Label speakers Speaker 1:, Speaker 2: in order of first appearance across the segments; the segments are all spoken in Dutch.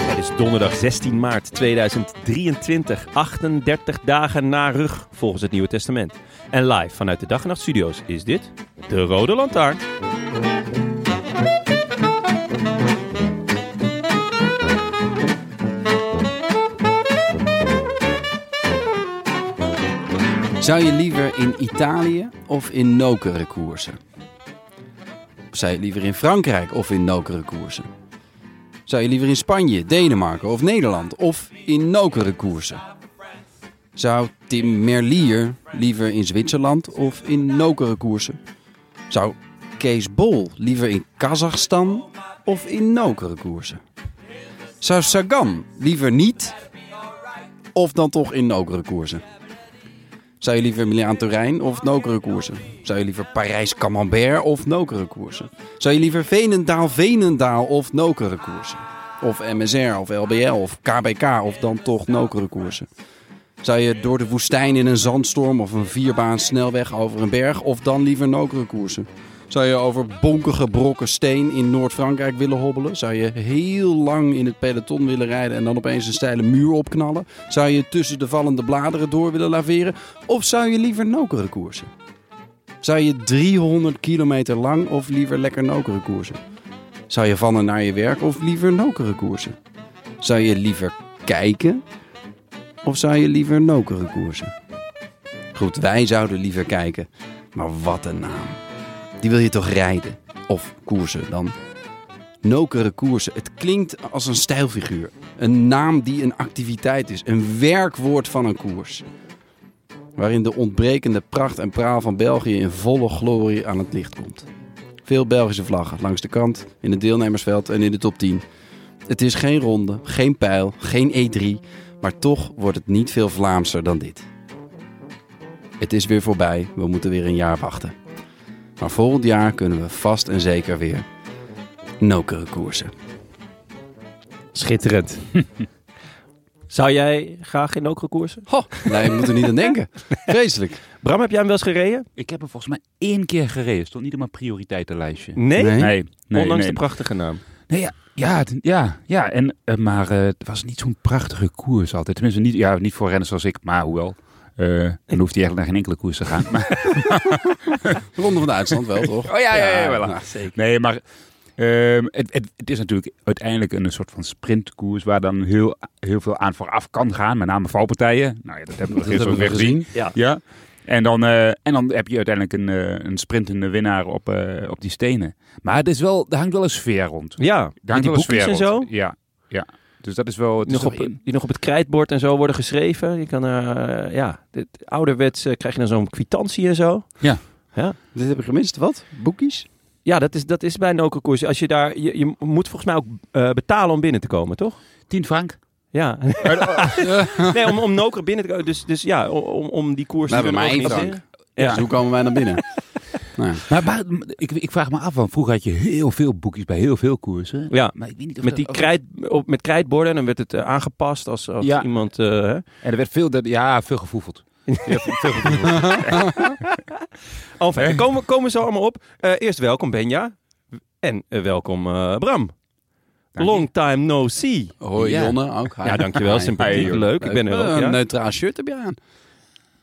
Speaker 1: Het is donderdag 16 maart 2023, 38 dagen na rug volgens het Nieuwe Testament. En live vanuit de Dag en Nacht Studio's is dit de Rode Lantaarn.
Speaker 2: Zou je liever in Italië of in nokere koersen? Of zou je liever in Frankrijk of in nokere koersen? Zou je liever in Spanje, Denemarken of Nederland of in nokere koersen? Zou Tim Merlier liever in Zwitserland of in nokere koersen? Zou Kees Bol liever in Kazachstan of in nokere koersen? Zou Sagan liever niet of dan toch in nokere koersen? Zou je liever Milaan Turijn of nokere koersen? Zou je liever Parijs Camembert of nokere koersen? Zou je liever Venendaal Venendaal of nokere koersen? Of MSR of LBL of KBK of dan toch nokere koersen? Zou je door de woestijn in een zandstorm of een vierbaan snelweg over een berg of dan liever nokere koersen? Zou je over bonkige brokken steen in Noord-Frankrijk willen hobbelen? Zou je heel lang in het peloton willen rijden en dan opeens een steile muur opknallen? Zou je tussen de vallende bladeren door willen laveren? Of zou je liever nokere koersen? Zou je 300 kilometer lang of liever lekker nokere koersen? Zou je van en naar je werk of liever nokere koersen? Zou je liever kijken of zou je liever nokere koersen? Goed, wij zouden liever kijken, maar wat een naam. Die wil je toch rijden? Of koersen dan? Nokere koersen. Het klinkt als een stijlfiguur. Een naam die een activiteit is. Een werkwoord van een koers. Waarin de ontbrekende pracht en praal van België in volle glorie aan het licht komt. Veel Belgische vlaggen langs de kant, in het deelnemersveld en in de top 10. Het is geen ronde, geen pijl, geen E E3. Maar toch wordt het niet veel Vlaamser dan dit. Het is weer voorbij, we moeten weer een jaar wachten. Maar volgend jaar kunnen we vast en zeker weer nokere koersen.
Speaker 1: Schitterend. Zou jij graag in nokere koersen?
Speaker 2: Ho, nee, je moet er niet aan denken. Vreselijk.
Speaker 1: Bram, heb jij hem wel eens gereden?
Speaker 3: Ik heb hem volgens mij één keer gereden. Stond niet op mijn prioriteitenlijstje.
Speaker 1: Nee?
Speaker 2: Nee.
Speaker 3: nee, nee,
Speaker 1: Ondanks
Speaker 3: nee.
Speaker 1: de prachtige naam.
Speaker 3: Nee, ja, ja, het- ja, ja. En, eh, maar eh, het was niet zo'n prachtige koers altijd. Tenminste, niet, ja, niet voor renners zoals ik, maar hoewel. Eh, dan hoeft hij eigenlijk naar geen enkele koers te gaan. Maar,
Speaker 2: Ronde van Duitsland wel, toch?
Speaker 3: oh ja, ja, ja, wel.
Speaker 2: nou,
Speaker 3: Nee, maar ehm, het, het, het is natuurlijk uiteindelijk een soort van sprintkoers waar dan heel, heel veel aan vooraf kan gaan. Met name valpartijen. Nou ja, dat hebben we
Speaker 2: dat hebben
Speaker 3: gisteren ook
Speaker 2: we
Speaker 3: weer gezien.
Speaker 2: gezien.
Speaker 3: Ja. En dan, eh, en dan heb je uiteindelijk een, eh, een sprintende winnaar op, eh, op die stenen. Maar het is wel, er hangt wel een sfeer rond. Er
Speaker 1: Ja, met
Speaker 3: hangt
Speaker 1: die
Speaker 3: wel een sfeer
Speaker 1: boekjes en zo.
Speaker 3: rond. Ja, ja. Dus dat is wel... Het
Speaker 1: Die nog,
Speaker 3: is
Speaker 1: op,
Speaker 3: wel-
Speaker 1: die nog op het krijtbord en zo worden geschreven. Je kan, eh, ja, dit, ouderwets eh, krijg je dan zo'n kwitantie en zo.
Speaker 2: Dit heb ik gemist. Wat? Boekies?
Speaker 1: Ja, dat is, dat is bij een koers. Als je daar, je, je moet volgens mij ook eh, betalen om binnen te komen, toch?
Speaker 3: 10 frank.
Speaker 1: Ja. nee, om, om Noker binnen te komen. Dus, dus ja, om, om die koers
Speaker 2: Nou,
Speaker 1: te
Speaker 2: bij
Speaker 1: kunnen
Speaker 2: mij één
Speaker 1: organiseren.
Speaker 2: Dus hoe komen wij naar binnen? nou,
Speaker 3: Maar, waar- ik, ik vraag me af, want vroeger had je heel veel boekjes bij heel veel koersen.
Speaker 1: Ja.
Speaker 3: Maar ik weet niet of
Speaker 1: Met,
Speaker 3: dat-
Speaker 1: die
Speaker 3: of-
Speaker 1: krijt, op, met krijtborden. En dan werd het eh, aangepast als, als
Speaker 3: Ja.
Speaker 1: iemand... eh, hè.
Speaker 3: En er werd veel, dat- ja, veel gevoefeld. Ja, veel gevoefeld.
Speaker 1: Enfin, we komen, komen zo allemaal op. Eh, eerst welkom Benja. En eh, welkom eh, Bram.
Speaker 3: je.
Speaker 1: Long time no see.
Speaker 2: hoi
Speaker 3: Ja.
Speaker 2: Jonne, ook. Hi.
Speaker 1: Ja, dankjewel.
Speaker 2: Hi.
Speaker 1: Sympathiek.
Speaker 2: Hi, joh.
Speaker 1: Leuk, ik ben er ook,
Speaker 2: Eh, Een
Speaker 1: ja.
Speaker 2: neutraal shirt heb je aan.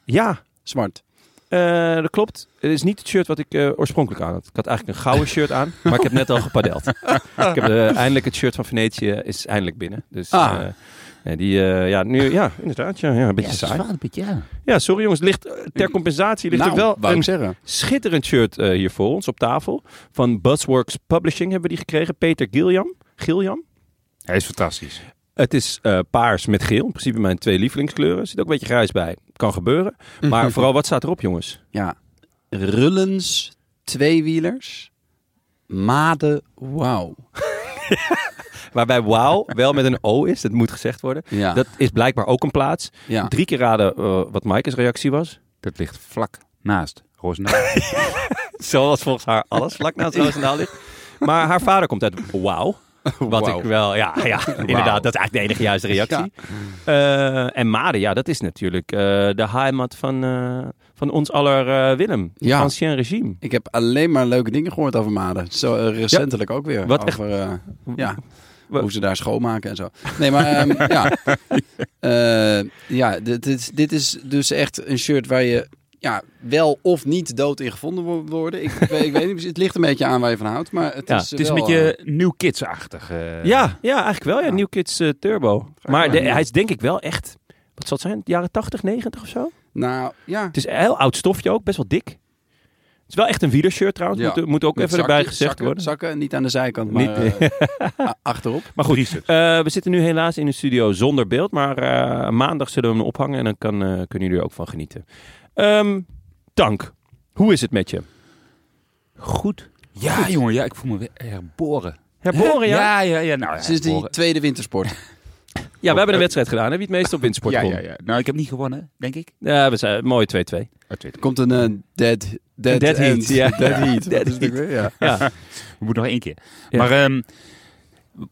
Speaker 1: Ja,
Speaker 2: Zwart.
Speaker 1: Eh, dat klopt. Het is niet het shirt wat ik eh, oorspronkelijk aan had. Ik had eigenlijk een gouden shirt aan, maar ik heb net al gepadeld. ik heb eh, eindelijk het shirt van Venetië is eindelijk binnen. Dus
Speaker 2: Ah.
Speaker 1: eh, nee, die, eh, ja, nu, ja, inderdaad. Ja, ja, een beetje saai. Ja, sorry jongens. Ligt, eh, ter compensatie ligt
Speaker 2: nou,
Speaker 1: er wel
Speaker 2: wou ik
Speaker 1: een
Speaker 2: zeggen.
Speaker 1: schitterend shirt eh, hier voor ons op tafel. Van Buzzworks Publishing hebben we die gekregen. Peter Giljam. Giljam.
Speaker 3: Hij is fantastisch.
Speaker 1: Het is eh, paars met geel. In principe mijn twee lievelingskleuren. Er zit ook een beetje grijs bij. Kan gebeuren.
Speaker 2: Mhm.
Speaker 1: Maar vooral, wat staat erop jongens?
Speaker 2: Ja. Rullens, tweewielers, made, wauw.
Speaker 1: Waarbij wauw wel met een O is. Dat moet gezegd worden.
Speaker 2: Ja,
Speaker 1: Dat is blijkbaar ook een plaats.
Speaker 2: ja.
Speaker 1: Drie keer raden eh, wat Maaike's reactie was.
Speaker 3: Dat ligt vlak naast Roosendaal.
Speaker 1: Zoals volgens haar alles vlak naast Roosendaal ligt. Maar haar vader komt uit wauw. Wat
Speaker 2: Wauw.
Speaker 1: ik wel, ja, ja inderdaad, dat is eigenlijk de enige juiste reactie. Eh, en Made, ja, dat is natuurlijk eh, de heimat van, eh, van ons aller eh, Willem.
Speaker 2: Ja.
Speaker 1: Ancien regime.
Speaker 2: Ik heb alleen maar leuke dingen gehoord over Maden. Zo eh, recentelijk ook weer.
Speaker 1: Wat echt-
Speaker 2: over, eh, ja,
Speaker 1: Wat-
Speaker 2: hoe ze daar schoonmaken en zo. Nee, maar ehm, ja. Eh, ja, dit, dit, dit is dus echt een shirt waar je ja, wel of niet dood in gevonden wo- worden. Ik, weet- ik weet niet, het ligt een beetje aan waar je van houdt. Maar het
Speaker 1: Ja,
Speaker 2: is
Speaker 3: het is een
Speaker 2: wel, eh,
Speaker 3: beetje New Kids-achtig. eh.
Speaker 1: ja, ja, eigenlijk wel, ja, New Kids eh, Turbo. Maar
Speaker 2: maar
Speaker 1: de-
Speaker 2: niet.
Speaker 1: hij is denk ik wel echt, wat zal het zijn, jaren 80, 90 of zo?
Speaker 2: nou, ja.
Speaker 1: Het is een heel oud stofje ook, best wel dik. Het is wel echt een wielershirt trouwens,
Speaker 2: Ja.
Speaker 1: moet, eh, moet ook
Speaker 2: Met
Speaker 1: even
Speaker 2: zakken-
Speaker 1: erbij gezegd
Speaker 2: zakken,
Speaker 1: worden.
Speaker 2: Zakken, niet aan de zijkant, maar
Speaker 1: Niet-
Speaker 2: eh, a- achterop.
Speaker 1: Maar goed, eh, we zitten nu helaas in de studio zonder beeld. Maar eh, maandag zullen we hem ophangen en dan kan, eh, kunnen jullie er ook van genieten. Ehm, Tank, hoe is het met je?
Speaker 3: Goed. Ja, jongen, ja, ik voel me weer herboren.
Speaker 1: Herboren, ja?
Speaker 3: Ja, ja, ja. Nou,
Speaker 2: Sinds die
Speaker 3: herboren.
Speaker 2: tweede wintersport.
Speaker 1: Ja, we hebben een wedstrijd gedaan. Heb je het meest op windsport
Speaker 3: ja, ja,
Speaker 1: gewonnen?
Speaker 3: ja. Nou, ik heb niet gewonnen, denk ik.
Speaker 1: Ja, we zijn mooi 2-2.
Speaker 2: Er komt een eh, dead, dead,
Speaker 1: Dead heat,
Speaker 2: end.
Speaker 1: ja.
Speaker 2: Dead heat.
Speaker 1: Dead
Speaker 2: Dat is natuurlijk weer, ja.
Speaker 1: Ja.
Speaker 3: We moeten nog één keer.
Speaker 1: Ja.
Speaker 3: Maar ehm,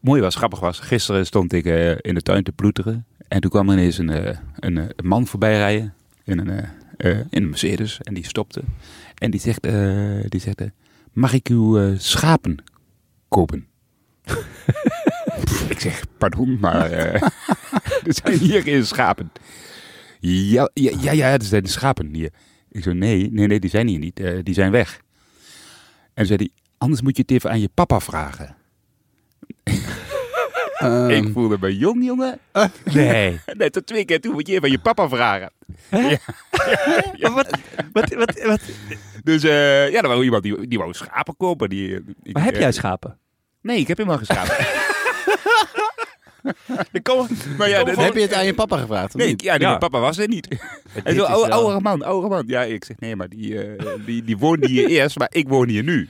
Speaker 3: mooi was, grappig was. Gisteren stond ik eh, in de tuin te ploeteren. En toen kwam er ineens een, eh, een, eh, een man voorbij rijden. In een, eh, eh, in een Mercedes. En die stopte. En die zegt, eh, die zegt eh, mag ik uw eh, schapen kopen? ik zeg, pardon, maar eh, er zijn hier geen schapen. Ja, ja, ja, ja, er zijn schapen hier. Ik zo, nee, nee, nee, die zijn hier niet. eh, die zijn weg. En zei hij, anders moet je het even aan je papa vragen.
Speaker 2: Ehm,
Speaker 3: ik voelde me jong, jongen.
Speaker 1: Nee.
Speaker 3: Nee, tot twee keer toe moet je even aan je papa vragen.
Speaker 1: wat, wat, wat, wat,
Speaker 3: Dus eh, ja, er was iemand die, die wou schapen kopen. Die, eh, ik,
Speaker 1: maar heb
Speaker 3: eh,
Speaker 1: jij schapen?
Speaker 3: Nee, ik heb helemaal geen schapen. maar ja, dat-
Speaker 2: heb je het aan je papa gevraagd? of
Speaker 3: Nee,
Speaker 2: niet?
Speaker 3: ik- ja, nee,
Speaker 1: Ja.
Speaker 3: mijn papa was er niet. Hij
Speaker 1: is
Speaker 3: zo, oude,
Speaker 1: wel-
Speaker 3: oude man, oude man. Ja, ik zeg, nee, maar die, eh, die, die woonde hier eerst, maar ik woon hier nu.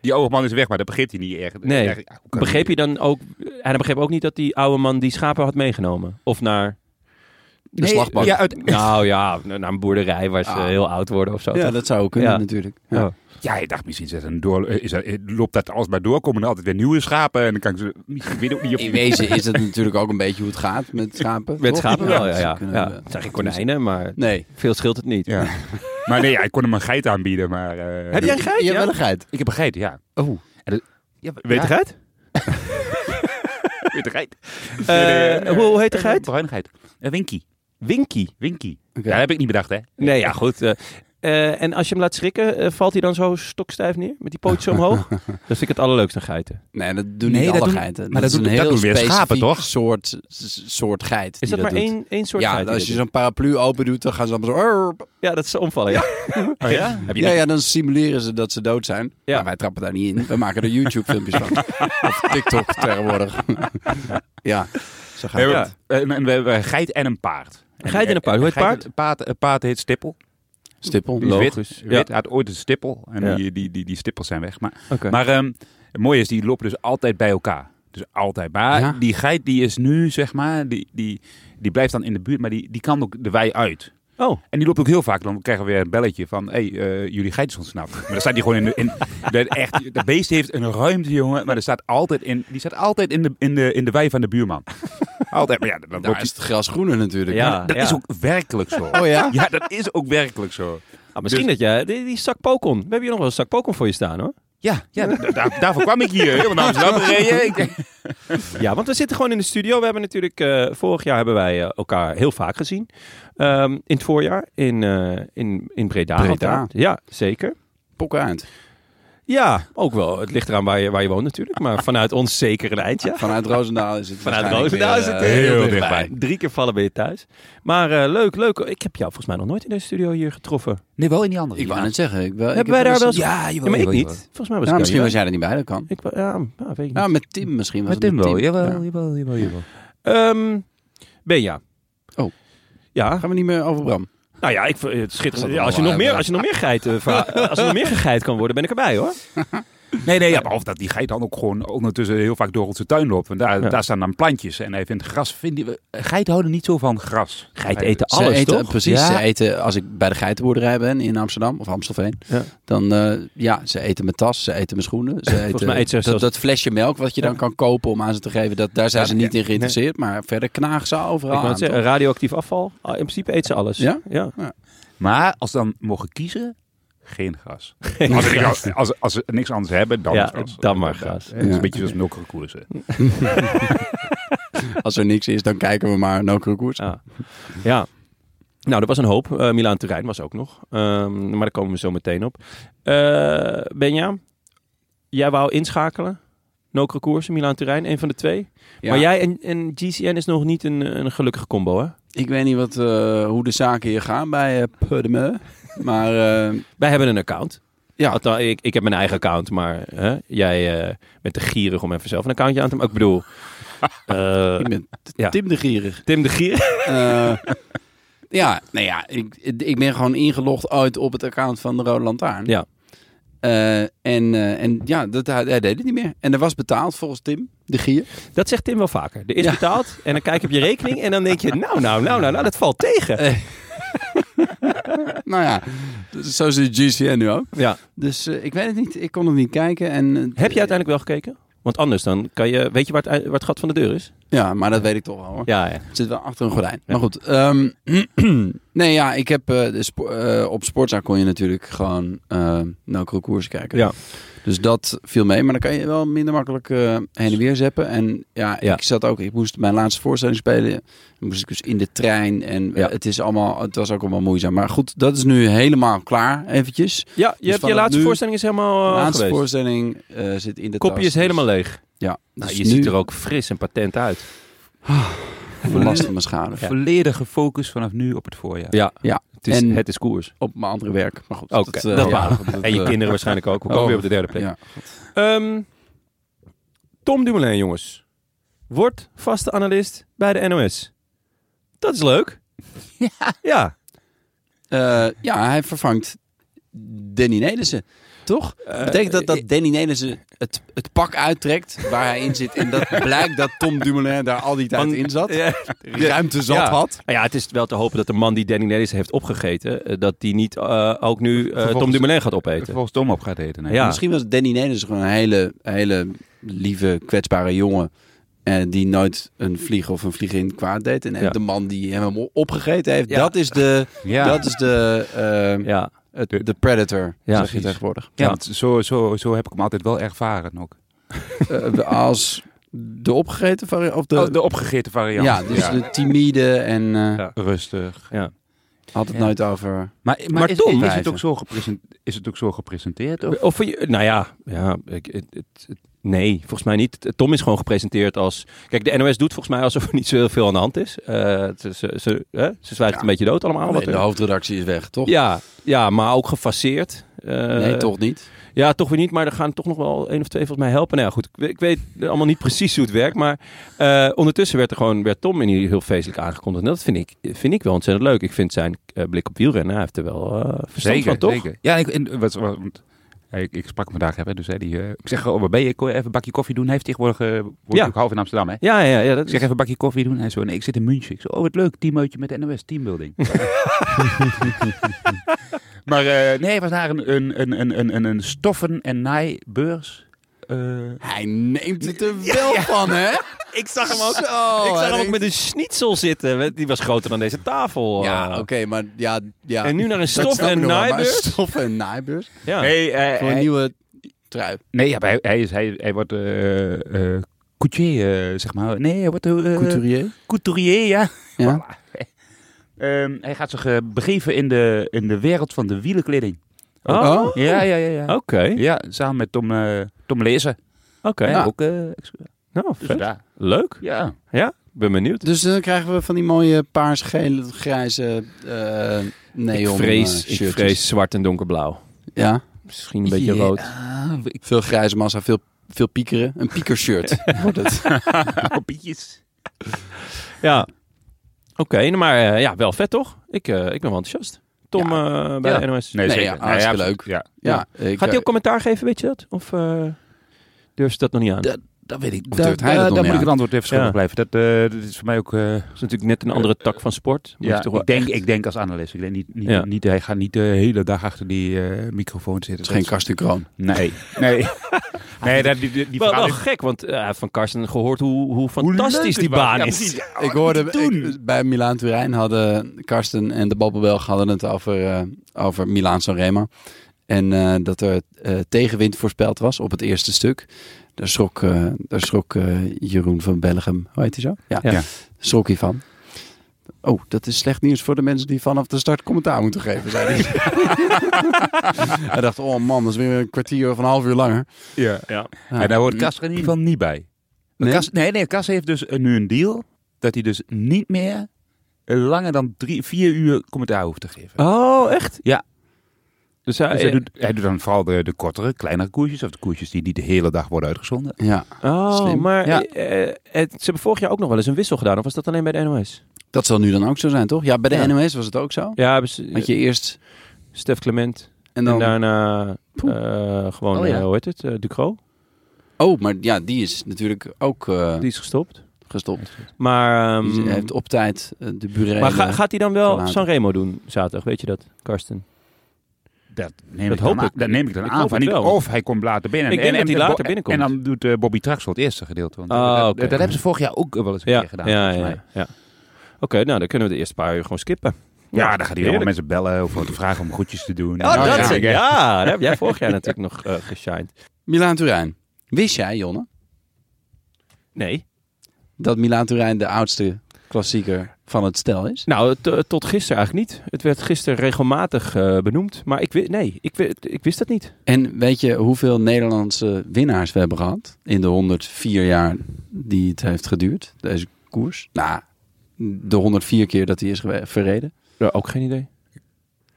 Speaker 3: Die oude man is weg, maar dat begint hij niet echt.
Speaker 1: Nee.
Speaker 3: Ja, hoe kan dat?
Speaker 1: Begreep je dan ook... En hij begreep ook niet dat die oude man die schapen had meegenomen? Of naar...
Speaker 2: De
Speaker 3: Nee,
Speaker 2: slagbank.
Speaker 3: Ja, uit-
Speaker 1: Nou ja, naar een boerderij waar ze
Speaker 3: Ah.
Speaker 1: heel oud worden of zo.
Speaker 2: Ja,
Speaker 1: toch?
Speaker 2: dat zou ook kunnen
Speaker 1: Ja.
Speaker 2: natuurlijk.
Speaker 1: Ja.
Speaker 2: Ja.
Speaker 3: Ja, ik dacht misschien is dat een door, eh, is dat, eh, loopt dat alles maar door. Komen er altijd weer nieuwe schapen. En dan kan ik ze. Ik weet ook niet of
Speaker 2: In wezen is het natuurlijk ook een beetje hoe het gaat met schapen.
Speaker 1: Met
Speaker 2: toch?
Speaker 1: schapen wel, ja.
Speaker 2: ze
Speaker 1: ja.
Speaker 2: kunnen-
Speaker 1: ja. Het zijn geen konijnen, maar
Speaker 2: Nee.
Speaker 1: veel scheelt het niet.
Speaker 3: Ja. maar nee, ja, ik kon hem een geit aanbieden. Maar, eh,
Speaker 1: Heb jij een geit?
Speaker 2: Je hebt
Speaker 1: Ja?
Speaker 2: wel een geit.
Speaker 3: Ik heb een geit, ja. Oh. ja,
Speaker 1: Weet de
Speaker 3: ja,
Speaker 1: geit?
Speaker 3: weet de geit?
Speaker 1: Eh, hoe- hoe heet de geit?
Speaker 3: Bruine geit. Eh, Winky.
Speaker 1: Winky.
Speaker 3: Winky.
Speaker 2: Oké.
Speaker 3: Ja, dat heb ik niet bedacht, hè?
Speaker 1: Nee, ja, goed. eh, eh, en als je hem laat schrikken, eh, valt hij dan zo stokstijf neer? Met die pootjes omhoog? dat vind ik het allerleukste aan geiten.
Speaker 2: Nee, dat doen
Speaker 3: Nee,
Speaker 2: niet
Speaker 3: dat
Speaker 2: alle
Speaker 3: doen-
Speaker 2: geiten.
Speaker 3: maar dat
Speaker 2: is
Speaker 3: doen-
Speaker 2: een
Speaker 3: dat
Speaker 2: heel
Speaker 3: doen weer
Speaker 2: specifiek
Speaker 3: schapen, toch?
Speaker 2: Soort, s- soort geit.
Speaker 1: Is
Speaker 2: die
Speaker 1: dat maar
Speaker 2: doet.
Speaker 1: één, één soort
Speaker 2: Ja,
Speaker 1: geit die
Speaker 2: als je
Speaker 1: dat
Speaker 2: zo'n paraplu open doet, dan gaan ze allemaal zo...
Speaker 1: doet? ja, dat is omvallen. Ja.
Speaker 3: Oh ja? Heb je
Speaker 2: Ja, ja, dan simuleren ze dat ze dood zijn.
Speaker 1: Ja.
Speaker 2: Maar wij trappen daar niet in. We maken er YouTube-filmpjes van. of TikTok tegenwoordig. ja, zo gaat
Speaker 3: Nee,
Speaker 2: het.
Speaker 3: maar- en, en we hebben een geit en een paard.
Speaker 1: Een geit en een paard. Hoe heet
Speaker 3: Een geit-
Speaker 1: paard?
Speaker 3: Een paard, een paard heet Stippel.
Speaker 2: Stippel.
Speaker 3: Die is
Speaker 2: Logisch.
Speaker 3: wit.
Speaker 1: Ja.
Speaker 3: Wit. Hij had ooit een stippel. En
Speaker 1: Ja.
Speaker 3: die, die, die, die stippels zijn weg. Maar
Speaker 1: Oké.
Speaker 3: Maar ehm, het mooie is, die lopen dus altijd bij elkaar. Dus altijd. Maar
Speaker 2: Ja.
Speaker 3: die geit die is nu, zeg maar, die, die, die blijft dan in de buurt, maar die, die kan ook de wei uit.
Speaker 1: Oh,
Speaker 3: En die loopt ook heel vaak. Dan krijgen we weer een belletje van, hé, hey, eh, jullie geit is ontsnapt. Maar dan staat die gewoon in de... In, dat echt, dat beest heeft een ruimte, jongen. Maar er staat altijd in, die staat altijd in de, in de, in de wei van de buurman. Altijd. Maar ja, dan loopt
Speaker 2: Daar
Speaker 3: die-
Speaker 2: is het gras groener natuurlijk.
Speaker 1: Ja.
Speaker 3: dat is ook werkelijk zo.
Speaker 2: Oh ja?
Speaker 3: Ja, dat is ook werkelijk zo.
Speaker 1: ah, misschien dat jij... Die, die zak pokon. We hebben hier nog wel een zak pokon voor je staan, hoor.
Speaker 3: Ja, ja da- da- daarvoor kwam ik hier. Helemaal naar Amsterdam gereden. Ik-
Speaker 1: Ja, want we zitten gewoon in de studio. We hebben natuurlijk, eh, vorig jaar hebben wij eh, elkaar heel vaak gezien. Ehm, in het voorjaar in, eh, in, in Breda.
Speaker 2: Breda.
Speaker 1: altijd. Ja, zeker.
Speaker 2: Pokken uit.
Speaker 1: Ja, ook wel. Het ligt eraan waar je, waar je woont natuurlijk. Maar vanuit ons zeker een eindje.
Speaker 2: Vanuit Roosendaal is het
Speaker 1: Vanuit
Speaker 2: waarschijnlijk
Speaker 1: Roosendaal is
Speaker 2: weer,
Speaker 1: het
Speaker 2: eh,
Speaker 3: heel
Speaker 2: dichtbij.
Speaker 3: dichtbij.
Speaker 1: Drie keer vallen ben je thuis. Maar eh, leuk, leuk. Ik heb jou volgens mij nog nooit in deze studio hier getroffen.
Speaker 3: Nee, wel in die andere.
Speaker 2: Ik wou
Speaker 3: ja.
Speaker 2: net zeggen. Ik, wel, ik
Speaker 1: Hebben wij daar wel eens...
Speaker 3: Ja, jawel,
Speaker 1: Ja, maar ik
Speaker 3: jawel,
Speaker 1: niet.
Speaker 3: jawel.
Speaker 1: Volgens mij was
Speaker 2: Nou,
Speaker 1: ik
Speaker 2: misschien
Speaker 1: daar
Speaker 2: was jij er niet bij, dat kan.
Speaker 1: niet. Ik, wa- ja, ja, weet ik niet.
Speaker 2: Nou, met Tim misschien. Was
Speaker 3: Met Tim
Speaker 2: het
Speaker 3: wel. Jawel,
Speaker 2: Ja.
Speaker 3: jawel, jawel, jawel.
Speaker 1: Ehm, Benja.
Speaker 2: Oh.
Speaker 1: Ja,
Speaker 2: Gaan we niet meer over Bram?
Speaker 1: nou ja, ik, vind het schitterend.
Speaker 2: Dat
Speaker 1: Ja, als, je
Speaker 2: wel
Speaker 1: nog meer,
Speaker 2: hebben.
Speaker 1: als je nog meer geit, eh, verha- als er nog meer gegeit kan worden, ben ik erbij hoor.
Speaker 3: Nee, nee, ja, behalve dat die geit dan ook gewoon ondertussen heel vaak door onze tuin loopt. Want daar,
Speaker 1: Ja.
Speaker 3: daar staan dan plantjes. En hij vindt gras, vinden we, geiten houden niet zo van gras.
Speaker 1: Geiten
Speaker 3: Hij-
Speaker 1: eten
Speaker 2: Ze
Speaker 1: alles,
Speaker 2: eten,
Speaker 1: toch?
Speaker 2: Precies,
Speaker 1: Ja.
Speaker 2: ze eten, als ik bij de geitenboerderij ben in Amsterdam of Amstelveen,
Speaker 1: Ja.
Speaker 2: dan eh, ja, ze eten mijn tas, ze eten mijn schoenen. Ze eten,
Speaker 1: mij eet ze
Speaker 2: dat,
Speaker 1: zelfs-
Speaker 2: dat flesje melk wat je dan kan kopen om aan ze te geven, dat, daar zijn ze niet in geïnteresseerd, maar verder knagen ze
Speaker 1: Ik
Speaker 2: overal
Speaker 1: wou
Speaker 2: aan,
Speaker 1: net zeggen,
Speaker 2: toch?
Speaker 1: radioactief afval. Ah, In principe eet ze alles.
Speaker 2: Ja?
Speaker 1: ja.
Speaker 3: Maar als ze dan mogen kiezen, geen gras. als, ze niks- als, als ze niks anders hebben, dan
Speaker 1: Ja,
Speaker 3: is gras.
Speaker 1: dan maar gras.
Speaker 3: Het is
Speaker 2: Ja.
Speaker 3: een beetje zoals melkkoersen.
Speaker 2: Als er niks is, dan kijken we maar naar koers.
Speaker 1: Ah. Ja. Nou, er was een hoop. Eh Milaan Turijn was ook nog. Ehm, maar daar komen we zo meteen op. Eh, Benja, jij wou inschakelen. Nokere koersen, Milaan Turijn, een van de twee.
Speaker 2: Ja.
Speaker 1: Maar jij en, en GCN is nog niet een, een gelukkige combo, hè?
Speaker 2: Ik weet niet wat, eh, hoe de zaken hier gaan bij eh Pudme, maar eh,
Speaker 1: Wij hebben een account.
Speaker 2: Ja.
Speaker 1: Althans, ik, ik heb mijn eigen account, maar hè, jij eh, bent te gierig om even zelf een accountje aan te maken. Ik bedoel, eh,
Speaker 2: ik ben t-
Speaker 1: Ja.
Speaker 2: Tim de Gierig.
Speaker 1: Tim de Gier.
Speaker 2: Eh, ja, nou ja, ik, ik ben gewoon ingelogd ooit op het account van de Rode Lantaarn.
Speaker 1: Ja.
Speaker 2: Eh, en, eh, en ja, dat, hij, hij deed het niet meer. En er was betaald volgens Tim, de Gier.
Speaker 1: Dat zegt Tim wel vaker. Er is
Speaker 2: Ja.
Speaker 1: betaald en dan kijk je op je rekening en dan denk je, nou, nou, nou, nou, nou dat valt tegen.
Speaker 2: Nou ja, dus zo zit GCN nu ook.
Speaker 1: Ja.
Speaker 2: Dus eh, ik weet het niet, ik kon het niet kijken. En, eh,
Speaker 1: Heb je uiteindelijk wel gekeken? Want anders dan kan je... Weet je waar het, waar het gat van de deur is?
Speaker 2: Ja, maar dat weet ik toch wel hoor.
Speaker 1: Ja, ja.
Speaker 2: Het zit wel achter een gordijn. Maar goed. ehm, nee, ja, ik heb eh, de spo- eh, op Sportza kon je natuurlijk gewoon uh, nauwkeurig koersen kijken.
Speaker 1: Ja.
Speaker 2: Dus dat viel mee. Maar dan kan je wel minder makkelijk eh, heen en weer zeppen. En ja,
Speaker 1: Ja.
Speaker 2: ik zat ook. Ik moest mijn laatste voorstelling spelen. Dan moest ik dus in de trein. En eh,
Speaker 1: Ja.
Speaker 2: het is allemaal. Het was ook allemaal moeizaam. Maar goed, dat is nu helemaal klaar. Eventjes.
Speaker 1: ja je, hebt, je
Speaker 2: vanaf
Speaker 1: laatste
Speaker 2: nu-
Speaker 1: voorstelling is helemaal eh,
Speaker 2: De laatste
Speaker 1: Oh, geweest.
Speaker 2: voorstelling eh, zit in de
Speaker 1: Kopje
Speaker 2: tas. dus-
Speaker 1: is helemaal leeg.
Speaker 2: Ja.
Speaker 1: Dus- Nou,
Speaker 2: dus
Speaker 1: je
Speaker 2: nu
Speaker 1: ziet er ook fris en patent uit.
Speaker 2: last van mijn schade.
Speaker 3: Volledige focus vanaf nu op het voorjaar.
Speaker 1: Ja,
Speaker 2: Ja.
Speaker 1: het is,
Speaker 2: En-
Speaker 1: het is koers.
Speaker 2: Op mijn andere werk. Maar goed.
Speaker 1: Oké,
Speaker 2: eh,
Speaker 1: dat
Speaker 2: ja,
Speaker 1: waren
Speaker 2: goed, dat,
Speaker 1: En je
Speaker 2: eh,
Speaker 1: kinderen waarschijnlijk ook. We komen
Speaker 2: oh.
Speaker 1: weer op de derde plek.
Speaker 2: Ja.
Speaker 1: Ehm, Tom Dumoulin, jongens. Wordt vaste analist bij de NOS. Dat is leuk. Ja. Ja.
Speaker 2: Eh, ja, hij vervangt Danny Nelissen, toch?
Speaker 1: Eh,
Speaker 2: Betekent dat dat Danny Nelissen het, het pak uittrekt waar hij in zit en dat blijkt dat Tom Dumoulin daar al die tijd
Speaker 1: Want- eh,
Speaker 2: in zat?
Speaker 1: Ja.
Speaker 2: Ruimte zat
Speaker 1: Ja.
Speaker 2: had.
Speaker 1: Nou ja, het is wel te hopen dat de man die Danny Nellis heeft opgegeten, eh, dat die niet eh, ook nu eh, Tom
Speaker 3: Vervolgens-
Speaker 1: Dumoulin gaat opeten.
Speaker 3: Volgens Tom op gaat eten. nee.
Speaker 1: Ja.
Speaker 2: Misschien was Danny Nelissen gewoon een hele, hele lieve, kwetsbare jongen. En die nooit een vlieg of een vliegin kwaad deed. En
Speaker 1: Ja.
Speaker 2: de man die hem opgegeten heeft,
Speaker 1: Ja.
Speaker 2: dat is de,
Speaker 3: Ja.
Speaker 2: dat is de, eh,
Speaker 1: Ja,
Speaker 2: het- de predator,
Speaker 1: Ja,
Speaker 2: zeg je
Speaker 1: precies.
Speaker 2: tegenwoordig.
Speaker 3: Ja,
Speaker 1: Ja.
Speaker 3: want zo, zo, zo heb ik hem altijd wel ervaren ook.
Speaker 2: Eh, als de opgegeten variant of de...
Speaker 3: Oh, de opgegeten variant.
Speaker 2: Ja, dus de timide en eh,
Speaker 1: Ja.
Speaker 3: Rustig.
Speaker 2: had het
Speaker 3: Ja.
Speaker 2: nooit over.
Speaker 3: Maar, maar,
Speaker 1: Maar
Speaker 3: is,
Speaker 1: Tom-
Speaker 3: is het
Speaker 2: wijzen.
Speaker 3: ook zo gepresenteerd? Is het ook zo gepresenteerd? Of?
Speaker 1: Of, je- nou ja, ja ik, het, het- het- nee, volgens mij niet. Tom is gewoon gepresenteerd als... Kijk, de NOS doet volgens mij alsof er niet zo heel veel aan de hand is. Eh, het is, eh, ze, hè, ze zwijgt een beetje dood allemaal. wat
Speaker 2: de
Speaker 1: er-
Speaker 2: hoofdredactie is weg, toch?
Speaker 1: ja, ja, maar ook gefaseerd. Eh,
Speaker 2: nee, toch niet.
Speaker 1: Ja, toch weer niet, maar er gaan toch nog wel één of twee volgens mij helpen. Nou ja, goed, ik, we- ik weet allemaal niet precies hoe het werkt, maar eh, ondertussen werd er gewoon werd Tom in ieder heel feestelijk aangekondigd. En dat vind ik, vind ik wel ontzettend leuk. Ik vind zijn eh, blik op wielrennen, hij heeft er wel eh verstand van, toch?
Speaker 3: zeker. Ja, ik, en, wat, wat- want, ja, ik, ik sprak hem vandaag, hè, dus hè, die, eh, ik zeg, oh, waar ben je? Kon je even een bakje koffie doen? Hij heeft tegenwoordig, eh, woont
Speaker 1: Ja.
Speaker 3: ook half in Amsterdam, hè?
Speaker 1: Ja, ja, ja.
Speaker 3: Ik
Speaker 1: Dat
Speaker 3: zeg
Speaker 1: is,
Speaker 3: even een bakje koffie doen. Hij zo, nee, ik zit in München. Ik zo, oh wat leuk, teamuitje met de NOS, teambuilding. maar eh, nee, het was daar een, een, een, een, een, een, een stoffen- en naaibeurs. Eh
Speaker 2: Hij neemt het er wel van, hè?
Speaker 1: ik zag hem ook,
Speaker 2: Zo,
Speaker 1: ik zag hem
Speaker 2: Oh, hij
Speaker 1: ook met een schnitzel zitten. Die was groter dan deze tafel.
Speaker 2: Ja,
Speaker 1: eh.
Speaker 2: oké, maar ja, ja.
Speaker 1: En nu naar een
Speaker 2: Dat
Speaker 1: stof
Speaker 2: snap
Speaker 1: en
Speaker 2: ik nog wel, maar
Speaker 1: naaibeurs.
Speaker 2: Stof en naaibeurs.
Speaker 1: Ja.
Speaker 3: nee, eh,
Speaker 2: Ah. Voor een
Speaker 3: hij-
Speaker 2: nieuwe trui.
Speaker 3: Nee, ja, maar hij, hij, is, hij, hij wordt eh, eh, coutier, eh, zeg maar. Nee, hij wordt... eh,
Speaker 2: Couturier.
Speaker 3: couturier, ja.
Speaker 2: Ja.
Speaker 3: Ehm, hij gaat zich eh, begeven in de, in de wereld van de wielenkleding.
Speaker 1: Oh,
Speaker 2: Oh.
Speaker 1: oké.
Speaker 3: Ja, ja, ja. ja. Ja, samen met Tom, eh, Tom Lezer.
Speaker 1: Oké.
Speaker 3: Ja, ook eh, ex-
Speaker 1: Nou,
Speaker 3: dus
Speaker 1: vet.
Speaker 3: daar.
Speaker 1: Leuk.
Speaker 3: Ja.
Speaker 1: Ben benieuwd.
Speaker 2: Dus dan krijgen we van die mooie paars, gele, grijze eh
Speaker 1: ik
Speaker 2: neon
Speaker 1: vrees,
Speaker 2: eh,
Speaker 1: ik
Speaker 2: shirtjes.
Speaker 1: vrees zwart en donkerblauw.
Speaker 2: Ja.
Speaker 1: Misschien een beetje
Speaker 2: Ja.
Speaker 1: rood.
Speaker 2: Veel grijze massa, veel, veel piekeren. Een piekershirt wordt het.
Speaker 3: Pietjes.
Speaker 1: Ja. Oké, nou, maar eh, ja, wel vet toch? Ik, eh, ik ben wel enthousiast. Tom eh, bij
Speaker 2: Ja.
Speaker 1: de NOS.
Speaker 3: Nee,
Speaker 2: Nee,
Speaker 3: zeker.
Speaker 2: ja, hartstikke
Speaker 3: absoluut.
Speaker 2: leuk.
Speaker 3: Ja.
Speaker 2: Ja,
Speaker 1: Gaat
Speaker 2: ik,
Speaker 1: hij ook
Speaker 2: eh,
Speaker 1: commentaar geven, weet je dat? Of eh durf ze dat nog niet aan?
Speaker 2: Dat- dat weet ik.
Speaker 3: Of
Speaker 2: Of durft hij dat nog
Speaker 3: daar
Speaker 2: niet aan?
Speaker 3: moet ik het antwoord even schuldig
Speaker 1: Ja.
Speaker 3: blijven. Dat, eh, dat is voor mij ook... eh,
Speaker 1: Dat is natuurlijk net een andere tak van sport. Moet
Speaker 3: ja,
Speaker 1: je toch wel
Speaker 3: ik, denk,
Speaker 1: echt-
Speaker 3: ik denk als analist. Ik denk niet, niet,
Speaker 1: Ja.
Speaker 3: niet, hij gaat niet de hele dag achter die eh, microfoon zitten.
Speaker 2: Het is geen Karsten Kroon.
Speaker 3: Nee. Nee, nee dat, die, die, die
Speaker 1: Wel,
Speaker 3: verhaal
Speaker 1: wel
Speaker 3: is-
Speaker 1: gek, want eh, hij heeft van Karsten gehoord hoe, hoe
Speaker 3: Hoe leuk
Speaker 1: fantastisch
Speaker 3: het
Speaker 1: die
Speaker 3: was.
Speaker 1: baan
Speaker 3: Ja,
Speaker 1: is.
Speaker 3: precies. Ja,
Speaker 2: ik
Speaker 3: wat
Speaker 2: hoorde
Speaker 3: moet je doen?
Speaker 2: ik- bij Milaan Turijn hadden Karsten en de Babbelbelg hadden het over, eh, over Milaan Sanremo. En eh, dat er eh, tegenwind voorspeld was op het eerste stuk. Daar schrok, eh, daar schrok eh, Jeroen van Bellegem, hoe heet hij zo? Ja,
Speaker 1: Ja.
Speaker 3: Ja.
Speaker 2: schrok hij van. Oh, dat is slecht nieuws voor de mensen die vanaf de start commentaar moeten geven, zei hij. hij dacht, oh man, dat is weer een kwartier of een half uur langer.
Speaker 3: Ja.
Speaker 1: Ja.
Speaker 2: Ja.
Speaker 3: En daar
Speaker 1: Hm.
Speaker 3: hoort Kas er in ieder geval niet bij.
Speaker 2: Nee?
Speaker 3: Nee, Kas, nee, nee, Kas heeft dus eh, nu een deal dat hij dus niet meer eh, langer dan drie, vier uur commentaar hoeft te geven.
Speaker 1: Oh, echt?
Speaker 3: Ja.
Speaker 1: Dus hij,
Speaker 3: Dus hij, doet, hij doet dan vooral de, de kortere, kleinere koersjes of de koersjes die niet de hele dag worden uitgezonden.
Speaker 2: Ja,
Speaker 1: Oh,
Speaker 2: Slim.
Speaker 1: maar
Speaker 3: Ja.
Speaker 1: eh, eh, het- ze hebben vorig jaar ook nog wel eens een wissel gedaan. Of was dat alleen bij de NOS?
Speaker 2: dat zal nu dan ook zo zijn, toch? Ja, bij de
Speaker 1: Ja.
Speaker 2: NOS was het ook zo.
Speaker 1: Ja, hebben ze-
Speaker 2: Had je eerst
Speaker 1: Stef Clement.
Speaker 2: en dan...
Speaker 1: En daarna
Speaker 2: Poeh.
Speaker 1: eh, gewoon,
Speaker 2: Oh, ja.
Speaker 1: eh, hoe heet het? eh, Ducro.
Speaker 2: Oh, maar ja, die is natuurlijk ook eh,
Speaker 1: Die is gestopt.
Speaker 2: gestopt.
Speaker 1: Maar, ehm,
Speaker 2: Die is- heeft op tijd eh, de burelen.
Speaker 1: maar ga- gaat hij dan wel
Speaker 2: verlaten.
Speaker 1: Sanremo doen zaterdag? Weet je dat, Karsten?
Speaker 3: Dat neem,
Speaker 1: Dat
Speaker 3: ik, dan
Speaker 1: hoop
Speaker 3: aan-
Speaker 1: ik.
Speaker 3: dat neem ik dan
Speaker 1: Ik hoop
Speaker 3: aan. Van
Speaker 1: het
Speaker 3: niet.
Speaker 1: wel.
Speaker 3: Of hij komt later binnen.
Speaker 1: Ik denk dat hij
Speaker 3: Bo-
Speaker 1: later binnenkomt.
Speaker 3: En dan doet eh, Bobby Traxel het eerste gedeelte. Want
Speaker 1: Ah,
Speaker 3: dat- dat,
Speaker 1: oké.
Speaker 3: dat hebben ze vorig jaar ook wel eens een
Speaker 1: Ja,
Speaker 3: keer gedaan.
Speaker 1: ja,
Speaker 3: volgens
Speaker 1: ja.
Speaker 3: mij.
Speaker 1: ja. Oké, nou dan kunnen we de eerste paar uur gewoon skippen.
Speaker 3: Ja, dan gaat hij allemaal
Speaker 1: Heerlijk.
Speaker 3: mensen bellen of te vragen om groetjes te doen.
Speaker 1: Oh, dat
Speaker 2: ja.
Speaker 1: zeg ik. Ja, daar heb jij vorig jaar natuurlijk nog eh geshined.
Speaker 2: Milaan Turijn. Wist jij, Jonne,
Speaker 1: Nee.
Speaker 2: dat Milaan Turijn de oudste klassieker van het stel is?
Speaker 1: Nou, t- tot gisteren eigenlijk niet. Het werd gisteren regelmatig eh, benoemd. Maar ik, wi- nee, ik, wi- ik wist dat niet.
Speaker 2: En weet je hoeveel Nederlandse winnaars we hebben gehad in de 104 jaar die het heeft geduurd, deze koers? Nou, de 104 keer dat hij is gewe- verreden.
Speaker 1: Ja, ook geen idee.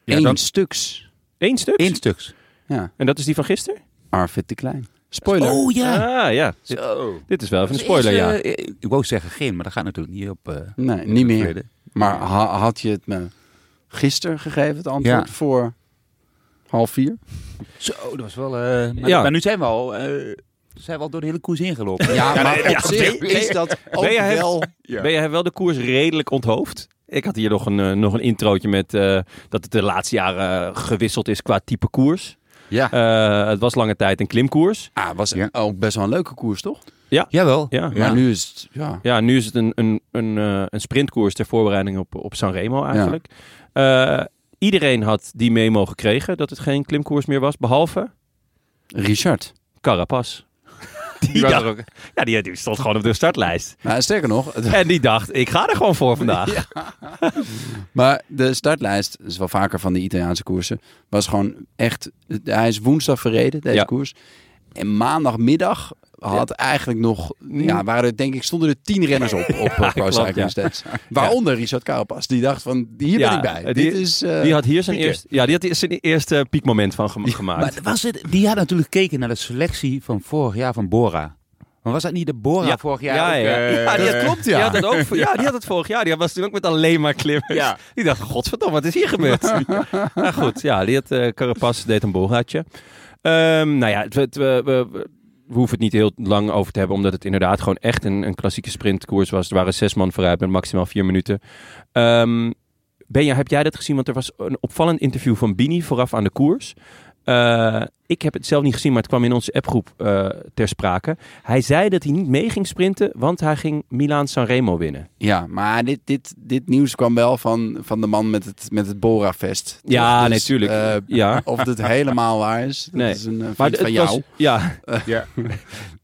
Speaker 3: Ja,
Speaker 2: Eén
Speaker 3: dan-
Speaker 2: stuks.
Speaker 1: Eén stuk?
Speaker 3: Eén stuks.
Speaker 2: Ja,
Speaker 1: En dat is die van gisteren?
Speaker 2: Arvid de Klein. Spoiler.
Speaker 3: Oh ja.
Speaker 1: Ah, ja. Dit,
Speaker 3: Zo.
Speaker 1: dit is wel even een spoiler,
Speaker 3: Is,
Speaker 1: ja.
Speaker 3: eh, ik wou zeggen geen, maar dat gaat natuurlijk niet op. eh,
Speaker 2: Nee,
Speaker 3: in
Speaker 2: niet
Speaker 3: het
Speaker 2: meer.
Speaker 3: verleden.
Speaker 2: Maar ha- had je het me gisteren gegeven, het antwoord,
Speaker 3: Ja.
Speaker 2: voor half vier?
Speaker 3: Zo, dat was wel. eh, maar,
Speaker 1: Ja.
Speaker 3: maar nu zijn we al. eh, zijn we al door de hele koers ingelopen.
Speaker 2: Ja, maar
Speaker 3: nee,
Speaker 2: op zich is dat ook
Speaker 1: Ben jij het?
Speaker 2: wel...
Speaker 3: Ja.
Speaker 1: Ben jij wel de koers redelijk onthoofd? Ik had hier nog een, eh, nog een introotje met eh, dat het de laatste jaren eh, gewisseld is qua type koers.
Speaker 2: Ja,
Speaker 1: Eh, het was lange tijd een klimkoers.
Speaker 2: ah, was
Speaker 3: Ja.
Speaker 2: ook best wel een leuke koers, toch?
Speaker 3: Jawel.
Speaker 1: Ja.
Speaker 2: Maar nu is het... Ja.
Speaker 1: Ja, nu is het een, een, een, eh, een sprintkoers ter voorbereiding op, op Sanremo eigenlijk. Eh, iedereen had die memo gekregen dat het geen klimkoers meer was, behalve
Speaker 2: Richard.
Speaker 1: Carapaz. Die,
Speaker 3: was
Speaker 1: dacht-
Speaker 3: er ook.
Speaker 1: ja, die, die stond gewoon op de startlijst.
Speaker 2: Nou, sterker nog, het-
Speaker 1: En die dacht, ik ga er gewoon voor vandaag.
Speaker 2: maar de startlijst, dat is wel vaker van de Italiaanse koersen, was gewoon echt... Hij is woensdag verreden, deze
Speaker 1: Ja.
Speaker 2: koers. En maandagmiddag had eigenlijk nog... Ja, waren er, denk ik, stonden er tien renners op op eh, Pro
Speaker 1: klopt,
Speaker 2: Cycling
Speaker 1: ja.
Speaker 2: Stats. Waaronder Richard Carapaz. Die dacht van, hier
Speaker 1: Ja,
Speaker 2: ben ik bij.
Speaker 1: die-
Speaker 2: Dit is... eh,
Speaker 1: Die had hier zijn,
Speaker 3: Pieter.
Speaker 1: eerste, ja, die had hier zijn eerste piekmoment van gema- gemaakt.
Speaker 3: Maar was het, die had natuurlijk gekeken naar de selectie van vorig jaar van Bora. Maar was dat niet de Bora
Speaker 1: Ja.
Speaker 3: vorig jaar?
Speaker 1: Ja,
Speaker 3: ook,
Speaker 1: ja.
Speaker 3: eh,
Speaker 1: Ja, die
Speaker 3: eh,
Speaker 1: had-
Speaker 2: klopt,
Speaker 1: Die
Speaker 2: ja.
Speaker 1: had dat ook, voor- ja, die had het vorig jaar. Die was toen ook met alleen maar klimmers.
Speaker 3: Ja.
Speaker 1: Die dacht, godverdomme, wat is hier gebeurd? nou goed, ja, die had eh Carapaz, deed een boelgaatje. Ehm, nou ja, het- het- we, we, we- we hoeven het niet heel lang over te hebben, omdat het inderdaad gewoon echt een, een klassieke sprintkoers was. Er waren zes man vooruit met maximaal vier minuten. Ehm Benja, heb jij dat gezien? Want er was een opvallend interview van Bini vooraf aan de koers. Eh, ik heb het zelf niet gezien, maar het kwam in onze appgroep eh, ter sprake. Hij zei dat hij niet mee ging sprinten, want hij ging Milaan Sanremo winnen.
Speaker 2: Ja, maar dit, dit, dit nieuws kwam wel van, van de man met het, met het Bora-vest.
Speaker 1: Ja,
Speaker 2: Dus,
Speaker 1: nee, tuurlijk.
Speaker 2: eh,
Speaker 1: Ja.
Speaker 2: of dit helemaal waar is, dat
Speaker 1: Nee.
Speaker 2: is een eh, vriend
Speaker 1: het
Speaker 2: van
Speaker 1: was-
Speaker 2: jou.
Speaker 1: ja.
Speaker 3: Ja.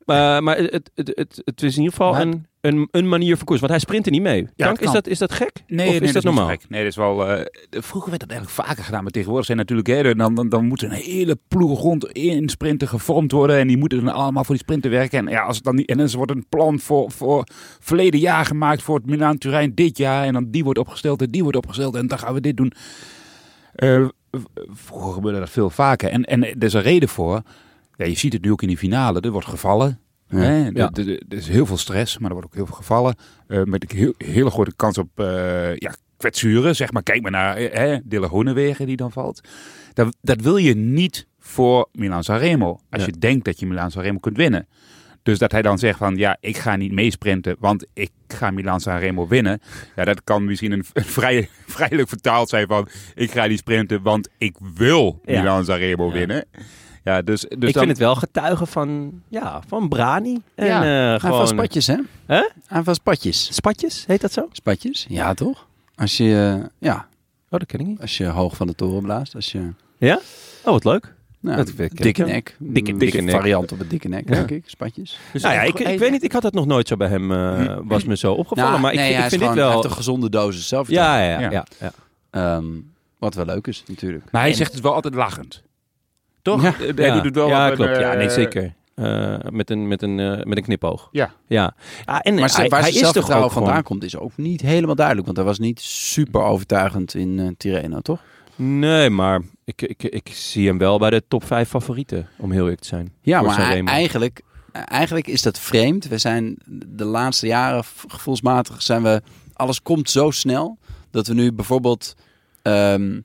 Speaker 1: maar maar het, het, het, het is in ieder geval
Speaker 3: Maar-
Speaker 1: een, een, een manier van koers. Want hij sprint er niet mee. Frank,
Speaker 3: kan.
Speaker 1: is, dat, is dat gek? of is dat,
Speaker 3: niet
Speaker 1: normaal?
Speaker 3: gek. Nee, dat is wel. eh, vroeger werd dat eigenlijk vaker gedaan, maar tegenwoordig zijn natuurlijk. Hè, dan, dan, dan moet een hele ploeg rond in sprinten gevormd worden. En die moeten dan allemaal voor die sprinten werken. En ja, als het dan niet. En dan wordt een plan voor, voor verleden jaar gemaakt voor het Milaan-Turijn dit jaar. En dan die wordt opgesteld en die wordt opgesteld. En dan gaan we dit doen. Eh, v- vroeger gebeurde dat veel vaker. En, en er is een reden voor. Ja, je ziet het nu ook in die finale. Er wordt gevallen. Hè? Er-
Speaker 1: Ja.
Speaker 3: Er er is heel veel stress, maar er wordt ook heel veel gevallen. Eh, met een heel, hele grote kans op eh, ja, kwetsuren. Zeg maar, kijk maar naar eh, hè, Dille Honewegen die dan valt. Dat, dat wil je niet voor Milan Sanremo. Als
Speaker 1: Ja.
Speaker 3: je denkt dat je Milan Sanremo kunt winnen. Dus dat hij dan zegt van ja, ik ga niet meesprinten, want ik ga Milan Sanremo winnen. Ja, dat kan misschien een, een vrij, vrijelijk vertaald zijn van ik ga niet sprinten, want ik wil
Speaker 1: Ja.
Speaker 3: Milan Sanremo
Speaker 1: Ja.
Speaker 3: winnen. Ja, dus, dus
Speaker 1: ik
Speaker 3: dan,
Speaker 1: vind het wel getuigen van, ja, van Brani. En
Speaker 2: Ja,
Speaker 1: eh,
Speaker 2: Aan
Speaker 1: gewoon
Speaker 2: van spatjes, hè?
Speaker 1: Hè?
Speaker 2: Aan van spatjes.
Speaker 1: Spatjes, heet dat zo? Oh,
Speaker 2: Spatjes? Ja, toch? Als je, eh, ja,
Speaker 1: dat ken ik niet.
Speaker 2: als je hoog van de toren blaast. Als je,
Speaker 1: Ja? Oh, wat leuk.
Speaker 2: nou,
Speaker 1: Dat weet ik
Speaker 2: dikke
Speaker 1: ook, ja.
Speaker 2: nek.
Speaker 1: Dikke-
Speaker 2: Een
Speaker 1: dikke nek.
Speaker 2: Variant op een dikke nek, denk ik. Spatjes.
Speaker 1: Dus nou ja, ik, ik weet niet, ik had dat nog nooit zo bij hem, eh, was me zo opgevallen.
Speaker 2: Nou,
Speaker 1: maar ik,
Speaker 2: nee,
Speaker 1: vind-
Speaker 2: hij
Speaker 1: ik
Speaker 2: is
Speaker 1: vind
Speaker 2: gewoon-
Speaker 1: dit wel...
Speaker 2: Hij heeft een gezonde dosis zelf.
Speaker 1: Ja, ja, ja.
Speaker 3: Ja.
Speaker 1: ja, ja.
Speaker 2: wat wel leuk is, natuurlijk.
Speaker 3: Maar hij zegt het wel altijd lachend. Toch?
Speaker 2: Ja.
Speaker 3: Eh, Hij
Speaker 1: ja.
Speaker 3: doet het wel
Speaker 1: Ja,
Speaker 3: wat,
Speaker 1: klopt.
Speaker 3: eh,
Speaker 1: Ja, nee, zeker. Eh, met, een, met, een, eh, met een knipoog.
Speaker 3: Ja.
Speaker 1: ja. Ah, en
Speaker 2: Maar
Speaker 1: hij,
Speaker 2: waar
Speaker 1: hij is
Speaker 2: zijn
Speaker 1: toch
Speaker 2: zelfvertrouwen
Speaker 1: ook
Speaker 2: vandaan
Speaker 1: gewoon...
Speaker 2: komt, is ook niet helemaal duidelijk. Want hij was niet super overtuigend in eh, Tirreno, toch?
Speaker 1: Nee, maar ik, ik, ik zie hem wel bij de top 5 favorieten, om heel eerlijk te zijn.
Speaker 2: Ja,
Speaker 1: Voor
Speaker 2: maar hij-
Speaker 1: Sanremo.
Speaker 2: eigenlijk, eigenlijk is dat vreemd. We zijn de laatste jaren v- gevoelsmatig zijn we. Alles komt zo snel dat we nu bijvoorbeeld. ehm,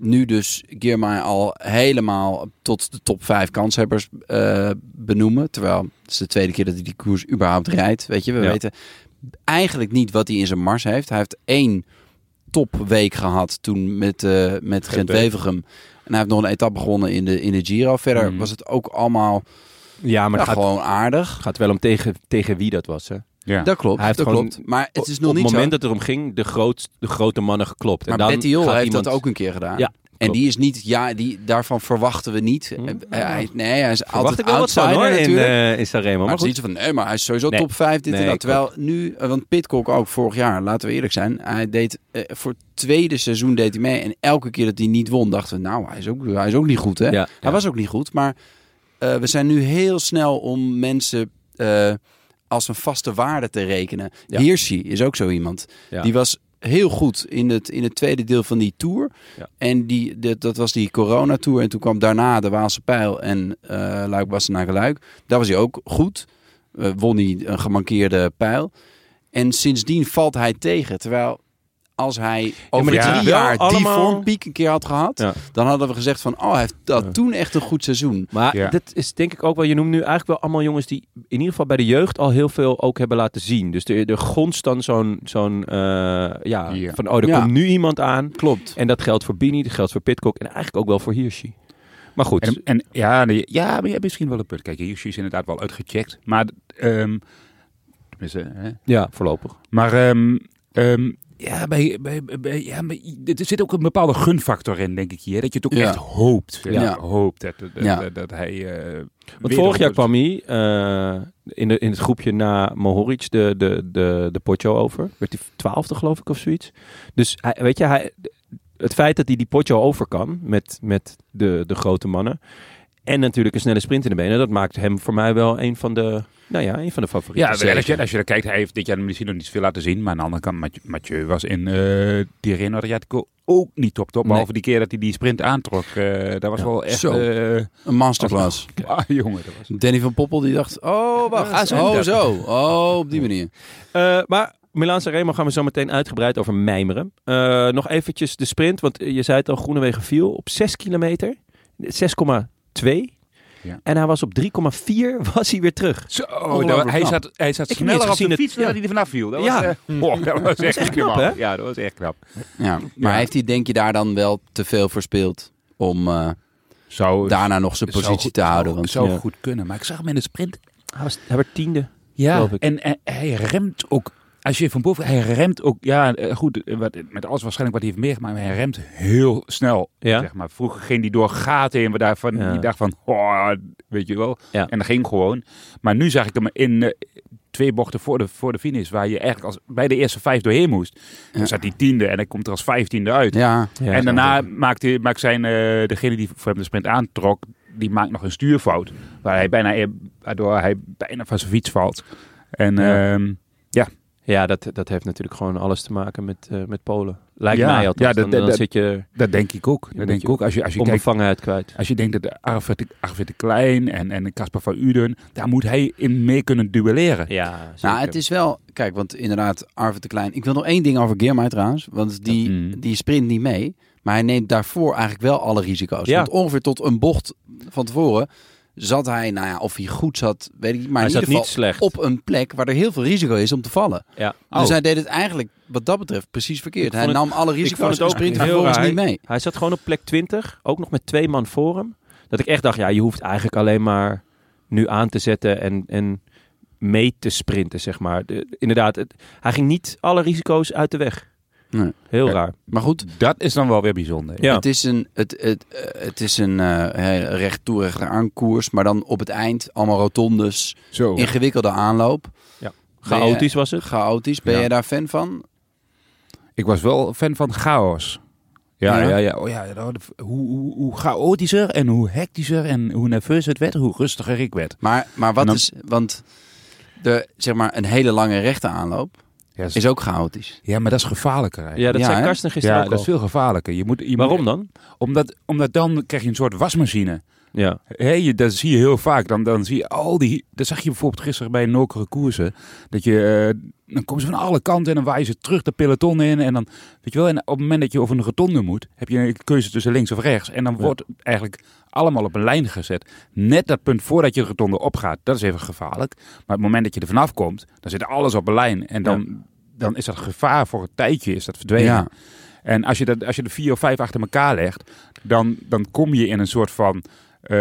Speaker 2: nu dus Girma al helemaal tot de top 5 kanshebbers eh, benoemen. Terwijl het is de tweede keer dat hij die koers überhaupt rijdt. Weet je, we
Speaker 1: Ja.
Speaker 2: weten eigenlijk niet wat hij in zijn mars heeft. Hij heeft één topweek gehad toen met, eh met Gent-Wevergem. En hij heeft nog een etappe gewonnen in de, in de Giro. Verder
Speaker 3: Mhm.
Speaker 2: was het ook allemaal
Speaker 1: Hmm. Ja, maar
Speaker 2: ja,
Speaker 1: het gaat,
Speaker 2: gewoon aardig.
Speaker 1: gaat wel om tegen, tegen wie dat was, hè?
Speaker 3: Ja.
Speaker 2: Dat klopt,
Speaker 1: Hij heeft
Speaker 2: dat
Speaker 1: gewoon-
Speaker 2: klopt. Maar het is nog
Speaker 1: op
Speaker 2: niet
Speaker 1: het
Speaker 2: zo.
Speaker 1: moment dat het erom ging, de, groot, de grote mannen geklopt.
Speaker 2: Maar
Speaker 1: en dan
Speaker 2: Bettiol
Speaker 1: gaat
Speaker 2: heeft
Speaker 1: iemand...
Speaker 2: dat ook een keer gedaan.
Speaker 1: Ja,
Speaker 2: en
Speaker 1: klopt.
Speaker 2: die is niet, ja, die, daarvan verwachten we niet.
Speaker 1: Hm.
Speaker 2: Eh, hij, nee, hij is
Speaker 1: Verwacht
Speaker 2: altijd
Speaker 1: ik wel wat van
Speaker 2: outsider
Speaker 1: hoor, in,
Speaker 2: natuurlijk.
Speaker 1: eh in Sanremo.
Speaker 2: maar
Speaker 1: Maar
Speaker 2: het is
Speaker 1: goed.
Speaker 2: niet zo van, nee, maar hij is sowieso
Speaker 1: Nee.
Speaker 2: top 5, dit en
Speaker 1: Nee,
Speaker 2: dat. Terwijl nu, eh, want Pitcock ook vorig jaar, laten we eerlijk zijn. Hij deed, eh, voor het tweede seizoen deed hij mee. En elke keer dat hij niet won, dachten we, nou, hij is ook, hij is ook niet goed, hè?
Speaker 1: Ja,
Speaker 2: Hij
Speaker 1: ja.
Speaker 2: was ook niet goed, maar eh, we zijn nu heel snel om mensen eh, als een vaste waarde te rekenen.
Speaker 1: Ja.
Speaker 2: Hirschi is ook zo iemand.
Speaker 1: Ja.
Speaker 2: Die was heel goed in het, in het tweede deel van die tour.
Speaker 1: Ja.
Speaker 2: En die, dat, dat was die corona-tour. En toen kwam daarna de Waalse Pijl en eh Luik Bastenaken Luik. Daar was hij ook goed. Eh, won hij een gemankeerde pijl. En sindsdien valt hij tegen. Terwijl als hij over
Speaker 1: maar dit
Speaker 2: drie
Speaker 1: is wel
Speaker 2: jaar die
Speaker 1: allemaal-
Speaker 2: vormpiek een keer had gehad...
Speaker 1: Ja.
Speaker 2: dan hadden we gezegd van... oh, hij heeft dat
Speaker 1: Ja.
Speaker 2: toen echt een goed seizoen.
Speaker 1: Maar
Speaker 3: Ja.
Speaker 1: dat is denk ik ook wel, je noemt nu eigenlijk wel allemaal jongens die in ieder geval bij de jeugd al heel veel ook hebben laten zien. Dus er, er gonst dan zo'n, zo'n eh, ja,
Speaker 3: Ja.
Speaker 1: van oh, er
Speaker 2: Ja.
Speaker 1: komt nu iemand aan.
Speaker 2: Klopt.
Speaker 1: En dat geldt voor Bini, dat geldt voor Pitcock en eigenlijk ook wel voor Hirschi. Maar goed,
Speaker 3: En, en ja, nee, ja, maar je hebt misschien wel een punt. Kijk, Hirschi is inderdaad wel uitgecheckt. Maar, ehm, tenminste, hè.
Speaker 1: ja, voorlopig.
Speaker 3: maar ehm, ehm, ja, bij, bij, bij, ja maar, i- er zit ook een bepaalde gunfactor in, denk ik hier. Dat je het ook
Speaker 2: Ja.
Speaker 3: echt hoopt. hè.
Speaker 2: Ja.
Speaker 3: Hoopt dat, dat,
Speaker 2: Ja.
Speaker 3: dat, dat hij... eh,
Speaker 1: Want
Speaker 3: weer
Speaker 1: vorig jaar
Speaker 3: eronder-
Speaker 1: kwam hij eh, in, de, in het groepje na Mohoric de, de, de, de Pocho over. Werd hij twaalfde geloof ik of zoiets. Dus hij, weet je, hij, het feit dat hij die Pocho over kan met, met de, de grote mannen. En natuurlijk een snelle sprint in de benen. Dat maakt hem voor mij wel een van de, nou ja, een van de favorieten.
Speaker 3: Ja, wel, als je, als je dan kijkt, hij heeft dit jaar misschien nog niet veel laten zien. Maar aan de andere kant, Mathieu, Mathieu was in eh Tirreno Adriatico ook niet top top.
Speaker 2: Nee.
Speaker 3: Behalve die keer dat hij die sprint aantrok. eh dat was
Speaker 1: Ja.
Speaker 3: wel echt...
Speaker 2: Zo.
Speaker 3: eh,
Speaker 2: Een masterclass.
Speaker 3: ah, jongen, dat was...
Speaker 2: Danny van Poppel die dacht, oh
Speaker 3: Ja,
Speaker 2: wacht,
Speaker 3: zo.
Speaker 2: oh zo, oh op die manier.
Speaker 1: Eh, maar Milaan Sanremo gaan we zo meteen uitgebreid over mijmeren. Eh, nog eventjes de sprint, want je zei het al, Groenewegen viel op 6 kilometer. 6,2.
Speaker 3: Ja.
Speaker 1: En hij was op 3,4 was hij weer terug.
Speaker 3: Zo,
Speaker 1: Ongelooflijk
Speaker 3: dat- hij,
Speaker 1: knap.
Speaker 3: zat, hij zat
Speaker 1: Ik heb niet
Speaker 3: sneller
Speaker 1: eens
Speaker 3: op de
Speaker 1: gezien
Speaker 3: fiets
Speaker 1: dat-
Speaker 3: dan
Speaker 1: ja.
Speaker 3: dat hij er vanaf viel. Dat,
Speaker 1: Ja.
Speaker 3: was, eh, wow, dat was echt
Speaker 1: echt knap,
Speaker 3: knap.
Speaker 1: hè?
Speaker 3: Ja, dat was echt knap.
Speaker 2: Ja, maar
Speaker 3: Ja.
Speaker 2: heeft hij denk je daar dan wel te veel voor speeld om, eh,
Speaker 3: Zou,
Speaker 2: daarna nog zijn
Speaker 3: zou
Speaker 2: positie
Speaker 3: goed-
Speaker 2: te houden.
Speaker 3: Zou,
Speaker 2: Want
Speaker 3: zou
Speaker 1: ja.
Speaker 3: goed kunnen. Maar ik zag hem in de sprint.
Speaker 1: Hij was- hij werd tiende.
Speaker 3: Ja,
Speaker 1: geloof ik.
Speaker 3: en, en hij remt ook. Als je van boven, hij remt ook, ja eh, goed, eh, wat, met alles waarschijnlijk wat hij heeft meegemaakt, maar hij remt heel snel.
Speaker 1: Ja.
Speaker 3: Zeg maar. Vroeger ging die door gaten heen, waarvan
Speaker 1: Ja.
Speaker 3: die dacht van, oh, weet je wel.
Speaker 1: Ja.
Speaker 3: En dat ging gewoon. Maar nu zag ik hem in eh, twee bochten voor de, voor de finish, waar je eigenlijk als, bij de eerste vijf doorheen moest. Dan
Speaker 2: Ja.
Speaker 3: zat hij tiende en hij komt er als vijftiende uit.
Speaker 2: ja,
Speaker 1: Ja,
Speaker 3: en
Speaker 1: zo.
Speaker 3: daarna maakt, hij- maakt zijn, eh, degene die voor hem de sprint aantrok, die maakt nog een stuurfout. Waar hij bijna, waardoor hij bijna van zijn fiets valt. En
Speaker 1: Ja.
Speaker 3: ehm,
Speaker 1: Ja, dat, dat heeft natuurlijk gewoon alles te maken met, eh, met Polen. Lijkt
Speaker 3: Ja,
Speaker 1: mij althans.
Speaker 3: ja, dat-
Speaker 1: dan, dan
Speaker 3: dat-
Speaker 1: zit je
Speaker 3: dat denk ik ook.
Speaker 1: moet
Speaker 3: Dat denk
Speaker 1: je
Speaker 3: ik ook. Als je, als je, kijkt,
Speaker 1: onbevangenheid kwijt.
Speaker 3: als je denkt dat Arvid Arvid de Klein en, en Casper van Uden, daar moet hij in mee kunnen duelleren.
Speaker 1: Ja, zeker.
Speaker 2: Nou, het is wel... Kijk, want inderdaad, Arvid de Klein... Ik wil nog één ding over Geermij trouwens. Want die,
Speaker 3: Mm.
Speaker 2: die sprint niet mee. Maar hij neemt daarvoor eigenlijk wel alle risico's.
Speaker 1: Ja.
Speaker 2: Want ongeveer tot een bocht van tevoren zat hij... Nou ja, of hij goed zat, weet ik niet. Maar
Speaker 1: Hij
Speaker 2: in
Speaker 1: zat
Speaker 2: ieder geval
Speaker 1: niet slecht.
Speaker 2: op een plek waar er heel veel risico is om te vallen.
Speaker 1: ja.
Speaker 2: Dus
Speaker 1: Oh.
Speaker 2: hij deed het eigenlijk, wat dat betreft, precies verkeerd. Hij
Speaker 1: vond het-
Speaker 2: nam alle
Speaker 1: vond
Speaker 2: risico's
Speaker 1: het
Speaker 2: en
Speaker 1: ook
Speaker 2: sprintte
Speaker 1: heel
Speaker 2: vervolgens
Speaker 1: raar.
Speaker 2: niet mee.
Speaker 1: Hij zat gewoon op plek 20, ook nog met twee man voor hem. Dat ik echt dacht, ja, je hoeft eigenlijk alleen maar nu aan te zetten en, en mee te sprinten, zeg maar. De- inderdaad, het- hij ging niet alle risico's uit de weg.
Speaker 2: Nee.
Speaker 1: Heel
Speaker 3: Ja.
Speaker 1: raar.
Speaker 2: Maar goed,
Speaker 3: Dat is dan wel weer bijzonder.
Speaker 1: Ja.
Speaker 2: Het is een, het, het, eh, het is een eh recht toe recht aan koers, maar dan op het eind allemaal rotondes,
Speaker 4: Zo.
Speaker 2: ingewikkelde aanloop,
Speaker 1: Oh. Chaotisch was het.
Speaker 2: chaotisch. Ben
Speaker 3: Ja.
Speaker 2: jij daar fan van?
Speaker 3: Ik was wel fan van chaos. Ja,
Speaker 2: Ja?
Speaker 3: ja, ja. Oh, ja nou, de- hoe, hoe, hoe chaotischer en hoe hectischer en hoe nerveus het werd, hoe rustiger ik werd.
Speaker 2: Maar, maar wat
Speaker 3: En dan-
Speaker 2: is, want de, zeg maar een hele lange rechte aanloop
Speaker 3: Ja,
Speaker 2: is ook chaotisch.
Speaker 3: Ja, maar dat is gevaarlijker. eigenlijk.
Speaker 1: Ja, dat
Speaker 2: Ja,
Speaker 1: zei
Speaker 2: hè?
Speaker 1: Karsten
Speaker 3: Ja,
Speaker 1: gisteren ook
Speaker 3: dat
Speaker 1: al.
Speaker 3: is veel gevaarlijker. Je moet, je moet-
Speaker 1: Waarom dan?
Speaker 3: omdat, omdat dan krijg je een soort wasmachine.
Speaker 1: Ja,
Speaker 3: Hé, je, dat zie je heel vaak. Dan, dan zie je al die... Dat zag je bijvoorbeeld gisteren bij nokere koersen. Dat je... eh, dan komen ze van alle kanten en dan waaien ze terug de peloton in. En dan... Weet je wel, en op het moment dat je over een rotonde moet... heb je een keuze tussen links of rechts. En dan
Speaker 1: Ja.
Speaker 3: wordt eigenlijk allemaal op een lijn gezet. Net dat punt voordat je de rotonde opgaat. Dat is even gevaarlijk. Maar het moment dat je er vanaf komt... dan zit alles op een lijn. En dan... Dan is dat gevaar voor een tijdje is dat verdwenen.
Speaker 2: Ja.
Speaker 3: En als je, dat, als je er vier of vijf achter elkaar legt, dan, dan kom je in een soort van. eh,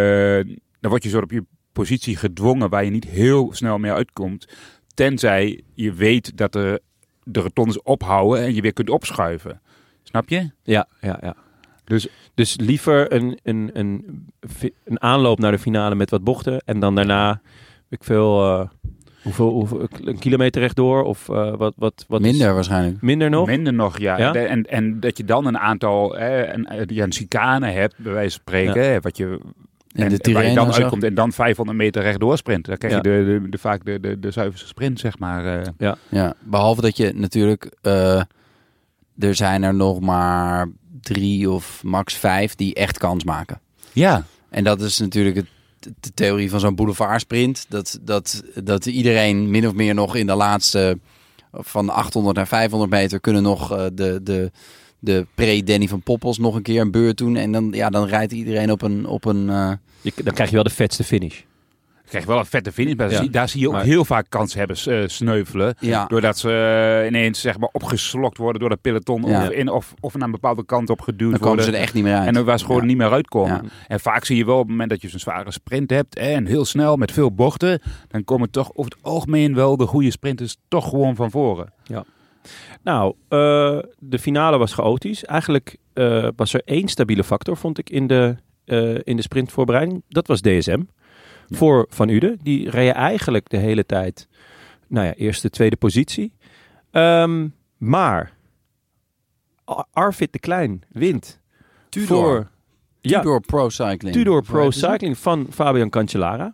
Speaker 3: dan word je soort op je positie gedwongen waar je niet heel snel meer uitkomt. Tenzij je weet dat de, de rotondes ophouden en je weer kunt opschuiven. Snap je?
Speaker 1: ja, ja. ja.
Speaker 3: Dus-
Speaker 1: dus liever een, een, een, fi- een aanloop naar de finale met wat bochten. En dan daarna, weet ik veel, eh, hoeveel, hoeveel, een kilometer rechtdoor of eh, wat, wat, wat is-
Speaker 2: Minder waarschijnlijk.
Speaker 1: minder nog?
Speaker 3: Minder nog, ja.
Speaker 1: Ja?
Speaker 3: De- En, en dat je dan een aantal eh, een, eh, ja, een chicane hebt, bij wijze van spreken. hè, Wat je,
Speaker 2: En,
Speaker 3: en,
Speaker 2: de
Speaker 3: waar je
Speaker 2: Tirreno
Speaker 3: dan
Speaker 2: zag-
Speaker 3: uitkomt en dan 500 meter rechtdoor sprint. Dan krijg
Speaker 1: Ja.
Speaker 3: je de, de, de- vaak de, de, de zuiverste sprint, zeg maar. eh.
Speaker 2: Ja, behalve dat je natuurlijk, eh, er zijn er nog maar drie of max vijf die echt kans maken.
Speaker 3: Ja,
Speaker 2: En dat is natuurlijk het, de theorie van zo'n boulevardsprint. Dat, dat, dat iedereen min of meer nog in de laatste van 800 naar 500 meter kunnen nog eh, de, de, de pre-Danny van Poppels nog een keer een beurt doen. En dan, ja, dan rijdt iedereen op een... Op een eh,
Speaker 1: Je- dan krijg je wel de vetste finish.
Speaker 3: Ik krijg wel een vette finish, maar
Speaker 1: Ja.
Speaker 3: zie- daar zie je ook
Speaker 1: Maar-
Speaker 3: heel vaak kanshebbers eh sneuvelen.
Speaker 2: ja,
Speaker 3: Doordat ze eh, ineens zeg maar, opgeslokt worden door de peloton
Speaker 2: Ja.
Speaker 3: of, in, of, of naar een bepaalde kant op geduwd
Speaker 2: dan komen
Speaker 3: worden.
Speaker 2: ze er echt niet meer uit.
Speaker 3: en dan waar ze gewoon
Speaker 2: Ja.
Speaker 3: niet meer uitkomen.
Speaker 2: Ja.
Speaker 3: En vaak zie je wel op het moment dat je zo'n zware sprint hebt en heel snel met veel bochten, dan komen toch over het algemeen wel de goede sprinters toch gewoon van voren.
Speaker 1: Nou, eh, de finale was chaotisch. Eigenlijk eh, was er één stabiele factor, vond ik, in de, eh, in de sprintvoorbereiding. Dat was DSM. Voor Van Uden. Die reed eigenlijk de hele tijd, nou ja, eerste, tweede positie. Ehm, maar Ar- Arvid de Klein wint
Speaker 2: Tudor.
Speaker 1: voor... Ja,
Speaker 2: Tudor Pro Cycling.
Speaker 1: Tudor Pro
Speaker 2: Hoe heet het?
Speaker 1: Cycling van Fabian Cancellara.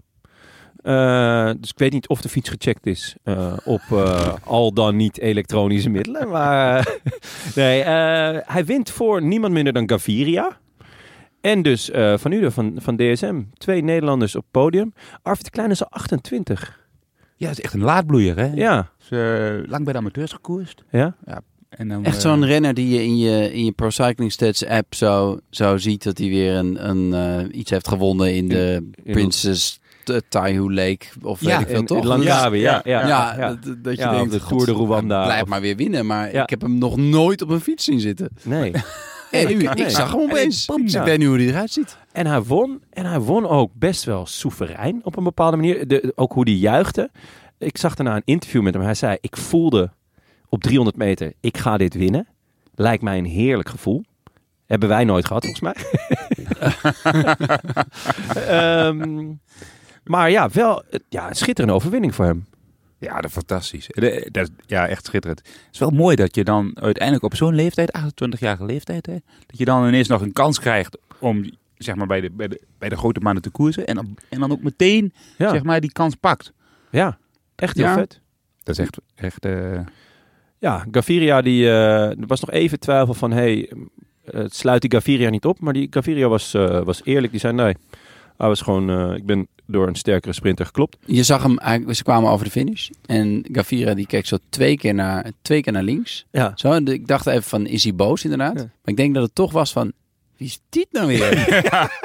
Speaker 1: Eh, dus ik weet niet of de fiets gecheckt is eh, op eh, al dan niet elektronische middelen. Maar eh, nee, eh, hij wint voor niemand minder dan Gaviria. En dus eh, Van Uden van, van DSM. Twee Nederlanders op podium. Arvid de Klein is al 28.
Speaker 3: Ja, het is echt een laadbloeier, hè?
Speaker 1: Ja,
Speaker 3: Is, eh, lang bij de amateurs gekoerst.
Speaker 1: ja.
Speaker 3: En dan,
Speaker 2: Echt
Speaker 3: eh,
Speaker 2: zo'n renner die je in je, in je Pro Cycling Stats app zo, zo ziet dat hij weer een, een, eh, iets heeft gewonnen in de
Speaker 1: in-
Speaker 2: Princess T- Taihu Lake. Of
Speaker 3: Ja,
Speaker 2: weet ik veel,
Speaker 1: In,
Speaker 2: toch?
Speaker 1: in Langkawi, ja.
Speaker 2: Ja,
Speaker 1: ja, ja, ja.
Speaker 2: Dat, dat je
Speaker 1: Ja,
Speaker 2: denkt,
Speaker 1: of de
Speaker 2: god,
Speaker 1: Tour de Rwanda,
Speaker 2: hij Blijft
Speaker 1: of-
Speaker 2: maar weer winnen, maar
Speaker 1: Ja.
Speaker 2: ik heb hem nog nooit op een fiets zien zitten.
Speaker 1: Nee.
Speaker 2: Hey, u,
Speaker 1: Nee.
Speaker 2: ik zag hem opeens.
Speaker 1: En-
Speaker 2: Ik
Speaker 1: Ja.
Speaker 2: weet nu hoe hij eruit ziet.
Speaker 1: En hij won. En hij won ook best wel soeverein op een bepaalde manier. De, ook hoe hij juichte. Ik zag daarna een interview met hem. Hij zei, ik voelde op 300 meter, ik ga dit winnen. Lijkt mij een heerlijk gevoel. Hebben wij nooit gehad, volgens mij. Ehm, maar ja, wel eh, ja, een schitterende overwinning voor hem.
Speaker 3: Ja, dat is fantastisch. Eh, De- dat is- ja, echt schitterend. Het is wel mooi dat je dan uiteindelijk op zo'n leeftijd, 28-jarige leeftijd, hè, dat je dan ineens nog een kans krijgt om zeg maar, bij, de, bij, de, bij de grote mannen te koersen. En dan, en dan ook meteen
Speaker 1: Ja,
Speaker 3: zeg maar, die kans pakt.
Speaker 1: ja echt heel
Speaker 3: Ja.
Speaker 1: vet.
Speaker 3: Dat is echt... echt eh,
Speaker 1: Ja, Gaviria die, eh, er was nog even twijfel van, hey, eh, het sluit die Gaviria niet op? Maar die Gaviria was, eh, was eerlijk. Die zei, nee, hij was gewoon, eh, ik ben door een sterkere sprinter geklopt.
Speaker 2: Je zag hem, eigenlijk- ze kwamen over de finish. En Gavira die keek zo twee keer naar, twee keer naar links.
Speaker 1: Ja.
Speaker 2: Zo, en ik dacht even van, is hij boos inderdaad?
Speaker 1: Ja.
Speaker 2: Maar ik denk dat het toch was van, wie is dit nou weer?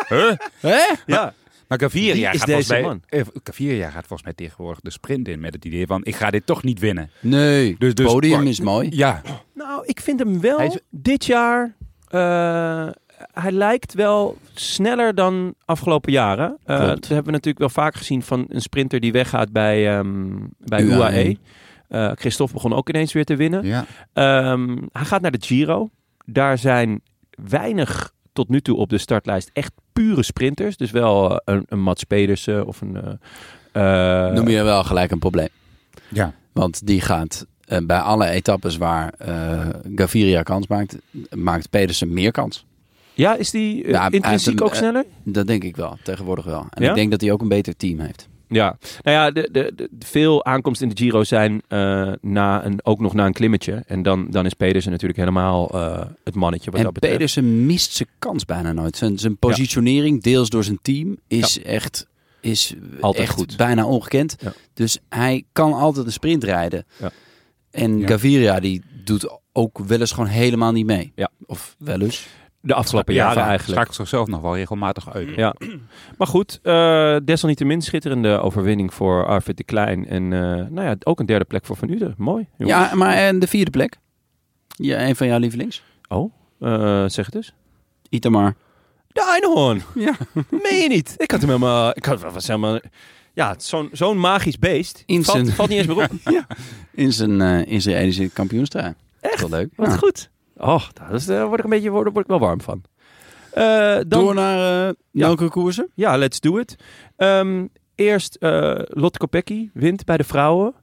Speaker 3: huh?
Speaker 2: Hè?
Speaker 1: Ja,
Speaker 3: Maar
Speaker 1: Die
Speaker 3: Gaviria
Speaker 1: is
Speaker 3: gaat,
Speaker 1: deze
Speaker 3: volgens mij,
Speaker 1: man.
Speaker 3: eh, Gaviria gaat volgens mij tegenwoordig de sprint in met het idee van ik ga dit toch niet winnen.
Speaker 2: Nee,
Speaker 3: Dus- dus-
Speaker 2: podium
Speaker 3: maar-
Speaker 2: is mooi.
Speaker 3: Ja,
Speaker 1: nou, ik vind hem wel
Speaker 3: Hij is-
Speaker 1: dit jaar, eh, hij lijkt wel sneller dan afgelopen jaren. Eh,
Speaker 2: Klopt.
Speaker 1: dat hebben we natuurlijk wel vaak gezien van een sprinter die weggaat bij, ehm, bij
Speaker 2: UAE.
Speaker 1: UAE. Eh, Christophe begon ook ineens weer te winnen.
Speaker 3: ja.
Speaker 1: Ehm, hij gaat naar de Giro. Daar zijn weinig tot nu toe op de startlijst echt pure sprinters. Dus wel eh, een, een Mats Pedersen of een... eh, eh,
Speaker 2: Noem je wel gelijk een probleem.
Speaker 3: Ja.
Speaker 2: Want die gaat eh, bij alle etappes waar eh, Gaviria kans maakt, maakt Pedersen meer kans.
Speaker 1: ja, is die eh,
Speaker 2: Ja, hij heeft
Speaker 1: intrinsiek
Speaker 2: een,
Speaker 1: ook
Speaker 2: eh,
Speaker 1: sneller?
Speaker 2: Dat denk ik wel, tegenwoordig wel. En
Speaker 1: Ja?
Speaker 2: ik denk dat hij ook een beter team heeft.
Speaker 1: Ja, nou ja, de, de, de- veel aankomsten in de Giro zijn eh, na een, ook nog na een klimmetje. En dan, dan is Pedersen natuurlijk helemaal eh, het mannetje wat
Speaker 2: en
Speaker 1: dat betreft.
Speaker 2: Pedersen mist zijn kans bijna nooit. Zijn, zijn positionering, deels door zijn team, is echt, is
Speaker 1: Altijd
Speaker 2: echt
Speaker 1: goed.
Speaker 2: bijna ongekend.
Speaker 1: Ja.
Speaker 2: Dus hij kan altijd een sprint rijden.
Speaker 1: Ja.
Speaker 2: En
Speaker 3: Ja.
Speaker 2: Gaviria die doet ook wel eens gewoon helemaal niet mee.
Speaker 1: Ja.
Speaker 2: Of wel eens.
Speaker 1: De afgelopen jaren eigenlijk.
Speaker 3: Schakelt zichzelf nog wel regelmatig uit.
Speaker 1: Ja. Maar goed, eh, desalniettemin schitterende overwinning voor Arvid de Klein. En eh, nou ja, ook een derde plek voor Van Uden. Mooi. jongens.
Speaker 2: Ja, maar en de vierde plek? Ja, een van jouw lievelings?
Speaker 1: Oh, eh, zeg het eens.
Speaker 2: Itamar.
Speaker 1: De Einhorn.
Speaker 2: Ja.
Speaker 1: Meen je niet? Ik had hem helemaal... Ik had, was helemaal ja, het is zo'n zo'n magisch beest.
Speaker 2: Instant.
Speaker 1: Valt, valt niet eens meer op.
Speaker 2: In zijn eh Israëlische kampioenstrui. Echt? Wel leuk.
Speaker 1: Wat
Speaker 2: Ja.
Speaker 1: goed. Oh, daar is- daar word ik een beetje word, word ik wel warm van. Eh, dan,
Speaker 2: Door naar eh
Speaker 1: Ja.
Speaker 2: welke koersen?
Speaker 1: Ja, let's do it. Ehm, eerst eh Lotte Kopecky wint bij de vrouwen.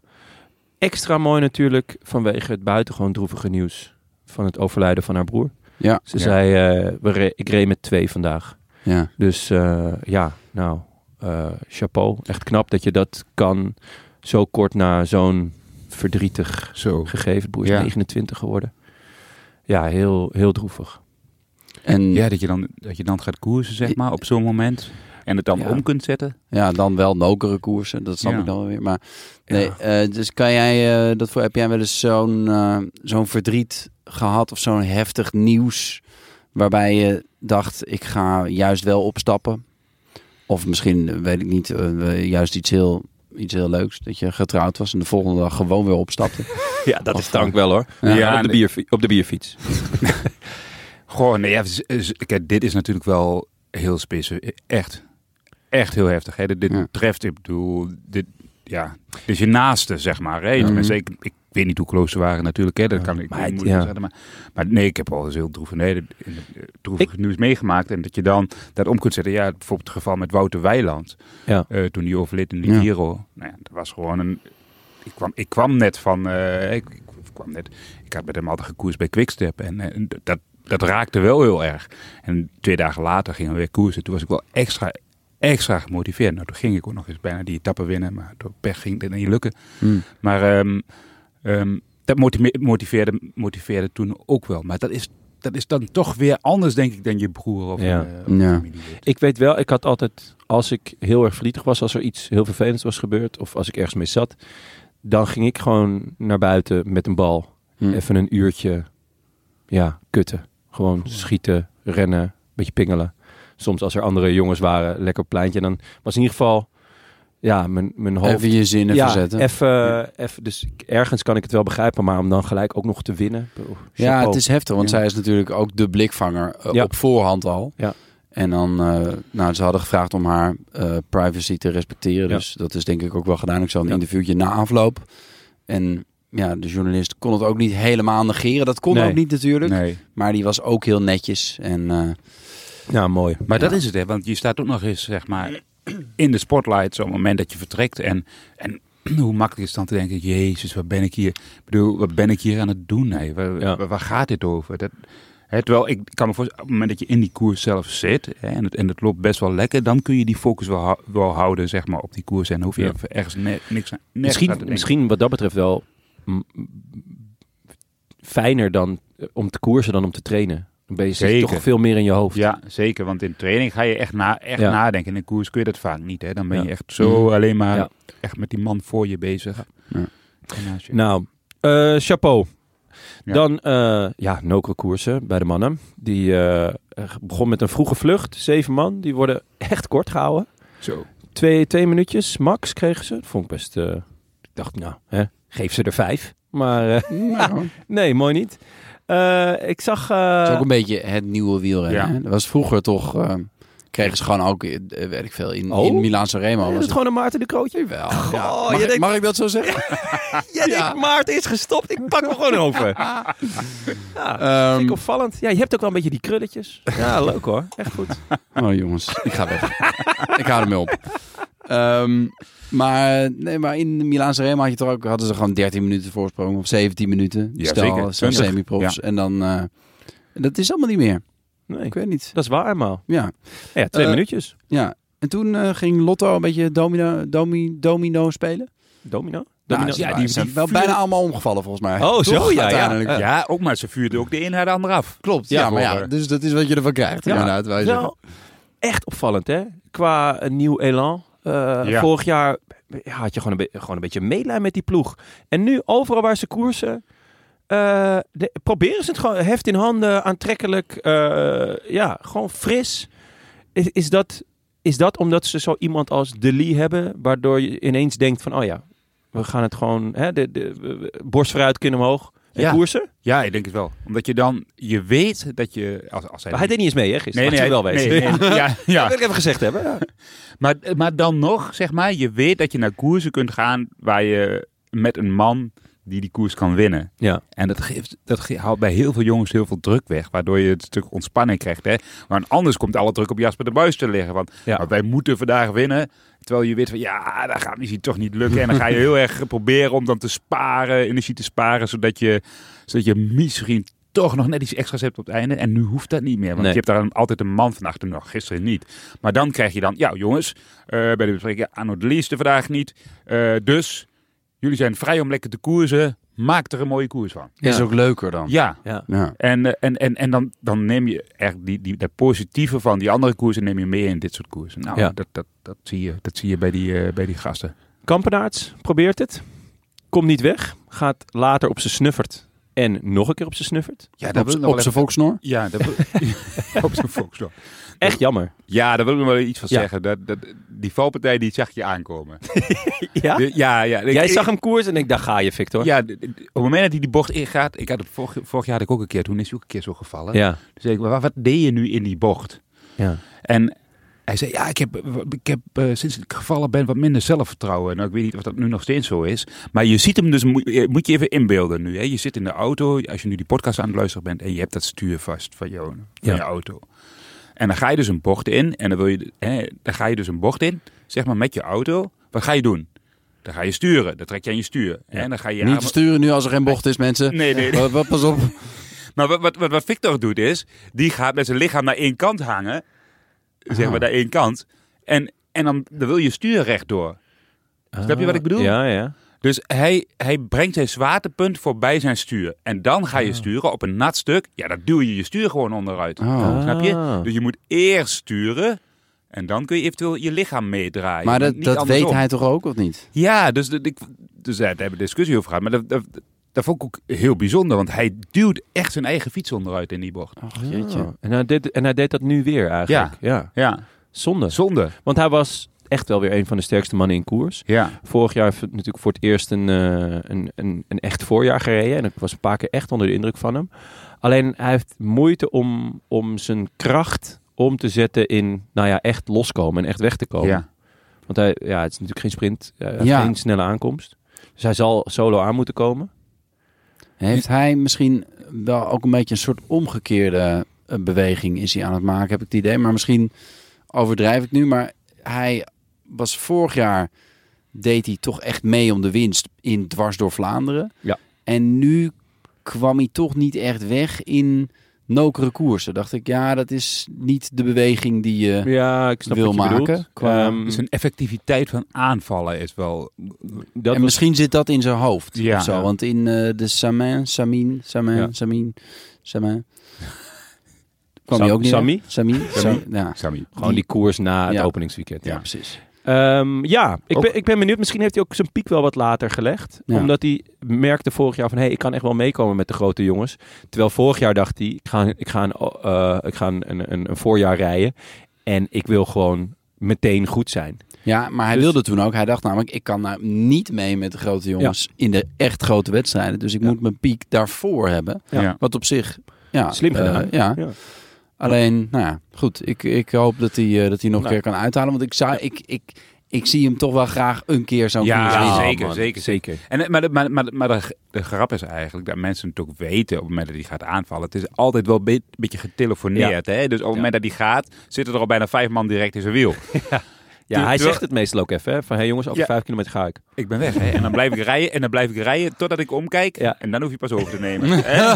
Speaker 1: Extra mooi natuurlijk vanwege het buitengewoon droevige nieuws van het overlijden van haar broer.
Speaker 2: Ja.
Speaker 1: Ze
Speaker 3: Ja.
Speaker 1: zei, eh, we re- ik reed met twee vandaag.
Speaker 2: Ja.
Speaker 1: Dus eh, ja, nou, eh, chapeau. Echt knap dat je dat kan zo kort na zo'n verdrietig
Speaker 3: Zo.
Speaker 1: gegeven. Het broer is
Speaker 3: Ja.
Speaker 1: 29 geworden. Ja, heel, heel droevig.
Speaker 2: En ja.
Speaker 3: Ja, dat je, dan, dat je dan gaat koersen, zeg maar, op zo'n moment. En het dan
Speaker 1: Ja.
Speaker 3: om kunt zetten.
Speaker 2: dan wel nokere koersen. Dat snap
Speaker 3: Ja.
Speaker 2: ik dan wel weer. Maar nee, eh, dus kan jij, eh, dat voor, heb jij wel eens zo'n eh, zo'n verdriet gehad of zo'n heftig nieuws waarbij je dacht, ik ga juist wel opstappen? Of misschien, eh, weet ik niet, eh, juist iets heel, iets heel leuks. Dat je getrouwd was en de volgende dag gewoon weer opstapte.
Speaker 1: Ja, dat
Speaker 2: is dank
Speaker 1: dank wel hoor.
Speaker 2: Ja,
Speaker 1: op, de
Speaker 3: nee.
Speaker 1: bierfi- op de bierfiets.
Speaker 3: Goh, nee, ja, z- z- kijk, dit is natuurlijk wel heel specifiek. Echt. Echt heel heftig. Hè? Dit, dit
Speaker 2: Ja.
Speaker 3: treft, ik bedoel, dit, ja. Dit is je naaste, zeg maar. Hè? Tenminste, ik, ik weet niet hoe close ze waren natuurlijk. Hè? Dat kan ik
Speaker 1: maar
Speaker 3: niet
Speaker 1: het-
Speaker 3: moeilijk
Speaker 1: ja.
Speaker 3: zeggen. Maar, maar nee, ik heb al eens heel droevig, nee, dit- eh, droevig nieuws meegemaakt. En dat je dan dat om kunt zetten. Ja, bijvoorbeeld het geval met Wouter Weiland.
Speaker 1: Ja.
Speaker 3: Eh, toen die overleed in de
Speaker 2: Ja.
Speaker 3: Giro. Nou ja, dat was gewoon een... Ik kwam, ik kwam net van... eh, ik, ik kwam net... Ik had met hem altijd gekoerst bij Quickstep. En, eh, en dat, dat raakte wel heel erg. En twee dagen later gingen we weer koersen. Toen was ik wel extra, extra gemotiveerd. Nou, toen ging ik ook nog eens bijna die etappe winnen. Maar door pech ging dit niet lukken.
Speaker 2: Hmm.
Speaker 3: Maar ehm, ehm, dat motime- motiveerde, motiveerde toen ook wel. Maar dat is, dat is dan toch weer anders, denk ik, dan je broer of
Speaker 1: Ja.
Speaker 3: eh, of je
Speaker 2: Ja.
Speaker 3: familielid.
Speaker 1: Ik weet wel, ik had altijd, als ik heel erg verdrietig was, als er iets heel vervelends was gebeurd, of als ik ergens mee zat, dan ging ik gewoon naar buiten met een bal.
Speaker 2: Hm.
Speaker 1: Even een uurtje, ja, kutten. Gewoon schieten, rennen, een beetje pingelen. Soms als er andere jongens waren, lekker op het pleintje. En dan was in ieder geval, ja, mijn, mijn hoofd...
Speaker 2: Even je zinnen
Speaker 1: ja,
Speaker 2: verzetten.
Speaker 1: Even, even, dus ik- ergens kan ik het wel begrijpen, maar om dan gelijk ook nog te winnen. oh,
Speaker 2: ja,
Speaker 1: chapeau.
Speaker 2: het is heftig, want
Speaker 3: Ja.
Speaker 2: zij is natuurlijk ook de blikvanger eh,
Speaker 1: Ja.
Speaker 2: op voorhand al.
Speaker 1: Ja.
Speaker 2: En dan, eh, nou, ze hadden gevraagd om haar eh, privacy te respecteren.
Speaker 1: Ja.
Speaker 2: Dus dat is denk ik ook wel gedaan. Ik zal een
Speaker 1: Ja.
Speaker 2: interviewtje na afloop. En ja, de journalist kon het ook niet helemaal negeren. Dat kon
Speaker 1: Nee.
Speaker 2: ook niet natuurlijk.
Speaker 3: Nee.
Speaker 2: Maar die was ook heel netjes. En eh,
Speaker 1: Ja, Nou, mooi.
Speaker 3: Maar dat is het, hè? Want je staat ook nog eens, zeg maar, in de spotlight zo'n moment dat je vertrekt. En, en hoe makkelijk is het dan te denken, jezus, wat ben ik hier? Ik bedoel, wat ben ik hier aan het doen? Hè? Waar,
Speaker 1: Ja.
Speaker 3: waar- waar gaat dit over? Dat, hè, terwijl ik kan me voorstellen, op het moment dat je in die koers zelf zit hè, en, het, en het loopt best wel lekker, dan kun je die focus wel, hou- wel houden, zeg maar, op die koers. En hoef je
Speaker 1: Ja.
Speaker 3: even ergens ne- niks aan nergens aan
Speaker 1: Misschien,
Speaker 3: te denken.
Speaker 1: misschien wat dat betreft wel mm, fijner dan eh, om te koersen dan om te trainen. Dan ben je zit je
Speaker 3: Zeker.
Speaker 1: toch veel meer in je hoofd.
Speaker 3: Ja, zeker. Want in training ga je echt, na, echt
Speaker 1: Ja.
Speaker 3: nadenken. In een koers kun je dat vaak niet. Hè? Dan ben je
Speaker 1: Ja.
Speaker 3: echt zo alleen maar
Speaker 1: Ja.
Speaker 3: echt met die man voor je bezig.
Speaker 2: Ja.
Speaker 3: En naast je.
Speaker 1: Nou, eh, chapeau.
Speaker 3: Ja.
Speaker 1: Dan, eh ja, nokere koersen bij de mannen. Die eh, begon met een vroege vlucht. Zeven man, die worden echt kort gehouden.
Speaker 3: Zo.
Speaker 1: Twee, twee minuutjes max kregen ze. Dat vond ik best... eh, ik dacht, nou, hè, geef ze er vijf. Maar eh,
Speaker 2: nou,
Speaker 1: nee, mooi niet. Eh, ik zag... eh,
Speaker 2: Het is ook een beetje het nieuwe wielrennen.
Speaker 3: Ja.
Speaker 2: hè? Dat was vroeger toch... eh, kregen ze gewoon ook, eh, weet ik veel, in,
Speaker 1: Oh?
Speaker 2: in Milaan Sanremo.
Speaker 1: is
Speaker 2: was
Speaker 1: het
Speaker 2: het
Speaker 1: gewoon een Maarten de Krootje?
Speaker 2: wel.
Speaker 1: Goh,
Speaker 2: Ja.
Speaker 1: oh, je
Speaker 2: Mag, ik-
Speaker 1: denkt-
Speaker 2: mag ik dat zo zeggen?
Speaker 1: Ja,
Speaker 2: Ja.
Speaker 1: ik- Maarten is gestopt. Ik pak me gewoon over. Ja,
Speaker 2: Ehm,
Speaker 1: vind ik opvallend. Ja, je hebt ook wel een beetje die krulletjes. Ja, leuk hoor. Echt goed.
Speaker 2: Oh jongens, ik ga weg. ik hou ermee op. Ehm, maar, nee, maar in Milaanse Rema had je toch ook, hadden ze gewoon 13 minuten voorsprong of 17 minuten.
Speaker 3: Ja,
Speaker 2: Stel,
Speaker 3: zeker.
Speaker 2: zo'n
Speaker 3: 20.
Speaker 2: semi-profs. En dan, eh, dat is allemaal niet meer.
Speaker 1: Nee,
Speaker 2: Ik weet niet.
Speaker 1: dat is waar, eenmaal.
Speaker 2: Ja,
Speaker 1: Ja, twee
Speaker 2: Eh,
Speaker 1: minuutjes.
Speaker 2: ja. En toen eh, ging Lotto een beetje domino, domi, domino spelen.
Speaker 1: Domino?
Speaker 2: Nou,
Speaker 1: Domino?
Speaker 2: ja,
Speaker 3: die-
Speaker 2: die,
Speaker 3: die
Speaker 2: zijn wel
Speaker 3: vuur-
Speaker 2: bijna allemaal omgevallen volgens mij.
Speaker 1: Oh, zo, ja, ja.
Speaker 2: uiteindelijk.
Speaker 1: Ja.
Speaker 3: Ja, ook maar ze vuurde ook de een naar de ander af.
Speaker 2: Klopt, ja,
Speaker 1: Ja,
Speaker 2: maar ja,
Speaker 1: voor-
Speaker 2: dus dat is wat je ervan krijgt.
Speaker 1: Ja.
Speaker 2: inderdaad, wij zeggen.
Speaker 1: Wel echt opvallend, hè? Qua een nieuw elan. Eh,
Speaker 3: Ja.
Speaker 1: Vorig jaar ja, had je gewoon een, be- gewoon een beetje medelijden met die ploeg. En nu, overal waar ze koersen, eh, de- proberen ze het gewoon heft in handen, aantrekkelijk. eh, ja, gewoon fris. Is, is, dat, is dat omdat ze zo iemand als De Lee hebben, waardoor je ineens denkt van, oh ja, we gaan het gewoon, hè, de, de, de- borst vooruit, kin omhoog. En
Speaker 3: Ja.
Speaker 1: koersen?
Speaker 3: Ja, ik denk het wel. Omdat je dan, je weet dat je... Als, als hij,
Speaker 1: Maar hij deed niet eens mee, hè, gisteren. Nee, wel weten.
Speaker 3: nee, nee, ja,
Speaker 1: Dat
Speaker 3: ja.
Speaker 1: wil ik even gezegd hebben. Ja.
Speaker 3: Maar, maar dan nog, zeg maar, je weet dat je naar koersen kunt gaan waar je met een man die die koers kan winnen.
Speaker 1: Ja.
Speaker 3: En dat, geeft, dat ge- haalt bij heel veel jongens heel veel druk weg, waardoor je het stuk ontspanning krijgt. Hè? Want anders komt alle druk op Jasper de Buis te liggen. Want
Speaker 1: Ja.
Speaker 3: maar wij moeten vandaag winnen. Terwijl je weet van ja, dat gaat misschien toch niet lukken. En dan ga je heel erg proberen om dan te sparen, energie te sparen, zodat je, zodat je misschien toch nog net iets extra's hebt op het einde. En nu hoeft dat niet meer, want
Speaker 1: Nee.
Speaker 3: je hebt daar een- altijd een man van achter nog, gisteren niet. Maar dan krijg je dan, ja jongens, eh, bij de bespreking, Arno de Lee is er vandaag niet. Eh, dus, jullie zijn vrij om lekker te koersen. Maak er een mooie koers van.
Speaker 2: Is
Speaker 1: Ja.
Speaker 2: ook leuker dan.
Speaker 3: Ja,
Speaker 2: Ja.
Speaker 3: en, eh, en, en, en dan, dan neem je echt die, die, dat positieve van die andere koersen neem je mee in dit soort koersen. Nou,
Speaker 1: Ja.
Speaker 3: dat, dat, dat, zie je, dat zie je bij die, eh, bij die gasten.
Speaker 1: Kampenaerts probeert het. Komt niet weg. Gaat later op zijn snuffert. En nog een keer op zijn snuffert.
Speaker 3: Ja,
Speaker 2: Op z'n- Op zijn volksnor.
Speaker 3: Ja, dat op zijn volksdorp.
Speaker 1: Echt jammer.
Speaker 3: Ja, daar wil ik nog wel iets van
Speaker 1: Ja.
Speaker 3: zeggen. Dat, dat, die valpartij, die zag je aankomen.
Speaker 1: Ja?
Speaker 3: De- ja, ja. Ik-
Speaker 1: Jij
Speaker 3: ik-
Speaker 1: zag hem koers en ik dacht, ga je Victor.
Speaker 3: Ja, d- d- op het moment dat hij die bocht ingaat, ik had het vorig, vorig jaar had ik ook een keer, toen is hij ook een keer zo gevallen.
Speaker 1: Ja.
Speaker 3: Toen zei ik, "Maar wat, wat deed je nu in die bocht?
Speaker 1: Ja.
Speaker 3: En hij zei, ja, ik heb, ik heb eh, sinds ik gevallen ben wat minder zelfvertrouwen. Nou, ik weet niet of dat nu nog steeds zo is. Maar je ziet hem dus, moet, je- moet je even inbeelden nu. Hè? Je zit in de auto, als je nu die podcast aan het luisteren bent... en je hebt dat stuur vast van, je, van
Speaker 1: Ja.
Speaker 3: je auto. En dan ga je dus een bocht in. En dan, wil je, hè, dan ga je dus een bocht in, zeg maar met je auto. Wat ga je doen? Dan ga je sturen. Dan trek je aan je stuur. En dan ga je
Speaker 2: Niet
Speaker 3: armen-
Speaker 2: te sturen nu als er geen bocht is, mensen.
Speaker 3: Nee, nee.
Speaker 2: Wat- wat- Pas op.
Speaker 3: Maar wat, wat, wat, wat Victor doet is, die gaat met zijn lichaam naar één kant hangen. Zeg
Speaker 1: Ah.
Speaker 3: maar naar één kant. En, en dan, dan wil je stuur rechtdoor. Snap je wat ik bedoel?
Speaker 1: Ah, Ja, ja.
Speaker 3: Dus hij, hij brengt zijn zwaartepunt voorbij zijn stuur. En dan ga je
Speaker 1: Ah.
Speaker 3: sturen op een nat stuk. Ja, dan duw je je stuur gewoon onderuit.
Speaker 2: Oh.
Speaker 3: Snap je?
Speaker 1: Ah.
Speaker 3: Dus je moet eerst sturen. En dan kun je eventueel je lichaam meedraaien.
Speaker 2: Maar dat,
Speaker 3: niet
Speaker 2: dat weet
Speaker 3: andersom.
Speaker 2: hij toch ook, of niet?
Speaker 3: Ja, dus, dat ik, dus daar hebben we discussie over gehad. Maar dat, dat, dat vond ik ook heel bijzonder. Want hij duwt echt zijn eigen fiets onderuit in die bocht.
Speaker 1: Oh. Ja. En, hij deed, en hij deed dat nu weer eigenlijk. Ja.
Speaker 3: Ja,
Speaker 1: Zonde.
Speaker 3: zonde.
Speaker 1: Want hij was echt wel weer een van de sterkste mannen in koers.
Speaker 3: Ja,
Speaker 1: Vorig jaar heeft het natuurlijk voor het eerst een, eh, een, een, een echt voorjaar gereden. En ik was een paar keer echt onder de indruk van hem. Alleen hij heeft moeite om, om zijn kracht om te zetten in, nou ja, echt loskomen en echt weg te komen.
Speaker 3: ja.
Speaker 1: Want hij, ja, het is natuurlijk geen sprint, eh, hij heeft
Speaker 2: Ja.
Speaker 1: geen snelle aankomst. Dus hij zal solo aan moeten komen.
Speaker 2: Heeft hij misschien wel ook een beetje een soort omgekeerde eh, beweging is hij aan het maken, heb ik het idee. Maar misschien overdrijf ik nu. Maar hij was vorig jaar, deed hij toch echt mee om de winst in dwars door Vlaanderen.
Speaker 1: Ja.
Speaker 2: En nu kwam hij toch niet echt weg in nokere koersen. Dacht ik, ja, dat is niet de beweging die je...
Speaker 1: Ja, ik
Speaker 2: snap Wil wat je maken bedoelt. qua-
Speaker 1: Ehm,
Speaker 3: Zijn Dus effectiviteit van aanvallen is wel...
Speaker 1: dat
Speaker 2: en
Speaker 1: was-
Speaker 2: misschien zit dat in zijn hoofd.
Speaker 3: Ja.
Speaker 2: of zo. Want in eh, de Samin, Samin, Samin,
Speaker 3: Ja.
Speaker 2: Samin, Samin. kwam
Speaker 1: Sam-
Speaker 2: hij ook niet.
Speaker 1: Sammy?
Speaker 2: uit? Samin. Sam- ja.
Speaker 3: Sammy.
Speaker 1: Gewoon die koers na
Speaker 2: Ja.
Speaker 1: het openingsweekend.
Speaker 2: ja,
Speaker 1: Ja,
Speaker 2: precies.
Speaker 1: Ehm, ja ik,
Speaker 4: Ook-
Speaker 1: ben, ik ben benieuwd. Misschien heeft hij ook zijn piek wel wat later gelegd.
Speaker 2: Ja.
Speaker 1: Omdat hij merkte vorig jaar van... hé, hey, ik kan echt wel meekomen met de grote jongens. Terwijl vorig jaar dacht hij... ik ga, ik ga, een, eh, ik ga een, een, een voorjaar rijden. En ik wil gewoon meteen goed zijn.
Speaker 2: Ja, maar hij
Speaker 1: Dus-
Speaker 2: wilde toen ook. Hij dacht namelijk, ik kan nou niet mee met de grote jongens in de echt grote wedstrijden. Dus ik moet mijn piek daarvoor hebben.
Speaker 3: Ja. Ja.
Speaker 2: Wat op zich... Ja,
Speaker 1: Slim
Speaker 2: eh,
Speaker 1: gedaan.
Speaker 2: ja.
Speaker 1: Ja.
Speaker 2: Alleen, nou ja, goed. Ik, ik hoop dat hij, eh, dat hij nog
Speaker 1: Nou.
Speaker 2: een keer kan uithalen. Want ik, zou, ik, ik, ik zie hem toch wel graag een keer zo'n
Speaker 3: Ja,
Speaker 2: koers winnen.
Speaker 3: zeker, zeker,
Speaker 1: zeker.
Speaker 3: En, eh, maar de, maar, maar, maar de, g- de grap is eigenlijk dat mensen het ook weten op het moment dat hij gaat aanvallen. Het is altijd wel een be- beetje getelefoneerd. Hè? Dus op het moment dat hij gaat, zitten er al bijna vijf man direct in zijn wiel.
Speaker 1: Ja, hij
Speaker 3: Terwijl-
Speaker 1: zegt het meestal ook even. Hè, van, hé hey, jongens, over
Speaker 3: Ja.
Speaker 1: vijf kilometer ga ik.
Speaker 3: Ik ben weg. Hè? En dan blijf ik rijden en dan blijf ik rijden totdat ik omkijk.
Speaker 1: Ja.
Speaker 3: En dan hoef je pas over te nemen. Hè?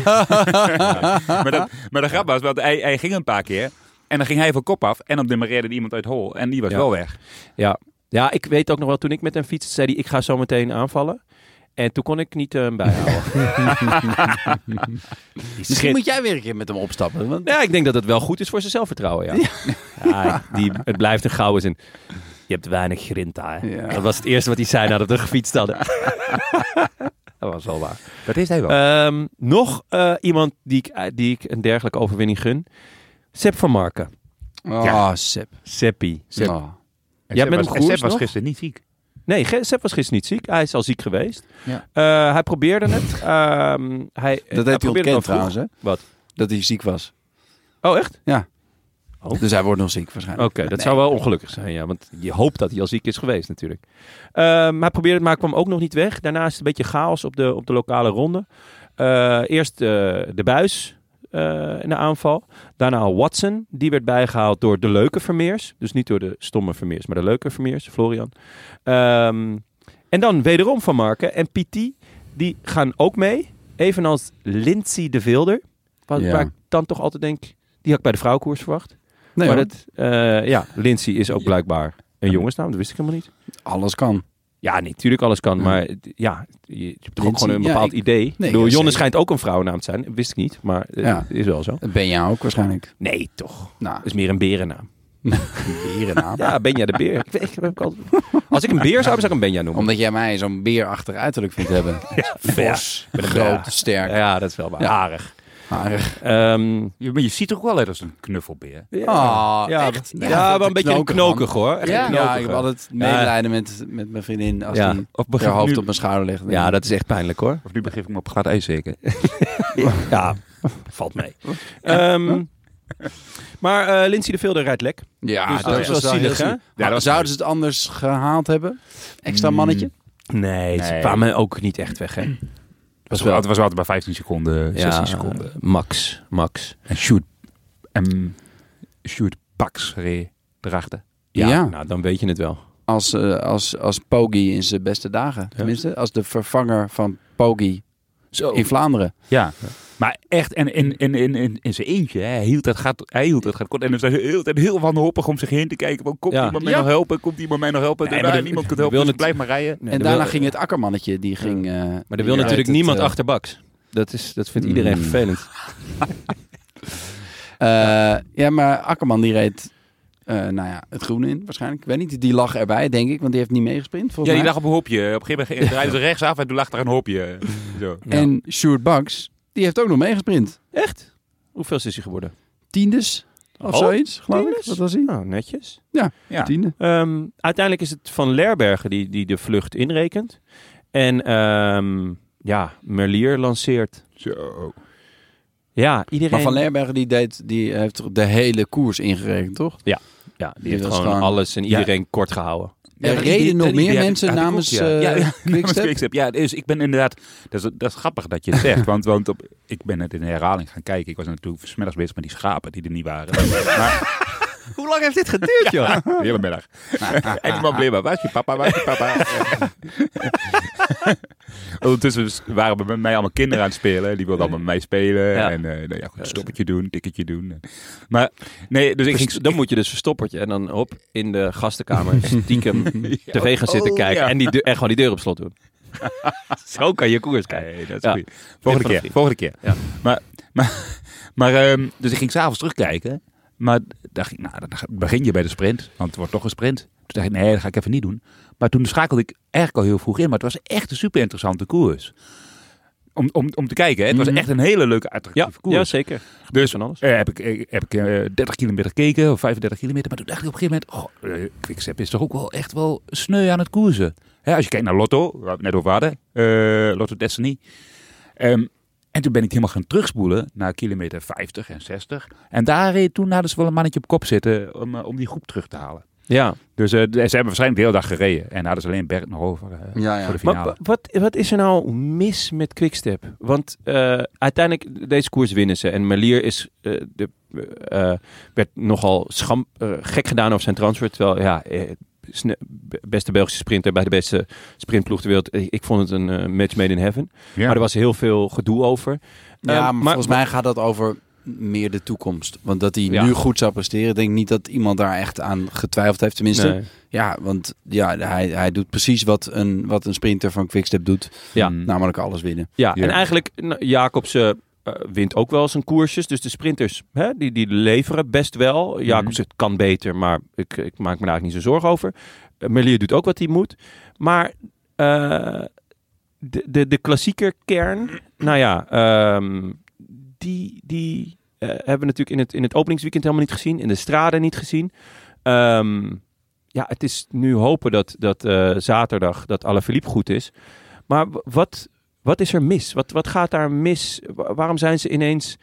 Speaker 3: maar, dat, maar de grap was, want hij, hij ging een paar keer. En dan ging hij van kop af. En dan demareerde er iemand uit hol. En die was
Speaker 1: Ja.
Speaker 3: wel weg.
Speaker 1: Ja. ja, ik weet ook nog wel, toen ik met hem fietste, zei hij, ik ga zo meteen aanvallen. En toen kon ik niet eh, hem bijhouden.
Speaker 2: Misschien moet jij weer een keer met hem opstappen. Want
Speaker 1: Ja, ik denk dat het wel goed is voor zijn zelfvertrouwen, ja. Ja, die, het blijft een gouden zin. Je hebt weinig grinta, hè?
Speaker 2: Ja.
Speaker 1: Dat was het eerste wat hij zei nadat we gefietst hadden. dat was wel waar.
Speaker 3: Dat is hij wel.
Speaker 1: Ehm, nog eh, iemand die ik, eh, die ik een dergelijke overwinning gun. Sepp van Marken.
Speaker 2: Oh, Sep.
Speaker 1: Seppie.
Speaker 2: Oh.
Speaker 3: En
Speaker 1: jij bent hem
Speaker 3: Seb was, en
Speaker 1: gekoerst
Speaker 3: Seb was
Speaker 1: nog?
Speaker 3: gisteren niet ziek.
Speaker 1: Nee, Ge- Sepp was gisteren niet ziek. Hij is al ziek geweest.
Speaker 2: Ja.
Speaker 1: Eh, hij probeerde het. Ehm, hij,
Speaker 2: Dat
Speaker 1: hij
Speaker 2: heeft hij
Speaker 1: probeerde het al
Speaker 2: ontkend
Speaker 1: vroeg.
Speaker 2: trouwens, hè?
Speaker 1: Wat?
Speaker 2: Dat hij ziek was.
Speaker 1: Oh, echt? Oh.
Speaker 2: Dus hij wordt nog ziek
Speaker 1: Oké,
Speaker 2: waarschijnlijk.
Speaker 1: dat zou wel ongelukkig zijn, ja. Want je hoopt dat hij al ziek is geweest natuurlijk. Ehm, Maar hij probeerde het, maar kwam ook nog niet weg. Daarna is het een beetje chaos op de, op de lokale ronde. Eh, eerst eh, de buis eh, in de aanval. Daarna Watson. Die werd bijgehaald door de leuke Vermeers. Dus niet door de stomme Vermeers, maar de leuke Vermeers, Florian. Ehm, en dan wederom Van Marken en Piti. Die gaan ook mee. Evenals Lindsay de Vilder. Waar,
Speaker 2: Ja.
Speaker 1: waar ik dan toch altijd denk... Die had ik bij de vrouwenkoers verwacht.
Speaker 2: Nee,
Speaker 1: maar
Speaker 2: hoor.
Speaker 1: dat, eh, ja, Lindsay is ook
Speaker 3: Ja.
Speaker 1: blijkbaar een jongensnaam. Dat wist ik helemaal niet.
Speaker 2: Alles kan.
Speaker 1: Ja, nee, natuurlijk alles kan.
Speaker 2: Ja.
Speaker 1: Maar het- ja, je, je hebt toch ook
Speaker 2: Lindsay,
Speaker 1: gewoon een
Speaker 2: ja,
Speaker 1: bepaald
Speaker 2: ik-
Speaker 1: idee. ik bedoel,
Speaker 2: ja,
Speaker 1: Jonne
Speaker 2: zeker.
Speaker 1: schijnt ook een vrouwennaam te zijn. Dat wist ik niet, maar eh,
Speaker 2: Ja.
Speaker 1: het is wel zo.
Speaker 2: Dat ben jij ook waarschijnlijk.
Speaker 1: Nee, toch.
Speaker 2: Nou,
Speaker 1: Dat is meer een berennaam.
Speaker 2: berennaam.
Speaker 1: Ja, Benja de Beer. Ik weet, ik heb ook altijd... Als ik een beer zou, zou ik een Benja noemen.
Speaker 2: Omdat jij mij zo'n beerachtig uiterlijk vindt hebben. Fors, groot, sterk,
Speaker 1: Ja, dat is wel waar.
Speaker 2: Ja.
Speaker 1: Harig.
Speaker 2: harig.
Speaker 1: Ehm,
Speaker 3: Je, maar je ziet er ook wel uit als een knuffelbeer.
Speaker 1: ja.
Speaker 2: Ah,
Speaker 1: ja,
Speaker 2: echt?
Speaker 1: Ja,
Speaker 2: Ja, wat
Speaker 1: wel een
Speaker 2: een
Speaker 1: beetje een
Speaker 2: knoker, man.
Speaker 1: knokig hoor. Echt
Speaker 2: Ja,
Speaker 1: een
Speaker 2: ja, ik
Speaker 1: knokige.
Speaker 2: heb altijd medelijden met, met mijn vriendin als
Speaker 1: Ja.
Speaker 2: die
Speaker 3: Of
Speaker 2: haar
Speaker 3: begrijp
Speaker 2: hoofd
Speaker 3: nu-
Speaker 2: op mijn schouder legt.
Speaker 1: ja, dat is echt pijnlijk hoor.
Speaker 3: Of nu begrijp ik me op glad ijs zeker.
Speaker 1: Ja, valt mee. Ehm, maar eh Lindsay de Vilder rijdt lek.
Speaker 2: ja,
Speaker 1: dus dat is wel
Speaker 2: heel
Speaker 1: zielig, hè?
Speaker 2: zielig.
Speaker 3: Ja, dat was-
Speaker 2: Zouden ze het anders gehaald hebben?
Speaker 1: Hmm.
Speaker 2: Extra mannetje?
Speaker 1: Nee, ze
Speaker 3: Nee.
Speaker 1: kwamen ook niet echt weg, hè?
Speaker 3: Het was wel, het was wel altijd bij 15 seconden, 16 seconden.
Speaker 1: Max, Max.
Speaker 3: En shoot. En shoot Pax reed erachter.
Speaker 1: Ja,
Speaker 2: Ja.
Speaker 1: nou dan weet je het wel.
Speaker 2: Als, eh, als, als Poggi in zijn beste dagen. Tenminste, als de vervanger van Poggi
Speaker 3: Zo.
Speaker 2: in Vlaanderen.
Speaker 3: Ja. Maar echt, en in, in, in, in, in zijn eentje, hè. hij hield dat gaat, hij hield dat gaat kort. En dan was hij heel, heel wanhopig om zich heen te kijken. Want komt
Speaker 1: Ja.
Speaker 3: iemand mij
Speaker 2: Ja.
Speaker 3: nog helpen? Komt iemand mij nog helpen?
Speaker 1: Nee,
Speaker 3: en
Speaker 1: maar
Speaker 3: daar
Speaker 1: de-
Speaker 3: niemand kunt
Speaker 1: de
Speaker 3: helpen,
Speaker 1: wil
Speaker 3: dus
Speaker 1: het-
Speaker 3: blijf maar rijden.
Speaker 2: en daarna ging het akkermannetje, die ging... eh,
Speaker 1: Maar
Speaker 2: die
Speaker 1: er wil
Speaker 2: rijdt
Speaker 1: natuurlijk
Speaker 2: het,
Speaker 1: niemand
Speaker 2: eh,
Speaker 1: achter Baks. Dat, is, dat vindt iedereen
Speaker 2: Mm.
Speaker 1: vervelend.
Speaker 2: Eh, ja, maar Akkerman die reed eh, nou ja, het groen in waarschijnlijk. Ik weet niet, die lag erbij denk ik, want die heeft niet meegesprint
Speaker 3: Ja,
Speaker 2: volgens
Speaker 3: die
Speaker 2: mij.
Speaker 3: lag op een hopje. Op een gegeven moment draaiden ze rechtsaf en toen lag er een hopje. Zo.
Speaker 2: En Sjoerd Baks, die heeft ook nog meegesprint.
Speaker 1: Echt? Hoeveel is hij geworden?
Speaker 2: Tiendes. Of
Speaker 1: Oh,
Speaker 2: zoiets, geloof ik.
Speaker 1: tieners?
Speaker 2: Wat was hij?
Speaker 1: Nou, netjes.
Speaker 2: Ja,
Speaker 3: Ja.
Speaker 2: tiende.
Speaker 1: Ehm, uiteindelijk is het Van Lerbergen die, die de vlucht inrekent. En ehm, ja, Merlier lanceert.
Speaker 3: Zo. oh.
Speaker 1: Ja, iedereen...
Speaker 2: Maar Van Lerbergen die deed, die heeft toch de hele koers ingerekend, toch?
Speaker 1: ja, die,
Speaker 2: die
Speaker 1: heeft
Speaker 2: was
Speaker 1: gewoon,
Speaker 2: gewoon-
Speaker 1: alles en
Speaker 3: Ja.
Speaker 1: iedereen kort gehouden.
Speaker 2: Er
Speaker 3: dat
Speaker 2: reden
Speaker 3: idee-
Speaker 2: nog
Speaker 3: dat
Speaker 2: meer
Speaker 3: idee heb ik-
Speaker 2: mensen
Speaker 3: had ik ook,
Speaker 2: namens,
Speaker 3: ja.
Speaker 2: eh,
Speaker 3: Ja, ja, namens
Speaker 2: Quickstep?
Speaker 3: Quickstep. Ja, dus ik ben inderdaad... Dat is, dat is grappig dat je het zegt. want want op, ik ben het in de herhaling gaan kijken. Ik was natuurlijk smiddags bezig met die schapen die er niet waren. maar,
Speaker 1: Hoe lang heeft dit geduurd, joh?
Speaker 3: de hele middag. en die man bleef maar, waar is je papa, waar is je papa? Ondertussen waren we met mij allemaal kinderen aan het spelen. Die wilden allemaal met mij spelen.
Speaker 1: Ja.
Speaker 3: En eh nou ja, goed, stoppetje doen, tikketje doen. Maar nee, dus ik
Speaker 1: Dus
Speaker 3: ging...
Speaker 1: dan moet je dus verstoppertje en dan op in de gastenkamer stiekem tv gaan zitten
Speaker 3: Oh,
Speaker 1: kijken
Speaker 3: ja.
Speaker 1: en, die deur- en gewoon die deur op slot doen. Zo kan je koers kijken.
Speaker 3: Nee, dat is
Speaker 1: Ja.
Speaker 3: goed.
Speaker 1: Tip
Speaker 3: Volgende
Speaker 1: van
Speaker 3: keer,
Speaker 1: een
Speaker 3: volgende keer.
Speaker 1: Ja.
Speaker 3: Maar, maar, maar ehm, dus ik ging s'avonds terugkijken. Maar dacht ik, nou, dan begin je bij de sprint. Want het wordt toch een sprint. Toen dacht ik, nee, dat ga ik even niet doen. Maar toen schakelde ik eigenlijk al heel vroeg in. Maar het was echt een super interessante koers. Om, om, om te kijken, hè. het was echt een hele leuke,
Speaker 1: Ja,
Speaker 3: attractieve
Speaker 1: Mhm.
Speaker 3: koers.
Speaker 1: ja, zeker.
Speaker 3: Dus
Speaker 1: Van alles.
Speaker 3: eh, heb ik, eh, heb ik eh, 30 kilometer gekeken, of 35 kilometer. Maar toen dacht ik op een gegeven moment, oh, eh, Quickstep is toch ook wel echt wel sneu aan het koersen. Hè, als je kijkt naar Lotto, waar we het net over hadden, eh, Lotto Destiny. Ehm, en toen ben ik helemaal gaan terugspoelen naar kilometer 50 en 60. En daar reed toen hadden ze wel een mannetje op kop zitten om, eh, om die groep terug te halen.
Speaker 1: Ja.
Speaker 3: Dus eh, ze hebben waarschijnlijk de hele dag gereden. En hadden ze alleen Bert nog over eh,
Speaker 2: Ja, ja.
Speaker 3: voor de
Speaker 1: Maar
Speaker 3: finale.
Speaker 1: wa- wat, wat is er nou mis met Quickstep? Want eh, uiteindelijk, deze koers winnen ze. En Melier is, eh, de, eh, werd nogal scham, eh, gek gedaan over zijn transfer. Terwijl, ja, eh, sne- be- beste Belgische sprinter bij de beste sprintploeg ter wereld. Ik, ik vond het een eh, match made in heaven.
Speaker 3: Ja.
Speaker 1: Maar er was heel veel gedoe over.
Speaker 2: Ja,
Speaker 1: Ehm,
Speaker 2: maar,
Speaker 1: maar-
Speaker 2: volgens mij gaat dat over meer de toekomst. Want dat hij
Speaker 1: Ja.
Speaker 2: nu goed zou presteren, denk ik niet dat iemand daar echt aan getwijfeld heeft. Tenminste,
Speaker 1: Nee.
Speaker 2: ja, want ja, hij, hij doet precies wat een, wat een sprinter van Quickstep doet.
Speaker 1: Ja.
Speaker 3: Mm.
Speaker 2: Namelijk alles winnen.
Speaker 1: Ja,
Speaker 3: Ja.
Speaker 1: en eigenlijk, nou, Jacobsen eh, wint ook wel zijn koersjes. Dus de sprinters, hè, die, die leveren best wel. Jacobsen het kan beter, maar ik, ik maak me daar eigenlijk niet zo zorgen over. Eh, Merlier doet ook wat hij moet. Maar eh, de, de, de klassieker kern, nou ja, ehm, die, die eh, hebben we natuurlijk in het, in het openingsweekend helemaal niet gezien. In de straden niet gezien. Ehm, ja, het is nu hopen dat, dat eh, zaterdag dat Alaphilippe goed is. Maar w- wat, wat is er mis? Wat, wat gaat daar mis? Wa- Waarom zijn ze ineens...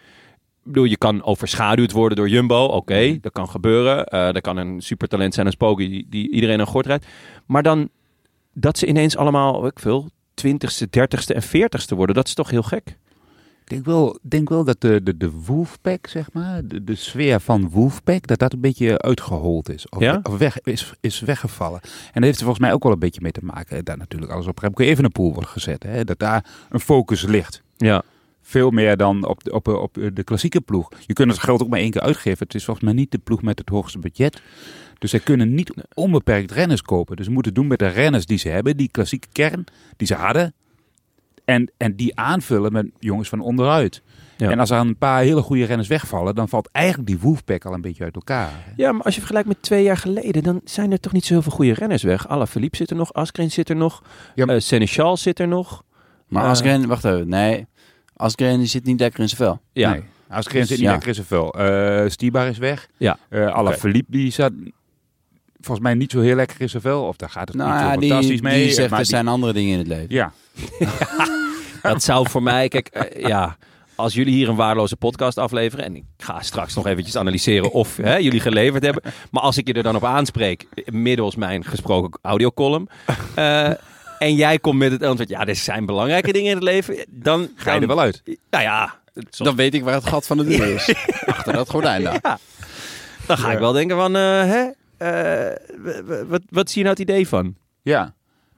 Speaker 1: Ik bedoel, je kan overschaduwd worden door Jumbo. Oké, dat kan gebeuren. Eh dat kan een supertalent zijn als Poggi die, die iedereen aan gort rijdt. Maar dan dat ze ineens allemaal, weet ik veel, twintigste, dertigste en veertigste worden. Dat is toch heel gek?
Speaker 3: Ik denk wel, denk wel dat de, de, de Wolfpack, zeg maar, de, de sfeer van Wolfpack, dat dat een beetje uitgehold is. Of,
Speaker 1: Ja?
Speaker 3: of weg, is, is weggevallen. En daar heeft er volgens mij ook wel een beetje mee te maken. Dat natuurlijk alles op Remco Evenepoel wordt gezet. Hè? Dat daar een focus ligt.
Speaker 1: Ja.
Speaker 3: Veel meer dan op de, op, op de klassieke ploeg. Je kunt het geld ook maar één keer uitgeven. Het is volgens mij niet de ploeg met het hoogste budget. Dus zij kunnen niet onbeperkt renners kopen. Dus ze moeten doen met de renners die ze hebben. Die klassieke kern die ze hadden. En, en die aanvullen met jongens van onderuit.
Speaker 1: Ja.
Speaker 3: En als er een paar hele goede renners wegvallen, dan valt eigenlijk die Wolfpack al een beetje uit elkaar.
Speaker 1: Ja, maar als je vergelijkt met twee jaar geleden, dan zijn er toch niet zo heel veel goede renners weg. Alaphilippe zit er nog, Askren zit er nog,
Speaker 3: Ja, maar-
Speaker 1: eh, Seneschal zit er nog.
Speaker 2: Maar
Speaker 1: Eh.
Speaker 2: Asgren, wacht even, nee. Asgren die zit niet lekker in zijn vel.
Speaker 1: Ja,
Speaker 3: Nee. Als Grins zit niet
Speaker 2: Ja.
Speaker 3: lekker is er veel. Eh, Stibar is weg.
Speaker 1: Ja.
Speaker 3: Eh Alaphilippe, die zat volgens mij niet zo heel lekker in zijn vel. Of daar gaat het
Speaker 2: Nou
Speaker 3: niet zo
Speaker 2: ja, die,
Speaker 3: fantastisch mee. eh,
Speaker 2: die zegt
Speaker 3: maar
Speaker 2: er
Speaker 3: die-
Speaker 2: zijn andere dingen in het leven.
Speaker 3: Ja,
Speaker 1: dat zou voor mij, kijk, eh, ja... Als jullie hier een waardeloze podcast afleveren, en ik ga straks nog eventjes analyseren of hè, jullie geleverd hebben. Maar als ik je er dan op aanspreek, middels mijn gesproken audiocolumn. eh, en jij komt met het antwoord, ja, er zijn belangrijke dingen in het leven. Dan
Speaker 3: ga je er wel uit.
Speaker 1: Nou ja,
Speaker 2: Dan weet ik waar het gat van de deur is. Achter dat gordijn daar.
Speaker 1: Ja. Dan ga ik wel denken van, eh, hè? Eh, w- w- wat, wat is hier nou het idee van?
Speaker 3: Ja.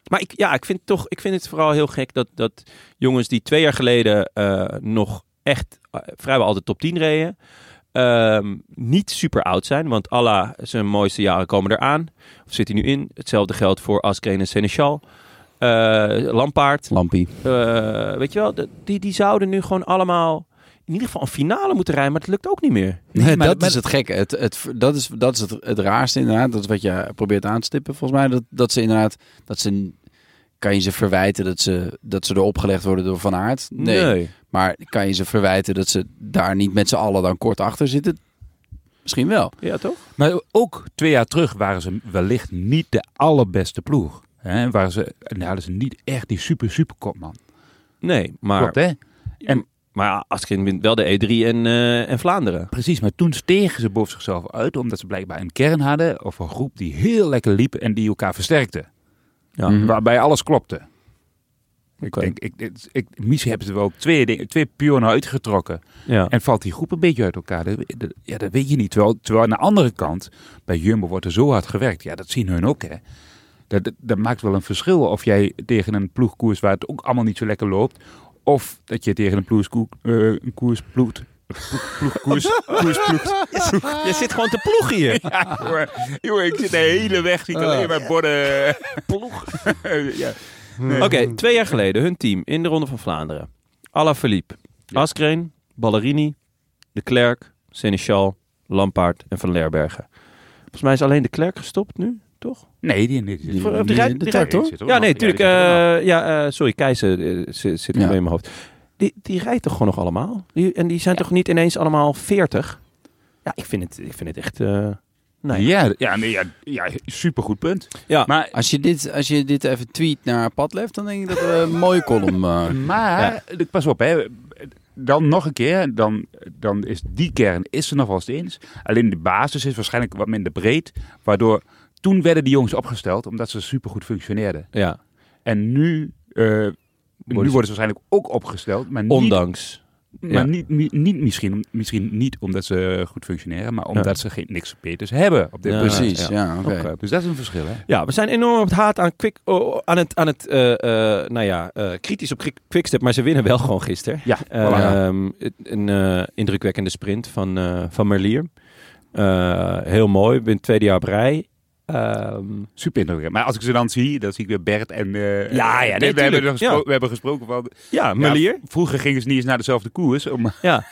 Speaker 1: Maar ik, ja, ik vind, toch, ik vind het vooral heel gek dat, dat jongens die twee jaar geleden eh, nog echt eh, vrijwel altijd top 10 reden, ehm, niet super oud zijn. Want Allah, zijn mooiste jaren komen eraan. Of zit hij nu in? Hetzelfde geldt voor Askreen en Seneschal. Eh, Lampaard.
Speaker 2: Lampie.
Speaker 1: Eh, weet je wel, de- die, die zouden nu gewoon allemaal in ieder geval een finale moeten rijden. Maar dat lukt ook niet meer.
Speaker 2: Nee,
Speaker 3: maar-
Speaker 2: dat
Speaker 3: maar-
Speaker 2: is het gekke. Het, het, dat is, dat is het, het raarste inderdaad. Dat is wat je probeert aan te stippen volgens mij. Dat, dat ze inderdaad... Dat ze, kan je ze verwijten dat ze, dat ze erop gelegd worden door Van Aert? nee. Maar kan je ze verwijten dat ze daar niet met z'n allen dan kort achter zitten? Misschien wel.
Speaker 1: Ja, toch?
Speaker 3: Maar ook twee jaar terug waren ze wellicht niet de allerbeste ploeg. Hè? Waren ze, nou, hadden ze niet echt die super, super kopman.
Speaker 1: Nee, maar,
Speaker 3: Klopt, hè?
Speaker 1: maar ja, Askren wint wel de E3 en, eh, en Vlaanderen.
Speaker 3: Precies, maar toen stegen ze boven zichzelf uit, omdat ze blijkbaar een kern hadden of een groep die heel lekker liep en die elkaar versterkte.
Speaker 1: Ja.
Speaker 2: Mhm.
Speaker 3: Waarbij alles klopte. Ik
Speaker 1: Oké.
Speaker 3: denk, ik, ik, ik, misschien hebben ze wel twee, dingen- twee pionnen uitgetrokken.
Speaker 1: Ja.
Speaker 3: En valt die groep een beetje uit elkaar. Dat, dat- ja, dat weet je niet. Terwijl, terwijl aan de andere kant, bij Jumbo wordt er zo hard gewerkt. Ja, dat zien hun ook, hè. Dat, dat, dat maakt wel een verschil of jij tegen een ploeg koers waar het ook allemaal niet zo lekker loopt. Of dat je tegen een, ploes, koe- eh, een koers ploegt. Ploeg, ploeg, koers, koers ploegt.
Speaker 1: Je zit gewoon te ploegen hier.
Speaker 3: Ja, jongen, jongen, ik zit de hele weg, zie ik alleen maar borden. Ploeg. Ah. ja.
Speaker 1: Oké, twee jaar geleden hun team in de Ronde van Vlaanderen. Alaphilippe, Askreen, Ballerini, De Klerk, Seneschal, Lampaard en Van Lerbergen. Volgens mij is alleen De Klerk gestopt nu, toch?
Speaker 3: Nee, die, die, die,
Speaker 1: Voor-
Speaker 2: Die-
Speaker 1: of die rijdt-
Speaker 2: die-
Speaker 1: die
Speaker 2: de
Speaker 1: rijdt-
Speaker 2: tractor?
Speaker 3: zit er ook
Speaker 1: Ja,
Speaker 3: nog.
Speaker 1: nee,
Speaker 3: Ja, die
Speaker 1: natuurlijk.
Speaker 3: zit er ook nog.
Speaker 1: eh, ja, eh, sorry, Keizer eh, zit, zit nu
Speaker 2: Ja.
Speaker 1: in mijn hoofd. Die, die rijdt toch gewoon nog allemaal? Die, en die zijn toch niet ineens allemaal 40? Ja, ik vind het, ik vind het echt... eh, nee.
Speaker 3: Ja, ja, nee, ja, ja, supergoed punt.
Speaker 1: Ja.
Speaker 3: Maar,
Speaker 2: Als je dit, als je dit even tweet naar Padlef, dan denk ik dat we een mooie column... eh,
Speaker 3: maar pas op, hè. dan nog een keer, dan, dan is die kern is er nog wel eens eens. Alleen de basis is waarschijnlijk wat minder breed, waardoor toen werden die jongens opgesteld omdat ze supergoed functioneerden.
Speaker 1: ja,
Speaker 3: En nu, eh, nu
Speaker 1: ze-
Speaker 3: worden ze waarschijnlijk ook opgesteld, maar niet,
Speaker 1: ondanks.
Speaker 3: maar
Speaker 1: ja.
Speaker 3: niet, niet, niet misschien, misschien niet omdat ze goed functioneren, maar omdat ze geen, niks beters hebben op dit
Speaker 1: Ja.
Speaker 3: moment.
Speaker 2: precies,
Speaker 1: ja.
Speaker 2: ja, oké.
Speaker 1: Oké.
Speaker 3: Dus dat is een verschil, hè?
Speaker 1: Ja, we zijn enorm op het haat aan, quick, oh, aan het, aan het eh, eh, nou ja, eh, kritisch op Quick- Quickstep, maar ze winnen wel gewoon gisteren.
Speaker 3: Ja, voilà.
Speaker 1: Ehm, het- een eh, indrukwekkende sprint van, eh, van Merlier. Eh, heel mooi, wint tweede jaar op rij. Ehm,
Speaker 3: Super indrukwekkend. Maar als ik ze dan zie, dan zie ik weer Bert en... eh,
Speaker 1: Ja, ja, nee,
Speaker 3: we, hebben
Speaker 1: tuurlijk.
Speaker 3: er gespro-
Speaker 1: Ja.
Speaker 3: we hebben gesproken van...
Speaker 1: ja,
Speaker 3: Ja,
Speaker 1: Merlier.
Speaker 3: v- vroeger gingen ze niet eens naar dezelfde koers. om-
Speaker 1: Ja.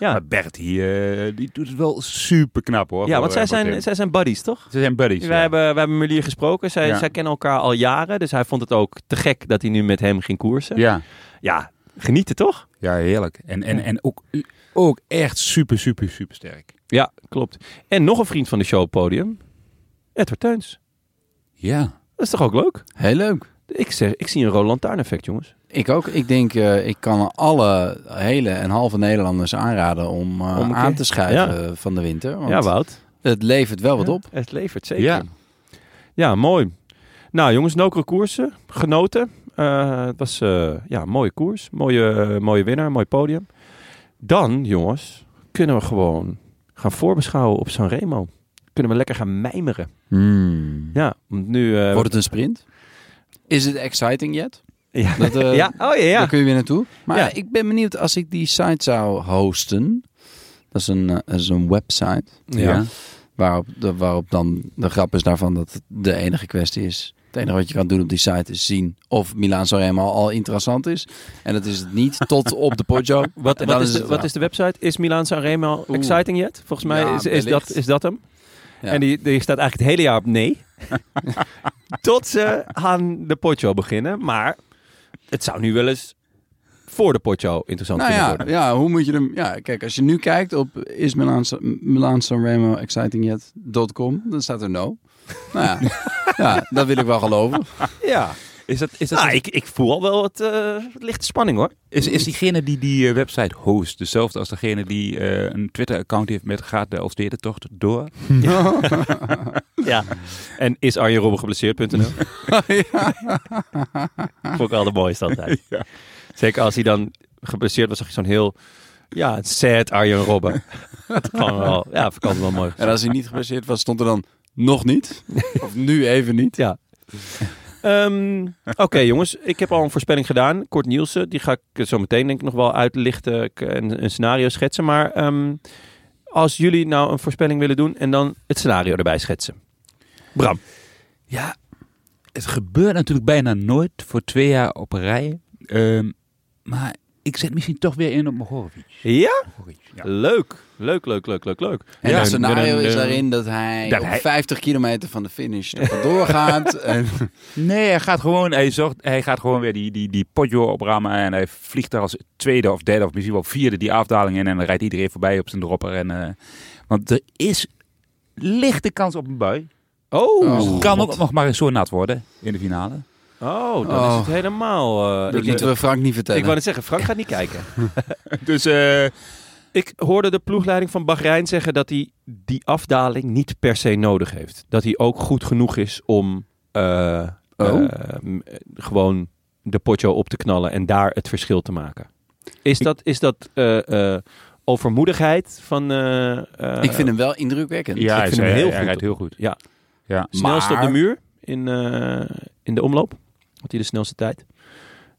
Speaker 1: Ja.
Speaker 3: Maar Bert, die, eh, die doet het wel super knap hoor.
Speaker 1: Ja,
Speaker 3: voor,
Speaker 1: want zij
Speaker 3: eh, voor Tim.
Speaker 1: zijn, zij zijn buddies, toch?
Speaker 3: ze zijn buddies.
Speaker 1: Wij
Speaker 3: ja.
Speaker 1: hebben, wij hebben Mulier gesproken. Zij,
Speaker 3: Ja.
Speaker 1: zij kennen elkaar al jaren. Dus hij vond het ook te gek dat hij nu met hem ging koersen. Ja,
Speaker 3: ja.
Speaker 1: genieten toch?
Speaker 3: ja, heerlijk. En, en, en ook, ook echt super, super, super sterk.
Speaker 1: Ja, klopt. En nog een vriend van de show op podium. Edward Teuns.
Speaker 3: Ja.
Speaker 1: Dat is toch ook leuk?
Speaker 2: Heel leuk.
Speaker 1: Ik, zeg, ik zie een Roland Lantaarn effect, jongens.
Speaker 2: Ik ook. Ik denk, eh, ik kan alle hele en halve Nederlanders aanraden om, eh,
Speaker 1: Om een
Speaker 2: aan
Speaker 1: keer-
Speaker 2: te schuiven van de winter. Want
Speaker 1: Ja, Wout.
Speaker 2: het levert wel wat
Speaker 1: Ja,
Speaker 2: op.
Speaker 1: Het levert zeker.
Speaker 3: Ja.
Speaker 1: Ja, mooi. Nou, jongens, nokere koersen. Genoten. Eh, het was eh, ja, een mooie koers. Mooie, eh, mooie winnaar, mooi podium. Dan, jongens, kunnen we gewoon gaan voorbeschouwen op Sanremo. Kunnen we lekker gaan mijmeren. Ja, want nu... eh,
Speaker 2: Wordt het een sprint? Is het exciting yet?
Speaker 1: ja.
Speaker 2: Dat, eh,
Speaker 1: ja, oh ja, ja.
Speaker 2: Daar kun je weer naartoe. Maar
Speaker 1: Ja.
Speaker 2: ik ben benieuwd als ik die site zou hosten. Dat is een, eh, dat is een website.
Speaker 1: Ja.
Speaker 2: Waarop, de, waarop dan de grap is daarvan dat het de enige kwestie is. Het enige wat je kan doen op die site is zien of Milaan Sanremo al interessant is. En dat is het niet tot op de Poggio.
Speaker 1: Wat, wat,
Speaker 2: En dan
Speaker 1: is de,
Speaker 2: het
Speaker 1: wat
Speaker 2: wel.
Speaker 1: is de website? Is Milaan Sanremo exciting yet? Volgens mij
Speaker 2: Ja,
Speaker 1: is, is,
Speaker 2: wellicht.
Speaker 1: dat, is dat hem.
Speaker 2: Ja.
Speaker 1: En die, die staat eigenlijk het hele jaar op nee. Tot ze aan de potjo beginnen. Maar het zou nu wel eens voor de potjo interessant
Speaker 2: Nou
Speaker 1: kunnen
Speaker 2: ja,
Speaker 1: worden.
Speaker 2: ja, hoe moet je hem... Ja, kijk, als je nu kijkt op is Milaan, Milaan Sanremo exciting yet.com, dan staat er no. Nou ja, ja, dat wil ik wel geloven.
Speaker 1: Ja.
Speaker 3: Is, dat, is, dat,
Speaker 1: Nou, ik, ik voel al wel wat eh, lichte spanning hoor.
Speaker 3: is, is diegene die die eh, website host dezelfde als degene die eh, een Twitter-account heeft met Gaat de Elfstedentocht door?
Speaker 1: Ja. En is Arjen Robben geblesseerd.nl? Vond ik wel de mooiste altijd. Zeker als hij dan geblesseerd was, zag je zo'n heel ja, sad Arjen Robben. Dat kan wel. Ja, dat kan wel mooi.
Speaker 2: En als hij niet geblesseerd was, stond er dan nog niet. Of nu even niet.
Speaker 1: Ja. Ehm, Oké jongens, ik heb al een voorspelling gedaan. Kort Nielsen, die ga ik zo meteen denk ik nog wel uitlichten k- en een scenario schetsen. Maar ehm, als jullie nou een voorspelling willen doen en dan het scenario erbij schetsen. Bram.
Speaker 3: Ja, het gebeurt natuurlijk bijna nooit voor twee jaar op een rij. Ehm, maar ik zet misschien toch weer in op Mohorovic.
Speaker 1: Ja?
Speaker 3: Mohorovic, ja.
Speaker 1: Leuk. Leuk, leuk, leuk, leuk, leuk.
Speaker 2: En
Speaker 1: ja.
Speaker 2: het scenario is
Speaker 3: dun,
Speaker 2: daarin dat hij Oh,
Speaker 3: Dat
Speaker 2: op
Speaker 3: hij-
Speaker 2: 50 kilometer van de finish er vandoor gaat. en
Speaker 3: Nee, hij gaat gewoon, hij zorgt, hij gaat gewoon weer die, die, die potjo oprammen. En hij vliegt daar als tweede of derde of misschien wel vierde die afdaling in. En dan rijdt iedereen voorbij op zijn dropper. En, eh, want er is lichte kans op een bui. Dus
Speaker 1: Oh,
Speaker 2: Oh.
Speaker 3: Het
Speaker 1: God.
Speaker 3: kan ook nog maar eens zo nat worden in de finale.
Speaker 1: Oh, dan
Speaker 2: Oh.
Speaker 1: is het helemaal... eh,
Speaker 2: dat
Speaker 1: ik,
Speaker 2: moeten we Frank niet vertellen.
Speaker 1: ik wou net zeggen, Frank gaat niet kijken.
Speaker 3: Dus eh,
Speaker 1: Ik hoorde de ploegleiding van Bahrein zeggen dat hij die afdaling niet per se nodig heeft. Dat hij ook goed genoeg is om eh,
Speaker 2: Oh.
Speaker 1: eh, m- eh, gewoon de potjo op te knallen en daar het verschil te maken. Is dat, is dat eh, eh, overmoedigheid van... eh, eh,
Speaker 2: ik vind hem wel indrukwekkend.
Speaker 3: ja, hij,
Speaker 1: vind hem
Speaker 3: hij-
Speaker 1: heel
Speaker 3: hij
Speaker 1: goed.
Speaker 3: rijdt heel goed.
Speaker 1: Ja.
Speaker 3: ja.
Speaker 1: Snelst op
Speaker 2: maar-
Speaker 1: de muur in, eh, in de omloop. Had hij de snelste tijd.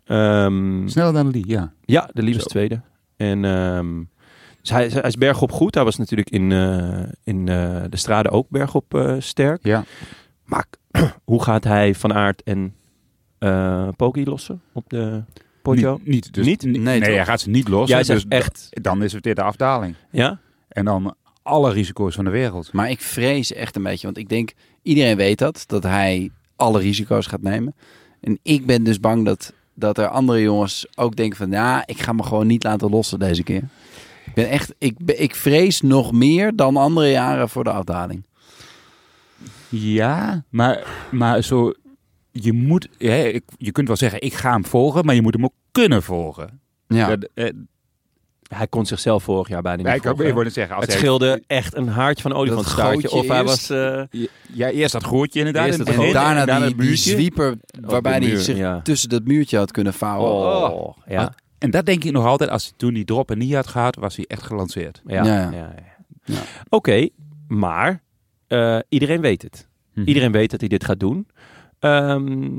Speaker 1: Ehm,
Speaker 3: Sneller dan die, ja.
Speaker 1: ja, de lieve
Speaker 3: Zo.
Speaker 1: tweede. En ehm, dus hij, hij is bergop goed. Hij was natuurlijk in, eh, in eh, de straden ook bergop eh, sterk.
Speaker 3: ja.
Speaker 1: Maar hoe gaat hij Van Aert en eh Poki lossen op de potjo?
Speaker 3: Niet, niet, dus,
Speaker 1: Niet?
Speaker 3: Nee,
Speaker 2: Nee, toch?
Speaker 3: hij gaat ze niet los.
Speaker 1: Jij
Speaker 3: dus
Speaker 1: zegt echt,
Speaker 3: da- Dan is het weer de afdaling.
Speaker 1: ja?
Speaker 3: En dan alle risico's van de wereld.
Speaker 2: Maar ik vrees echt een beetje, want ik denk, iedereen weet dat, dat hij alle risico's gaat nemen. En ik ben dus bang dat, dat er andere jongens ook denken van, ja, ik ga me gewoon niet laten lossen deze keer. Ik ben echt, ik, ben- ik vrees nog meer dan andere jaren voor de afdaling.
Speaker 3: Ja, maar, maar zo, je moet, hè, ik- je kunt wel zeggen, ik ga hem volgen, maar je moet hem ook kunnen volgen.
Speaker 2: Ja,
Speaker 3: Dat, eh,
Speaker 1: Hij kon zichzelf vorig jaar bijna niet
Speaker 3: ik kan
Speaker 1: volgen,
Speaker 3: weer
Speaker 1: hè?
Speaker 3: worden zeggen, als
Speaker 1: Het
Speaker 3: hij-
Speaker 1: scheelde echt een haartje van olifantstaartje.
Speaker 2: gootje
Speaker 1: Of hij
Speaker 2: eerst.
Speaker 1: was... eh,
Speaker 3: ja, eerst dat gootje inderdaad.
Speaker 1: Eerst
Speaker 3: in het
Speaker 1: dat
Speaker 2: en
Speaker 1: gewoon-
Speaker 3: begin,
Speaker 2: daarna
Speaker 3: en
Speaker 2: die,
Speaker 3: het
Speaker 2: die
Speaker 3: muurtje.
Speaker 2: zwieper
Speaker 1: de
Speaker 2: waarbij hij
Speaker 1: muur,
Speaker 2: zich
Speaker 1: ja.
Speaker 2: tussen dat muurtje had kunnen vouwen.
Speaker 1: oh, ja.
Speaker 3: En dat denk ik nog altijd, als hij toen die drop en niet had gehad, was hij echt gelanceerd.
Speaker 1: Ja,
Speaker 2: Ja, ja.
Speaker 1: ja.
Speaker 2: Ja.
Speaker 1: Oké, maar eh, iedereen weet het.
Speaker 3: Mhm.
Speaker 1: Iedereen weet dat hij dit gaat doen. Ehm,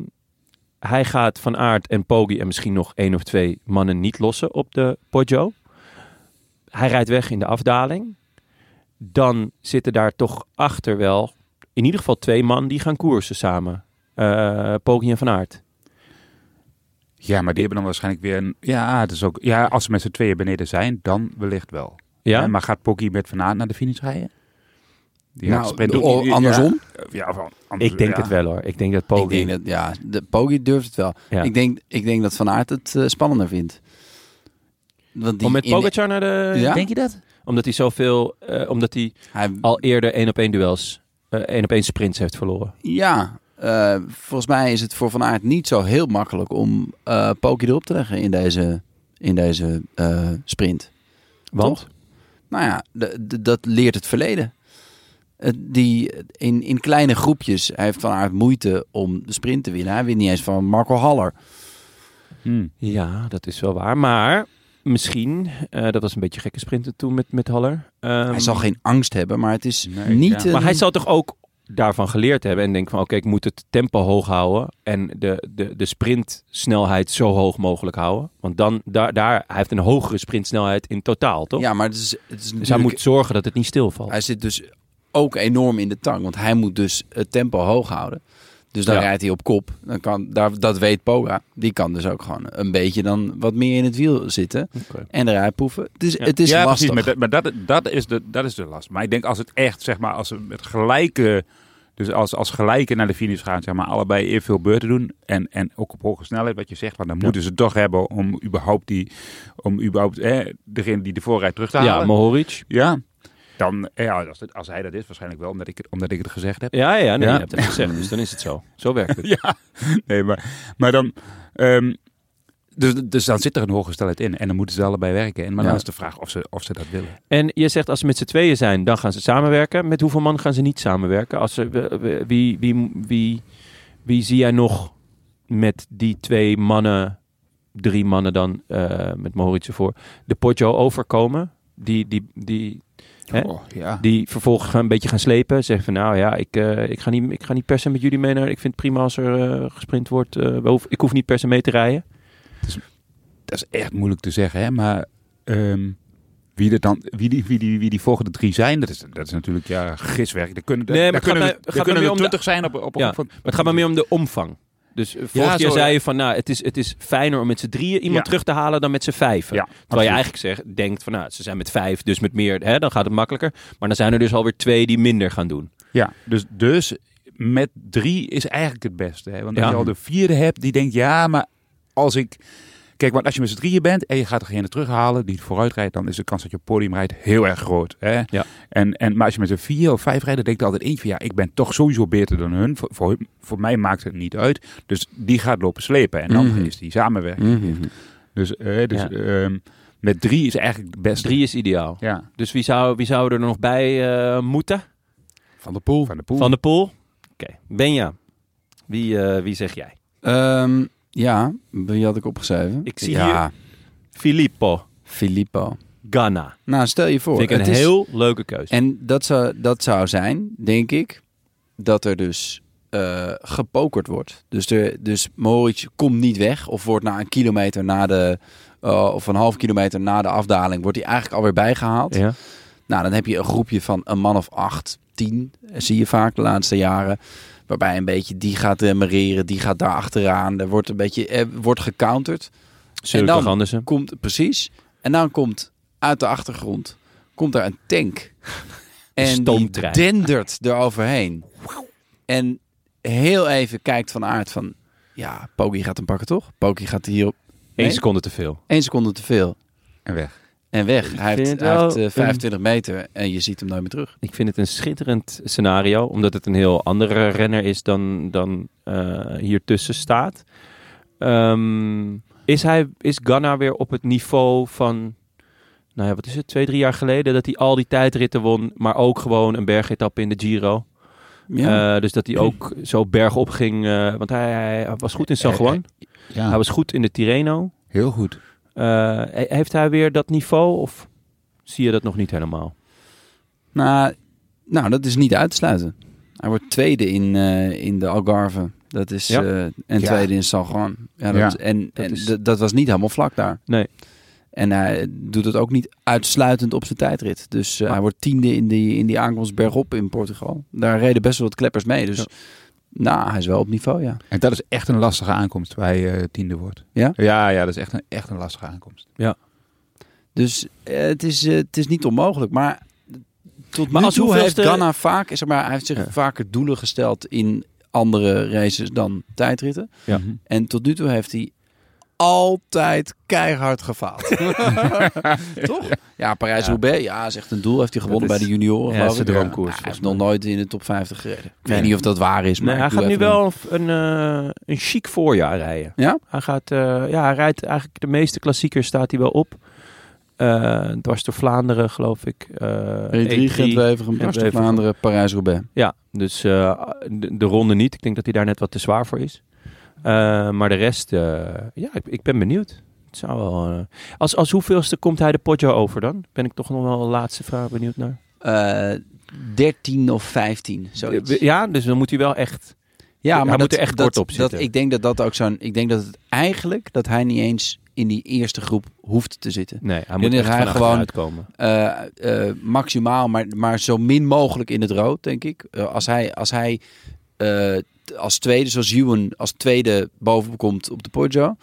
Speaker 1: hij gaat Van Aert en Poggi en misschien nog één of twee mannen niet lossen op de Poggio. Hij rijdt weg in de afdaling. Dan zitten daar toch achter wel in ieder geval twee man die gaan koersen samen. Eh Poggi en Van Aert.
Speaker 3: Ja, maar die hebben dan waarschijnlijk weer een, ja, het is ook, ja, als ze met z'n tweeën beneden zijn, dan wellicht wel.
Speaker 1: Ja?
Speaker 3: Hè, maar gaat Pocky met Van Aert naar de finish rijden? Die gaat
Speaker 2: Nou,
Speaker 3: sprint-
Speaker 2: o- andersom.
Speaker 3: Ja, Eh, ja, of andersom,
Speaker 1: ik denk
Speaker 3: ja.
Speaker 1: het wel hoor. Ik denk dat
Speaker 2: Ik
Speaker 1: Poggi...
Speaker 2: denk dat, ja, de Poggi durft het wel.
Speaker 1: Ja.
Speaker 2: Ik, denk, ik denk dat Van Aert het eh, spannender vindt. Want die
Speaker 1: Om Oh, met
Speaker 2: in-
Speaker 1: Pogacar naar de...
Speaker 2: Ja.
Speaker 3: Denk je dat?
Speaker 1: Omdat hij zoveel... eh, omdat hij
Speaker 2: hij,
Speaker 1: al eerder één op één duels, eh, één op één sprints heeft verloren.
Speaker 2: Ja, eh, volgens mij is het voor Van Aert niet zo heel makkelijk om eh Poki erop te leggen in deze, in deze eh, sprint.
Speaker 1: Want?
Speaker 2: Toch? Nou ja, d- d- dat leert het verleden. Het- die, in, in kleine groepjes heeft Van Aert moeite om de sprint te winnen. Hij wint niet eens van Marco Haller.
Speaker 3: Hmm.
Speaker 1: Ja, dat is wel waar. Maar misschien, eh, dat was een beetje gekke sprinten toen met, met Haller. Ehm,
Speaker 2: hij zal geen angst hebben, maar het is
Speaker 3: Nee,
Speaker 2: niet...
Speaker 3: ja.
Speaker 2: een-
Speaker 1: maar hij zal toch ook daarvan geleerd hebben en denken van oké, ik moet het tempo hoog houden en de, de, de sprintsnelheid zo hoog mogelijk houden. Want dan, daar, daar, hij heeft een hogere sprintsnelheid in totaal, toch?
Speaker 2: Ja, maar het is, het is
Speaker 1: dus hij
Speaker 2: natuurlijk-
Speaker 1: moet zorgen dat het niet stilvalt.
Speaker 2: Hij zit dus ook enorm in de tang, want hij moet dus het tempo hoog houden. Dus dan
Speaker 1: Ja.
Speaker 2: rijdt hij op kop. Dan kan, daar, dat weet Poga. Die kan dus ook gewoon een beetje dan wat meer in het wiel zitten.
Speaker 1: Oké.
Speaker 2: En eruit poeven. Het is,
Speaker 3: Ja.
Speaker 2: het is
Speaker 3: ja,
Speaker 2: lastig.
Speaker 3: precies. Maar, dat, maar dat, dat, is de, dat is de last. Maar ik denk als het echt, zeg maar, als ze met gelijke... Dus als, als gelijke naar de finish gaan, zeg maar, allebei evenveel beurten doen. En, en ook op hoge snelheid, wat je zegt. Want dan moeten ze toch hebben om überhaupt die... Om überhaupt, hè, degene die de voorrijd terug te halen.
Speaker 1: ja, Mohoric.
Speaker 3: Ja. Dan, eh, ja, als, het- als hij dat is, waarschijnlijk wel, omdat ik het, omdat ik het gezegd heb.
Speaker 1: Ja, ja, nee,
Speaker 3: Ja.
Speaker 1: je hebt het gezegd, dus dan is het zo. Zo werkt het.
Speaker 3: Ja, nee, maar, maar dan... ehm, dus, dus dan zit er een hoge snelheid in. En dan moeten ze allebei werken. En maar dan
Speaker 2: Ja.
Speaker 3: is de vraag of ze, of ze dat willen.
Speaker 1: En je zegt als ze met z'n tweeën zijn, dan gaan ze samenwerken. Met hoeveel man gaan ze niet samenwerken? Als ze, eh, wie, wie, wie, wie, wie zie jij nog met die twee mannen, drie mannen dan, eh, met Maurits ervoor, de Poggio overkomen? Die, die, die, Hè?
Speaker 3: Oh, ja.
Speaker 1: die vervolgens gaan een beetje gaan slepen. Zeggen van nou ja, ik, eh, ik, ga niet, ik ga niet per se met jullie mee naar. Ik vind het prima als er eh, gesprint wordt. eh, we hoef- ik hoef niet per se mee te rijden.
Speaker 3: dat is echt moeilijk te zeggen, hè? maar ehm, wie, er dan, wie, die, wie, die, wie die volgende drie zijn, dat is, dat is natuurlijk ja, giswerk. Er kunnen, er-
Speaker 1: Nee, maar
Speaker 3: er
Speaker 1: het gaat
Speaker 3: kunnen,
Speaker 1: mij-
Speaker 3: er
Speaker 1: gaat mij
Speaker 3: kunnen
Speaker 1: meer om
Speaker 3: er
Speaker 1: de-
Speaker 3: twintig zijn op, op, op
Speaker 1: Ja,
Speaker 3: van-
Speaker 1: Maar het gaat maar meer om de omvang. Dus eh, vorige keer
Speaker 2: zo,
Speaker 1: zei
Speaker 2: ja.
Speaker 1: je van, nou, het is, het is fijner om met z'n drieën iemand
Speaker 5: Ja.
Speaker 1: terug te halen dan met z'n vijven.
Speaker 5: Ja,
Speaker 1: Terwijl
Speaker 5: absoluut.
Speaker 1: je eigenlijk zegt, denkt van, nou, ze zijn met vijf, dus met meer, hè, dan gaat het makkelijker. Maar dan zijn er dus alweer twee die minder gaan doen.
Speaker 3: Ja, dus, dus met drie is eigenlijk het beste. Hè? Want als
Speaker 1: Ja.
Speaker 3: je al de vierde hebt, die denkt, ja, maar als ik... Kijk, want als je met z'n drieën bent en je gaat degene terughalen die het vooruit rijdt, dan is de kans dat je op het podium rijdt heel erg groot. Hè?
Speaker 1: Ja.
Speaker 3: En, en, maar als je met z'n vier of vijf rijdt, dan denkt er altijd eentje van, ja, ik ben toch sowieso beter dan hun. Voor, voor, voor mij maakt het niet uit. Dus die gaat lopen slepen en dan
Speaker 2: Mhm.
Speaker 3: is die samenwerking. Dus, eh, dus
Speaker 1: Mhm. Ja.
Speaker 3: ehm, met drie is eigenlijk het beste.
Speaker 1: Drie is ideaal.
Speaker 3: Ja,
Speaker 1: Dus wie zou, wie zou er nog bij eh, moeten?
Speaker 2: Van de pool.
Speaker 3: van de poel.
Speaker 1: Van de Poel? Oké, Benja, wie, eh, wie zeg jij?
Speaker 2: Ehm, ja, wie had ik opgeschreven?
Speaker 1: Ik zie
Speaker 2: ja,
Speaker 1: Filippo
Speaker 2: Filippo.
Speaker 1: Ganna.
Speaker 2: Nou, stel je voor.
Speaker 1: Vind ik een
Speaker 2: het is-
Speaker 1: heel leuke keuze.
Speaker 2: Dus- En dat zou, dat zou zijn, denk ik, dat er dus eh, gepokerd wordt. Dus, er, dus Moritz komt niet weg of wordt na een kilometer na de... eh, of een half kilometer na de afdaling wordt hij eigenlijk alweer bijgehaald.
Speaker 1: ja.
Speaker 2: Nou, dan heb je een groepje van een man of acht, tien, zie je vaak de laatste jaren. Waarbij een beetje die gaat remereren, die gaat daar achteraan. Er wordt een beetje eh, wordt gecounterd.
Speaker 1: Zulke
Speaker 2: dan-
Speaker 1: Andersen.
Speaker 2: Komt precies. En dan komt uit de achtergrond komt daar een tank. En die
Speaker 1: stoomtrein.
Speaker 2: dendert eroverheen. En heel even kijkt van aard van... Ja, Poki gaat hem pakken toch? Poki gaat hierop.
Speaker 1: Eén
Speaker 2: Nee?
Speaker 1: seconde te veel.
Speaker 2: Eén seconde te veel.
Speaker 3: En weg.
Speaker 2: En weg. Hij heeft,
Speaker 1: vind
Speaker 2: hij
Speaker 1: wel
Speaker 2: heeft eh,
Speaker 1: een-
Speaker 2: 25 meter en je ziet hem nooit meer terug.
Speaker 1: Ik vind het een schitterend scenario, omdat het een heel andere renner is dan, dan eh, hier tussen staat. Ehm, is, hij, is Ganna weer op het niveau van, nou ja, wat is het, twee, drie jaar geleden, dat hij al die tijdritten won, maar ook gewoon een bergetap in de Giro. Eh, dus dat hij ook zo bergop ging, eh, want hij, hij was goed in San
Speaker 3: Eh,
Speaker 1: Juan,
Speaker 3: Ja,
Speaker 1: hij was goed in de Tirreno.
Speaker 3: heel goed.
Speaker 1: Eh, he- heeft hij weer dat niveau of zie je dat nog niet helemaal?
Speaker 2: Nou, nou, dat is niet uit te sluiten. Hij wordt tweede in, eh, in de Algarve. Dat is,
Speaker 1: Ja.
Speaker 2: eh, en
Speaker 3: Ja.
Speaker 2: tweede in San Juan. Ja, dat
Speaker 3: Ja.
Speaker 2: Is, en
Speaker 1: Dat
Speaker 2: en
Speaker 1: is-
Speaker 2: dat- dat was niet helemaal vlak daar.
Speaker 1: Nee.
Speaker 2: En hij doet het ook niet uitsluitend op zijn tijdrit. Dus eh,
Speaker 1: Maar-
Speaker 2: hij wordt tiende in die, in die aankomst bergop in Portugal. Daar reden best wel wat kleppers mee. Dus
Speaker 1: Ja.
Speaker 2: nou, hij is wel op niveau, ja.
Speaker 3: En dat is echt een lastige aankomst waar je eh, tiende wordt.
Speaker 2: Ja?
Speaker 3: Ja, ja dat is echt een, echt een lastige aankomst.
Speaker 2: Dus eh, het, is, eh, het is niet onmogelijk. Maar tot
Speaker 1: Maar
Speaker 2: nu
Speaker 1: als
Speaker 2: toe heeft
Speaker 1: hoeveelste-
Speaker 2: Ganna vaak, zeg maar, hij heeft zich
Speaker 1: Ja.
Speaker 2: vaker doelen gesteld in andere races dan tijdritten.
Speaker 1: Ja.
Speaker 3: Mhm.
Speaker 2: En tot nu toe heeft hij altijd keihard gefaald. Toch? Ja, Parijs-Roubaix, ja, is echt een doel. Heeft hij gewonnen
Speaker 1: Dat
Speaker 2: bij de junioren,
Speaker 1: ja,
Speaker 2: geloof
Speaker 1: is de
Speaker 2: ik.
Speaker 1: droomkoers,
Speaker 2: Ja, hij
Speaker 1: volgens
Speaker 2: heeft nog nooit in de top 50 gereden. Ik
Speaker 1: Nee.
Speaker 2: weet niet of dat waar is, maar
Speaker 1: Nee,
Speaker 2: ik
Speaker 1: hij
Speaker 2: doe
Speaker 1: gaat nu
Speaker 2: even
Speaker 1: wel een, eh, een chic voorjaar rijden.
Speaker 2: Ja?
Speaker 1: Hij, gaat, eh, ja, hij rijdt eigenlijk de meeste klassiekers staat hij wel op. Eh dwars door Vlaanderen, geloof ik. Eh,
Speaker 2: een- E3,
Speaker 1: E3.
Speaker 2: Gent-Wevergem, Dwars door
Speaker 1: Gent-Wevergem.
Speaker 2: Vlaanderen, Parijs-Roubaix.
Speaker 1: Ja, dus eh, de, de ronde niet. Ik denk dat hij daar net wat te zwaar voor is. Eh, maar de rest, eh, ja, ik, ik ben benieuwd. Het zou wel, eh, als, als hoeveelste komt hij de potjo over dan? Ben ik toch nog wel de laatste vraag benieuwd naar.
Speaker 2: Eh 13 of 15, zoiets.
Speaker 1: Ja, dus dan moet hij wel echt...
Speaker 2: Ja,
Speaker 1: Hij
Speaker 2: maar
Speaker 1: moet
Speaker 2: dat-
Speaker 1: er echt
Speaker 2: dat-
Speaker 1: kort op zitten.
Speaker 2: Dat, ik denk dat dat ook zo'n. Ik denk dat het eigenlijk dat hij niet eens in die eerste groep hoeft te zitten.
Speaker 1: Nee, hij
Speaker 2: denk
Speaker 1: moet echt
Speaker 2: dat hij
Speaker 1: van
Speaker 2: gewoon-
Speaker 1: achteruit komen.
Speaker 2: Eh, eh, maximaal, maar, maar zo min mogelijk in het rood, denk ik. Eh, als hij, als, hij eh, t- als tweede, zoals Ewan, als tweede bovenop komt op de Poggio.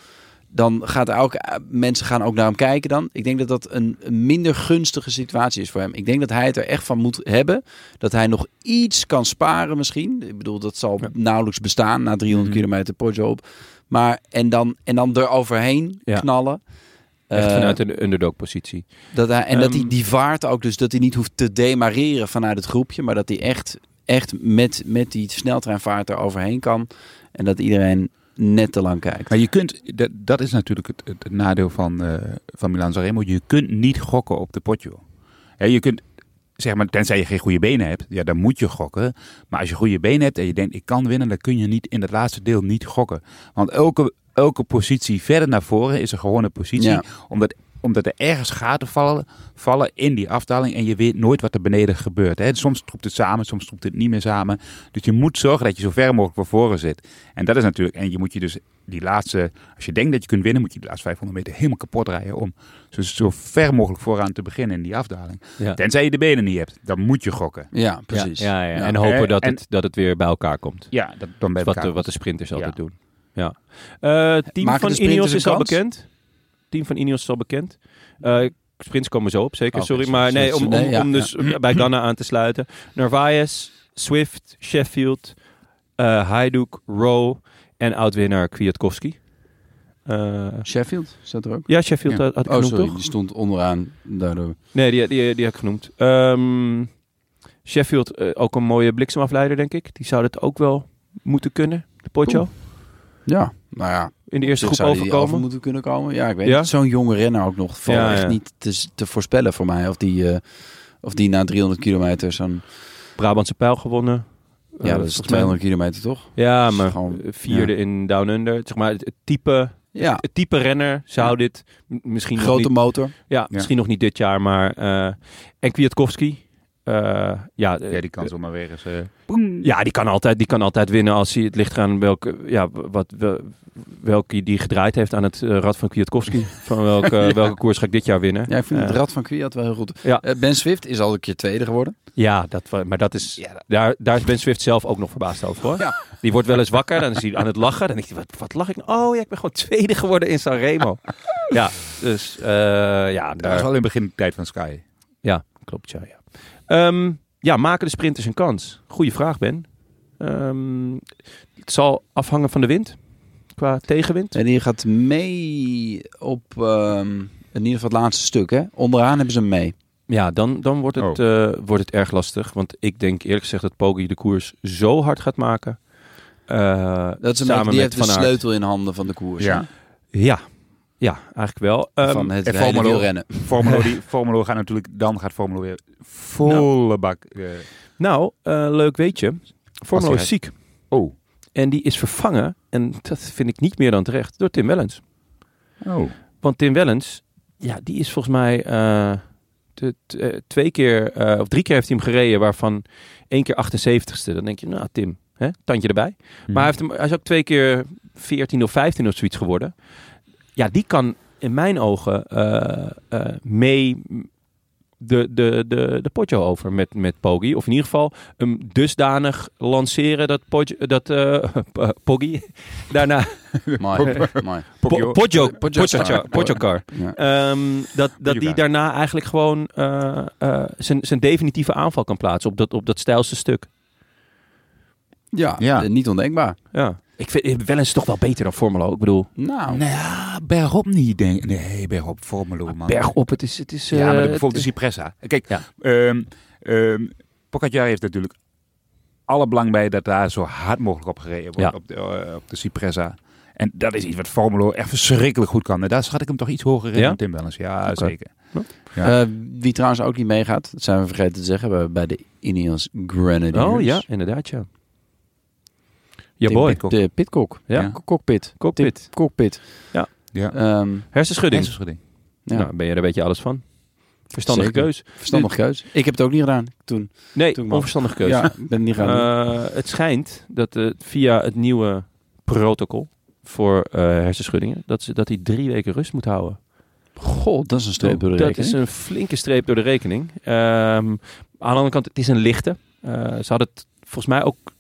Speaker 2: Dan gaat hij ook, eh, mensen gaan ook naar hem kijken dan. Ik denk dat dat een, een minder gunstige situatie is voor hem. Ik denk dat hij het er echt van moet hebben. Dat hij nog iets kan sparen misschien. Ik bedoel, dat zal
Speaker 1: Ja.
Speaker 2: nauwelijks bestaan na 300
Speaker 1: Mhm.
Speaker 2: kilometer Poggio op. Maar, en dan, en dan eroverheen
Speaker 1: Ja.
Speaker 2: knallen.
Speaker 1: Echt
Speaker 2: Eh,
Speaker 1: vanuit een underdog-positie.
Speaker 2: dat hij, en dat
Speaker 1: Ehm,
Speaker 2: hij die vaart ook, dus dat hij niet hoeft te demareren vanuit het groepje, maar dat hij echt, echt met, met die sneltreinvaart er overheen kan. En dat iedereen net te lang kijkt.
Speaker 3: Maar je kunt, dat, dat is natuurlijk het, het, het nadeel van, eh van Milan Sanremo. Je kunt niet gokken op de potjo. Hè, je kunt, zeg maar, tenzij je geen goede benen hebt, ja, dan moet je gokken. Maar als je goede benen hebt en je denkt, ik kan winnen, dan kun je niet in het laatste deel niet gokken. Want elke, elke positie verder naar voren is een gewone positie.
Speaker 2: Ja.
Speaker 3: Omdat omdat er ergens gaten vallen, vallen in die afdaling en je weet nooit wat er beneden gebeurt. Hè. Soms troept het samen, soms troept het niet meer samen. Dus je moet zorgen dat je zo ver mogelijk voor voren zit. En dat is natuurlijk, en je moet je dus die laatste, als je denkt dat je kunt winnen, moet je de laatste 500 meter helemaal kapot rijden om zo, zo ver mogelijk vooraan te beginnen in die afdaling.
Speaker 1: Ja.
Speaker 3: Tenzij je de benen niet hebt, dan moet je gokken.
Speaker 2: Ja, Nou, precies.
Speaker 1: Ja, ja, ja.
Speaker 2: Ja.
Speaker 1: En hopen
Speaker 3: Eh,
Speaker 1: dat,
Speaker 3: en-
Speaker 1: het, dat het weer bij elkaar komt. Dus
Speaker 3: Ja, dat, dan bij
Speaker 1: Wat
Speaker 3: elkaar.
Speaker 1: de, wat de sprinters altijd
Speaker 3: Ja.
Speaker 1: doen. ja. Eh, team
Speaker 2: Maken
Speaker 1: van
Speaker 2: de sprinters
Speaker 1: Ineos
Speaker 2: een
Speaker 1: is al
Speaker 2: kans?
Speaker 1: bekend. Team van Ineos is al bekend. Eh sprints komen zo op, zeker.
Speaker 2: Oh,
Speaker 1: Sorry,
Speaker 2: oké,
Speaker 1: maar
Speaker 2: sorry,
Speaker 1: nee, om,
Speaker 2: sorry.
Speaker 1: om,
Speaker 2: Nee, ja,
Speaker 1: om dus bij Ganna aan te sluiten. Narvaez, Swift, Sheffield, eh Hajduk, Rowe en oudwinnaar Kwiatkowski. Eh,
Speaker 2: Sheffield, staat er ook?
Speaker 1: ja, Sheffield
Speaker 3: Ja.
Speaker 1: had, had ik
Speaker 2: Oh,
Speaker 1: genoemd,
Speaker 2: sorry,
Speaker 1: toch?
Speaker 2: die stond onderaan. Daardoor.
Speaker 1: Nee, die, die, die heb ik genoemd. Ehm, Sheffield, eh, ook een mooie bliksemafleider, denk ik. Die zou dat ook wel moeten kunnen, de Pocho.
Speaker 2: Ja, nou ja.
Speaker 1: In de eerste
Speaker 2: Zich
Speaker 1: groep
Speaker 2: zou die af
Speaker 1: overkomen.
Speaker 2: moeten kunnen komen. Ja, ik weet
Speaker 1: Ja?
Speaker 2: niet. Zo'n jonge renner ook nog. Valt
Speaker 1: Ja,
Speaker 2: echt
Speaker 1: ja.
Speaker 2: niet te, te voorspellen voor mij. Of die, eh, of die na 300 kilometer zo'n...
Speaker 1: Brabantse pijl gewonnen. Eh,
Speaker 2: Ja, dat is
Speaker 1: volgens mij-
Speaker 2: 200 kilometer toch?
Speaker 1: Ja,
Speaker 2: Dat is
Speaker 1: maar
Speaker 2: gewoon-
Speaker 1: vierde in Down Under. Zeg maar, het, het type,
Speaker 2: Ja,
Speaker 1: het type renner zou dit m- misschien, nog
Speaker 2: grote
Speaker 1: niet,
Speaker 2: motor.
Speaker 1: ja, misschien nog niet dit jaar, maar... eh, en Kwiatkowski. eh, ja, eh,
Speaker 3: Ja, die kan zomaar weer eens... eh,
Speaker 1: ja, die kan altijd, die kan altijd winnen als hij het ligt eraan welke, ja, wat, wel- welke die gedraaid heeft aan het eh, rad van Kwiatkowski. Van welke, welke koers ga ik dit jaar winnen?
Speaker 2: Ja, ik vind het
Speaker 1: Eh,
Speaker 2: rad van Kwiat wel heel goed.
Speaker 1: Ja.
Speaker 2: Eh, ben Swift is al een keer tweede geworden.
Speaker 1: ja dat, wa- maar dat is, daar, daar is Ben Swift zelf ook nog verbaasd over. Hoor.
Speaker 2: Ja.
Speaker 1: Die wordt wel eens wakker, dan is hij aan het lachen. Dan denkt hij, wat, wat lach ik nou? Oh ja, ik ben gewoon tweede geworden in Sanremo. ja, dus eh, ja,
Speaker 3: Dat was
Speaker 1: daar,
Speaker 3: wel in het begin de tijd van Sky.
Speaker 1: ja, klopt. Ja, ja. Ehm, ja, maken de sprinters een kans? Goeie vraag, Ben. Ehm, het zal afhangen van de wind, qua tegenwind.
Speaker 2: En die gaat mee op ehm, in ieder geval het laatste stuk. Hè? Onderaan hebben ze hem mee.
Speaker 1: Ja, dan, dan wordt, het,
Speaker 2: Oh.
Speaker 1: eh, wordt het erg lastig. Want ik denk eerlijk gezegd dat Poggi de koers zo hard gaat maken. Eh,
Speaker 2: Dat is een
Speaker 1: samen
Speaker 2: beetje, die
Speaker 1: met
Speaker 2: heeft de
Speaker 1: Van Aert.
Speaker 2: sleutel in handen van de koers.
Speaker 3: Ja.
Speaker 1: Ja, ja, eigenlijk wel. Ehm,
Speaker 2: hè? Van het
Speaker 3: en
Speaker 2: hele
Speaker 3: Formolo.
Speaker 2: wielrennen.
Speaker 3: Formelo, die, Formelo gaat natuurlijk... Dan gaat Formelo weer volle bak... eh,
Speaker 1: Nou, eh, leuk weetje. Formelo
Speaker 3: hij
Speaker 1: is ziek.
Speaker 3: oh.
Speaker 1: En die is vervangen, en dat vind ik niet meer dan terecht, door Tim Wellens.
Speaker 3: Oh.
Speaker 1: Want Tim Wellens, ja, die is volgens mij eh, te- te- eh, twee keer, eh, of drie keer heeft hij hem gereden, waarvan één keer 78ste. Dan denk je, nou Tim, hè, tandje erbij. Maar hij, heeft hem, hij is ook twee keer 14 of 15 of zoiets geworden. Ja, die kan in mijn ogen eh, eh, mee de, de, de, de potjo over met, met Poggi. Of in ieder geval hem dusdanig lanceren dat, Poggi- dat eh, Poggi daarna...
Speaker 2: Mooi, mooi.
Speaker 1: Po- Poggio, Poggio, Poggio, Poggio car.
Speaker 2: Ja.
Speaker 1: Ehm, dat dat die
Speaker 3: car.
Speaker 1: daarna eigenlijk gewoon eh, eh, zijn zijn definitieve aanval kan plaatsen op dat, op dat stijlste stuk.
Speaker 2: Ja,
Speaker 3: Ja.
Speaker 2: eh, niet ondenkbaar.
Speaker 1: Ja. Ik vind eh, wel eens toch wel beter dan Formelo. Ik bedoel,
Speaker 2: Nou,
Speaker 3: Nou, ja, bergop niet, denk Nee, Ah, bergop, Formelo, man.
Speaker 1: bergop, het is... Het is
Speaker 3: ja, maar
Speaker 1: eh,
Speaker 3: dan bijvoorbeeld de
Speaker 1: het-
Speaker 3: Cipressa. Kijk,
Speaker 1: Ja.
Speaker 3: ehm ehm, Pogacar heeft natuurlijk alle belang bij dat daar zo hard mogelijk op gereden wordt
Speaker 1: Ja.
Speaker 3: op, de, eh, op de Cipressa. En dat is iets wat Formelo echt verschrikkelijk goed kan. En daar schat ik hem toch iets hoger in
Speaker 1: Ja?
Speaker 3: dan Tim Wellens. Ja,
Speaker 1: Oké.
Speaker 3: zeker.
Speaker 2: eh, wie trouwens ook niet meegaat, dat zijn we vergeten te zeggen, bij- bij de Ineos Grenadiers.
Speaker 1: Oh ja, inderdaad, ja. Ja,
Speaker 2: Tim
Speaker 1: boy.
Speaker 2: Pit- De pitcock.
Speaker 1: Ja.
Speaker 2: K- Cockpit.
Speaker 1: Cockpit.
Speaker 2: Tim Cockpit.
Speaker 1: Ja.
Speaker 3: Ja.
Speaker 2: Ehm,
Speaker 1: Hersenschudding.
Speaker 3: Hersenschudding.
Speaker 2: ja.
Speaker 1: Nou, ben je er weet je alles van. Verstandige
Speaker 2: Zeker.
Speaker 1: keus.
Speaker 2: Verstandig keus. Ik heb het ook niet gedaan toen.
Speaker 1: Nee,
Speaker 2: Toen wel.
Speaker 1: onverstandige keus.
Speaker 2: Ja, ben het niet gaan. doen.
Speaker 1: Eh, het schijnt dat eh, via het nieuwe protocol voor eh, hersenschuddingen, dat, ze, dat hij drie weken rust moet houden.
Speaker 2: God, dat is een streep door de
Speaker 1: dat
Speaker 2: rekening.
Speaker 1: is een flinke streep door de rekening. Ehm, aan de andere kant, het is een lichte. Eh, ze hadden het volgens mij ook een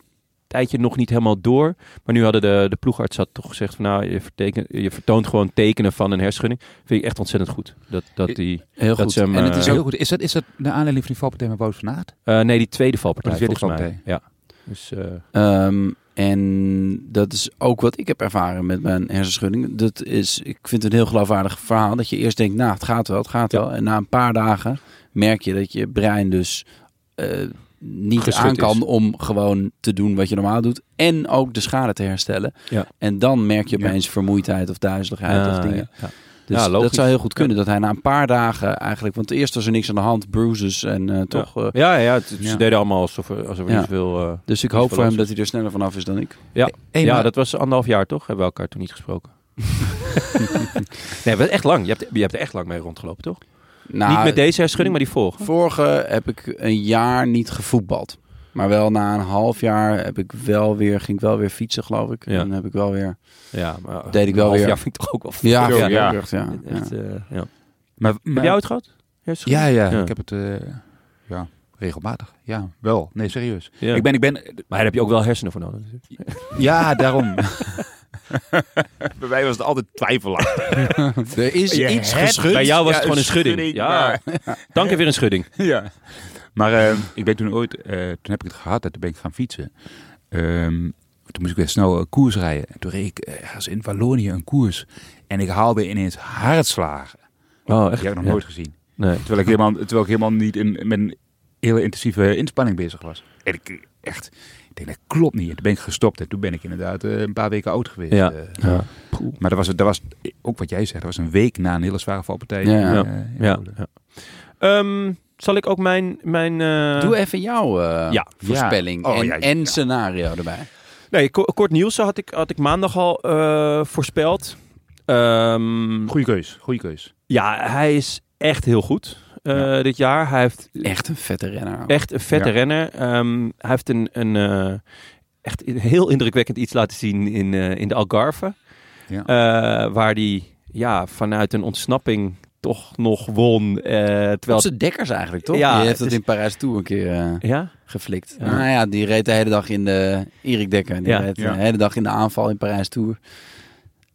Speaker 1: tijdje nog niet helemaal door. Maar nu hadden de, de ploegarts had toch gezegd van nou, je, verteken- je vertoont gewoon tekenen van een hersenschudding. Vind ik echt ontzettend goed. Dat, dat die,
Speaker 2: Heel
Speaker 1: dat
Speaker 2: goed.
Speaker 1: ze hem,
Speaker 3: En het is
Speaker 1: eh,
Speaker 3: heel goed. Is dat, is dat de aanleiding van die valpartij met Wout van Aert?
Speaker 1: eh, nee, die tweede valpartij
Speaker 3: Oh, die tweede
Speaker 1: volgens mij. Ja. Dus, eh,
Speaker 2: Ehm, en dat is ook wat ik heb ervaren met mijn hersenschudding. Dat is, ik vind het een heel geloofwaardig verhaal. Dat je eerst denkt, nou, het gaat wel, het gaat wel. En na een paar dagen merk je dat je brein dus eh, niet
Speaker 1: Geschud
Speaker 2: aan kan
Speaker 1: is.
Speaker 2: om gewoon te doen wat je normaal doet. En ook de schade te herstellen.
Speaker 1: Ja.
Speaker 2: En dan merk je
Speaker 3: Ja.
Speaker 2: opeens vermoeidheid of duizeligheid of
Speaker 1: ah,
Speaker 2: dingen.
Speaker 1: ja.
Speaker 2: Dus
Speaker 1: Ja, logisch.
Speaker 2: dat zou heel goed kunnen. Dat hij na een paar dagen eigenlijk... Want eerst was er niks aan de hand. Bruises en eh, toch... eh,
Speaker 1: Ja, ja, het- ze
Speaker 3: Ja.
Speaker 1: deden allemaal alsof er, alsof er
Speaker 2: Ja.
Speaker 1: niet veel... eh,
Speaker 2: dus ik
Speaker 1: Niet
Speaker 2: hoop voor hem
Speaker 1: verlost.
Speaker 2: dat hij er sneller vanaf is dan ik.
Speaker 1: ja,
Speaker 3: maar-
Speaker 1: dat was anderhalf jaar toch? Hebben we elkaar toen niet gesproken. nee, maar echt lang. Je hebt, je hebt er echt lang mee rondgelopen, toch?
Speaker 2: Nou,
Speaker 1: niet met deze herschudding, maar die vorige.
Speaker 2: Vorige heb ik een jaar niet gevoetbald. Maar wel na een half jaar heb ik wel weer, ging ik wel weer fietsen, geloof ik.
Speaker 1: Ja.
Speaker 2: En heb ik wel weer.
Speaker 1: Ja, maar
Speaker 2: Deed ik wel
Speaker 1: een half
Speaker 2: weer.
Speaker 1: jaar vind ik toch ook wel veel.
Speaker 2: Ja,
Speaker 3: Ja,
Speaker 2: ja,
Speaker 3: ja.
Speaker 2: ja. ja.
Speaker 1: Echt, eh, ja.
Speaker 3: maar,
Speaker 1: Heb
Speaker 3: maar-
Speaker 1: jij het gehad?
Speaker 3: Ja,
Speaker 1: Hersenschudding?
Speaker 3: ja,
Speaker 1: Ja.
Speaker 3: Ik heb het... eh, ja, regelmatig. Ja, wel. Nee, serieus.
Speaker 1: Ja.
Speaker 3: Ik ben... Ik ben
Speaker 1: Maar daar heb je ook wel hersenen voor nodig. natuurlijk.
Speaker 3: ja, daarom. Bij mij was het altijd twijfelaar.
Speaker 2: Er is
Speaker 3: Je
Speaker 2: iets
Speaker 3: hebt
Speaker 2: geschud.
Speaker 1: Bij jou was
Speaker 3: Ja,
Speaker 1: het gewoon een
Speaker 3: een
Speaker 1: schudding.
Speaker 3: schudding,
Speaker 1: ja. Dank je weer een schudding.
Speaker 3: ja. Maar eh, ik ben toen ooit, eh, toen heb ik het gehad en toen ben ik gaan fietsen. Ehm, toen moest ik weer snel eh, koers rijden. En toen reed ik eh, ergens in Wallonië een koers. En ik haalde ineens hartslagen.
Speaker 1: Oh,
Speaker 3: Die heb ik nog nooit gezien.
Speaker 1: Nee.
Speaker 3: Terwijl ik helemaal, terwijl ik helemaal niet in, met een hele intensieve inspanning bezig was. En ik echt, ik denk dat klopt niet. En toen ben ik gestopt en toen ben ik inderdaad eh, een paar weken oud geweest.
Speaker 1: Ja.
Speaker 3: Eh,
Speaker 1: Ja.
Speaker 3: Maar dat was, dat was ook wat jij zegt, dat was een week na een hele zware valpartij.
Speaker 2: Ja.
Speaker 3: eh,
Speaker 1: Ja.
Speaker 3: in
Speaker 1: Ja.
Speaker 3: Polen.
Speaker 1: ja. Ehm, zal ik ook mijn... mijn eh,
Speaker 2: Doe even jouw eh,
Speaker 1: Ja.
Speaker 2: voorspelling
Speaker 3: Ja. Oh,
Speaker 2: en,
Speaker 3: ja, ja.
Speaker 2: en scenario erbij.
Speaker 1: Nee, ko- kort nieuws had ik, had ik maandag al eh, voorspeld. Ehm,
Speaker 3: Goeie keus, goeie keus.
Speaker 1: ja, hij is echt heel goed eh,
Speaker 3: Ja.
Speaker 1: dit jaar. Hij heeft
Speaker 2: Echt een vette renner. ook.
Speaker 1: echt een vette
Speaker 3: Ja.
Speaker 1: renner. Ehm, hij heeft een, een eh, echt een heel indrukwekkend iets laten zien in, eh, in de Algarve.
Speaker 3: Ja.
Speaker 1: Eh, waar hij ja, vanuit een ontsnapping toch nog won. eh, terwijl...
Speaker 2: Op zijn dekkers eigenlijk, toch?
Speaker 1: Ja,
Speaker 2: Je hebt
Speaker 1: het
Speaker 2: dat
Speaker 1: is-
Speaker 2: in Parijs toe een keer eh,
Speaker 1: Ja?
Speaker 2: geflikt.
Speaker 1: Ja.
Speaker 2: Nou ja, die reed de hele dag in de... Erik Dekker, die
Speaker 1: Ja.
Speaker 2: reed eh,
Speaker 3: Ja.
Speaker 2: de hele dag in de aanval in Parijs Tour.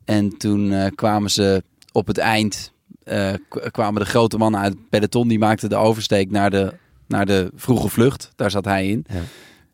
Speaker 2: En toen eh, kwamen ze op het eind... eh, k- kwamen de grote mannen uit het peloton. Die maakten de oversteek naar de, naar de vroege vlucht. Daar zat hij in.
Speaker 1: Ja.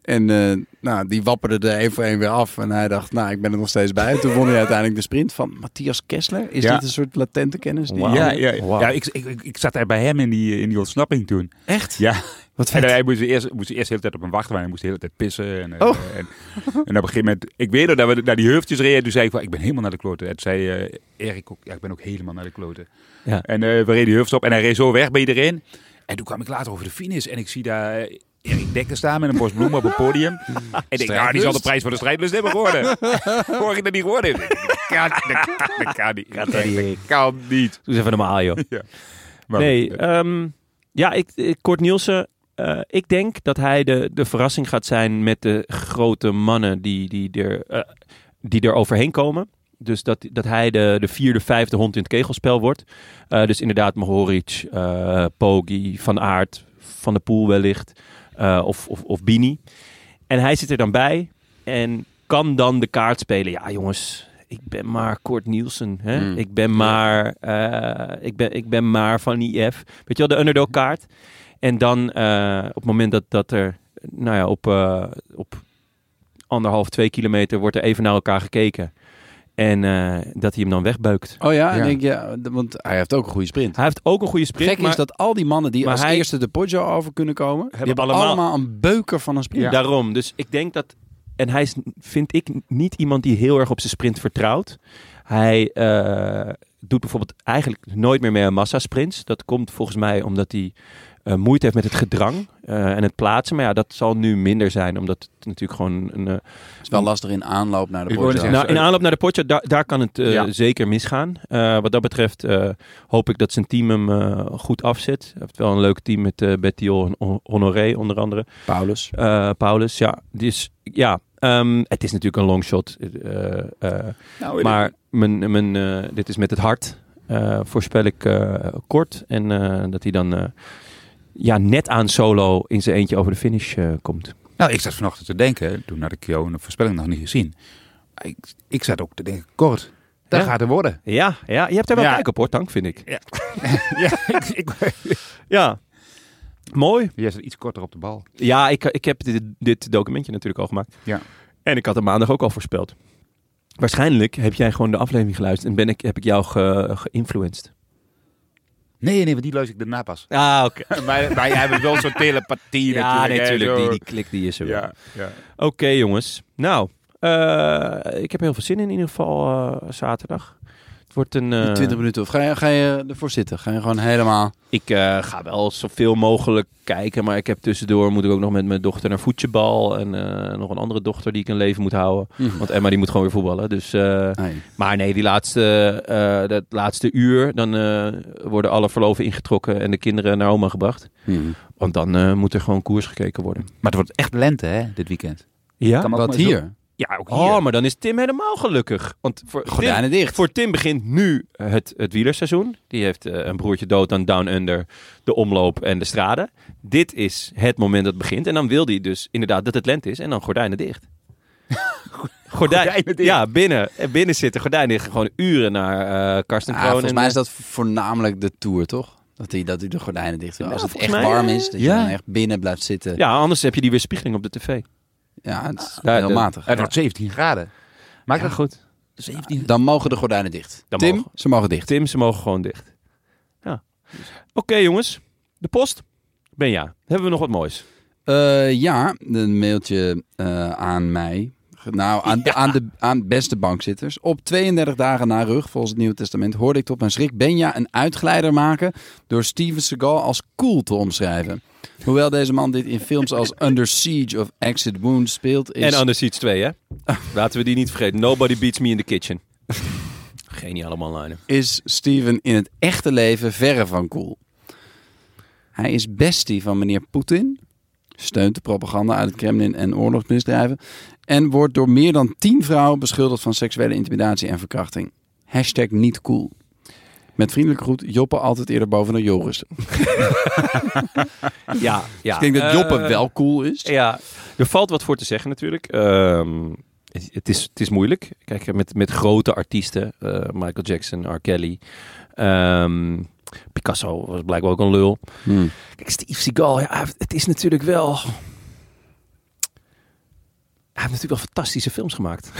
Speaker 2: En eh, nou, die wapperde er één voor één weer af. En hij dacht, nou, ik ben er nog steeds bij. En toen won hij uiteindelijk de sprint van Matthias Kessler. Is
Speaker 3: Ja.
Speaker 2: dit een soort latente kennis? Die...
Speaker 1: Wauw.
Speaker 3: Ja, ja,
Speaker 1: Wauw.
Speaker 3: ja ik, ik, ik, ik zat daar bij hem in die, in die ontsnapping toen.
Speaker 2: Echt?
Speaker 3: Ja.
Speaker 2: Wat
Speaker 3: En eh,
Speaker 2: vet.
Speaker 3: hij moest eerst, moest eerst de hele tijd op hem wachten, maar hij moest de hele tijd pissen. En, eh, en, en op een gegeven moment, ik weet nog dat we naar die heufjes reden. Toen zei ik, van, ik ben helemaal naar de kloten. En toen zei eh, Erik ook, ja, ik ben ook helemaal naar de kloten.
Speaker 1: Ja.
Speaker 3: En eh, we reden die heufjes op en hij reed zo weg bij iedereen. En toen kwam ik later over de finish en ik zie daar eh, Erik Dekker staan met een bos bloemen op het podium. En ik denk, nou, die zal de prijs voor de strijdlust hebben geworden. Hoor ik dat niet geworden? is. Dat kan, dat, dat kan niet. Dat kan niet.
Speaker 1: Doe eens even normaal, joh.
Speaker 3: Maar
Speaker 1: nee,
Speaker 3: goed, eh,
Speaker 1: ehm, ja, ik, ik, Kort Nielsen. eh, ik denk dat hij de, de verrassing gaat zijn met de grote mannen die, die, er, eh, die er overheen komen. Dus dat, dat hij de, de vierde, vijfde hond in het kegelspel wordt. Eh, dus inderdaad Mohoric, eh Poggi, Van Aert, Van der Poel wellicht. eh, of, of, of Bini. En hij zit er dan bij en kan dan de kaart spelen. Ja, jongens, ik ben maar Kort Nielsen. Hè?
Speaker 2: Mm.
Speaker 1: Ik, ben maar, eh, ik, ben, ik ben maar van IF. Weet je wel, de underdog kaart. En dan eh, op het moment dat, dat er, nou ja, op, eh, op anderhalf, twee kilometer wordt er even naar elkaar gekeken. En eh, dat hij hem dan wegbeukt.
Speaker 2: Oh ja, en
Speaker 3: Ja.
Speaker 2: Denk, ja, d- want hij heeft ook een goede sprint.
Speaker 1: Hij heeft ook een goede sprint,
Speaker 2: Gek
Speaker 1: maar
Speaker 2: is dat al die mannen die
Speaker 1: maar
Speaker 2: als
Speaker 1: hij-
Speaker 2: eerste de Poggio over kunnen komen, die hebben allemaal,
Speaker 1: allemaal-
Speaker 2: een beuker van een sprint.
Speaker 1: daarom. Dus ik denk dat... En hij is, vind ik, niet iemand die heel erg op zijn sprint vertrouwt. Hij eh, doet bijvoorbeeld eigenlijk nooit meer mee aan massasprints. Dat komt volgens mij omdat hij eh, moeite heeft met het gedrang eh, en het plaatsen. Maar ja, dat zal nu minder zijn, omdat het natuurlijk gewoon een, eh,
Speaker 2: Het is wel lastig in aanloop naar de
Speaker 3: Ik wou net
Speaker 2: Poggio.
Speaker 3: zeggen,
Speaker 1: Nou, in aanloop naar de potje, daar, daar kan het eh,
Speaker 3: Ja.
Speaker 1: zeker misgaan. Eh, wat dat betreft eh, hoop ik dat zijn team hem eh, goed afzet. Hij heeft wel een leuk team met eh Bettiol en Hon- Honoré onder andere.
Speaker 2: Paulus.
Speaker 1: Eh, Paulus, ja. Dus ja, ehm, het is natuurlijk een longshot. eh, eh,
Speaker 3: nou,
Speaker 1: maar mijn, mijn, eh, dit is met het hart. eh, voorspel ik eh, kort. En eh, dat hij dan eh, ja, net aan solo in zijn eentje over de finish eh, komt.
Speaker 3: Nou, ik zat vanochtend te denken, toen had ik jou een voorspelling nog niet gezien. Ik, ik zat ook te denken, kort, dat
Speaker 1: Ja.
Speaker 3: gaat er worden.
Speaker 1: Ja, ja, je hebt er wel
Speaker 3: Ja.
Speaker 1: kijk op hoor, Tank, vind ik.
Speaker 3: ja, ik, ik,
Speaker 1: Ja, mooi.
Speaker 3: jij zat iets korter op de bal.
Speaker 1: Ja, ik, eh, ik heb dit, dit documentje natuurlijk al gemaakt.
Speaker 3: Ja.
Speaker 1: En ik had hem maandag ook al voorspeld. Waarschijnlijk heb jij gewoon de aflevering geluisterd en ben ik, heb ik jou ge, geïnfluenced.
Speaker 3: Nee, nee, want die luister ik daarna pas.
Speaker 1: Ah, oké.
Speaker 3: maar, maar jij hebt wel zo'n telepathie
Speaker 1: Ja,
Speaker 3: natuurlijk. hè,
Speaker 1: natuurlijk.
Speaker 3: zo.
Speaker 1: Die, die klik die is er wel.
Speaker 3: Ja, ja.
Speaker 1: Oké, jongens. Nou, eh, ik heb heel veel zin in, in ieder geval eh, zaterdag. Het wordt een... eh,
Speaker 2: Die 20 minuten of ga je, ga je ervoor zitten? Ga je gewoon helemaal.
Speaker 1: Ik eh, ga wel zoveel mogelijk kijken, maar ik heb tussendoor moet ik ook nog met mijn dochter naar voetbal. En eh, nog een andere dochter die ik in leven moet houden. Want Emma die moet gewoon weer voetballen. Dus eh,
Speaker 2: Nee.
Speaker 1: Maar nee, die laatste, eh, dat laatste uur, dan eh, worden alle verloven ingetrokken en de kinderen naar oma gebracht. Want dan eh, moet er gewoon koers gekeken worden.
Speaker 3: Maar het wordt echt lente, hè, dit weekend.
Speaker 1: Ja?
Speaker 3: Kan maar ook
Speaker 2: Wat
Speaker 3: maar zo-
Speaker 2: hier?
Speaker 3: Ja, ook hier.
Speaker 1: Oh, maar dan is Tim helemaal gelukkig. Want voor, Tim,
Speaker 2: Gordijnen dicht.
Speaker 1: voor Tim begint nu eh, het, het wielerseizoen. Die heeft eh, een broertje dood aan Down Under, de omloop en de strade. Dit is het moment dat het begint. En dan wil hij dus inderdaad dat het lente is en dan gordijnen dicht. Gordijn,
Speaker 3: Gordijnen dicht.
Speaker 1: ja, binnen, eh, binnen zitten. Gordijnen dicht. Gewoon uren naar eh Karsten
Speaker 2: Ah,
Speaker 1: Kroon.
Speaker 2: volgens
Speaker 1: en-
Speaker 2: mij is dat voornamelijk de tour, toch? Dat hij dat hij de gordijnen dicht doet.
Speaker 1: Ja,
Speaker 2: Als het echt
Speaker 1: volgens mij,
Speaker 2: warm
Speaker 1: eh,
Speaker 2: is, dat
Speaker 3: ja.
Speaker 2: je dan echt binnen blijft zitten. Ja,
Speaker 1: Ja, anders heb je die weerspiegeling op de tv.
Speaker 2: het is
Speaker 1: Ja,
Speaker 2: heel
Speaker 1: de-
Speaker 2: matig.
Speaker 3: Het wordt 17 graden. Maakt
Speaker 1: Ja,
Speaker 3: dat
Speaker 1: goed.
Speaker 3: 17
Speaker 2: Dan mogen de gordijnen dicht.
Speaker 1: Dan
Speaker 2: Tim,
Speaker 1: mogen.
Speaker 2: ze mogen dicht.
Speaker 1: Tim, ze mogen gewoon dicht. Ja. Oké, jongens. De post. Benja, hebben we nog wat moois?
Speaker 2: Eh, ja, een mailtje eh, aan mij. Nou, aan, aan, de, aan beste bankzitters. Op 32 dagen na rug, volgens het Nieuwe Testament, hoorde ik tot mijn schrik Benja een uitglijder maken door Steven Seagal als cool te omschrijven. Hoewel deze man dit in films als Under Siege of Exit Wound speelt, is...
Speaker 1: En Anders iets 2, hè? Laten we die niet vergeten. Nobody beats me in the kitchen. Geniale manlijnen.
Speaker 2: is Steven in het echte leven verre van cool. Hij is bestie van meneer Poetin, steunt de propaganda uit het Kremlin en oorlogsmisdrijven, en wordt door meer dan tien vrouwen beschuldigd van seksuele intimidatie en verkrachting. Hashtag niet cool. Met vriendelijke groet, Joppe altijd eerder boven dan Joris.
Speaker 1: Ja, ja.
Speaker 2: ik denk dat
Speaker 1: Eh,
Speaker 2: Joppe wel cool is.
Speaker 1: Ja, er valt wat voor te zeggen natuurlijk. Ehm, het- het, is, het is moeilijk. Kijk, met, met grote artiesten, eh, Michael Jackson, R. Kelly, ehm, Picasso was blijkbaar ook een lul.
Speaker 2: Hmm.
Speaker 1: Kijk, Steve Seagal, ja, hij heeft- het is natuurlijk wel... Hij heeft natuurlijk wel fantastische films gemaakt.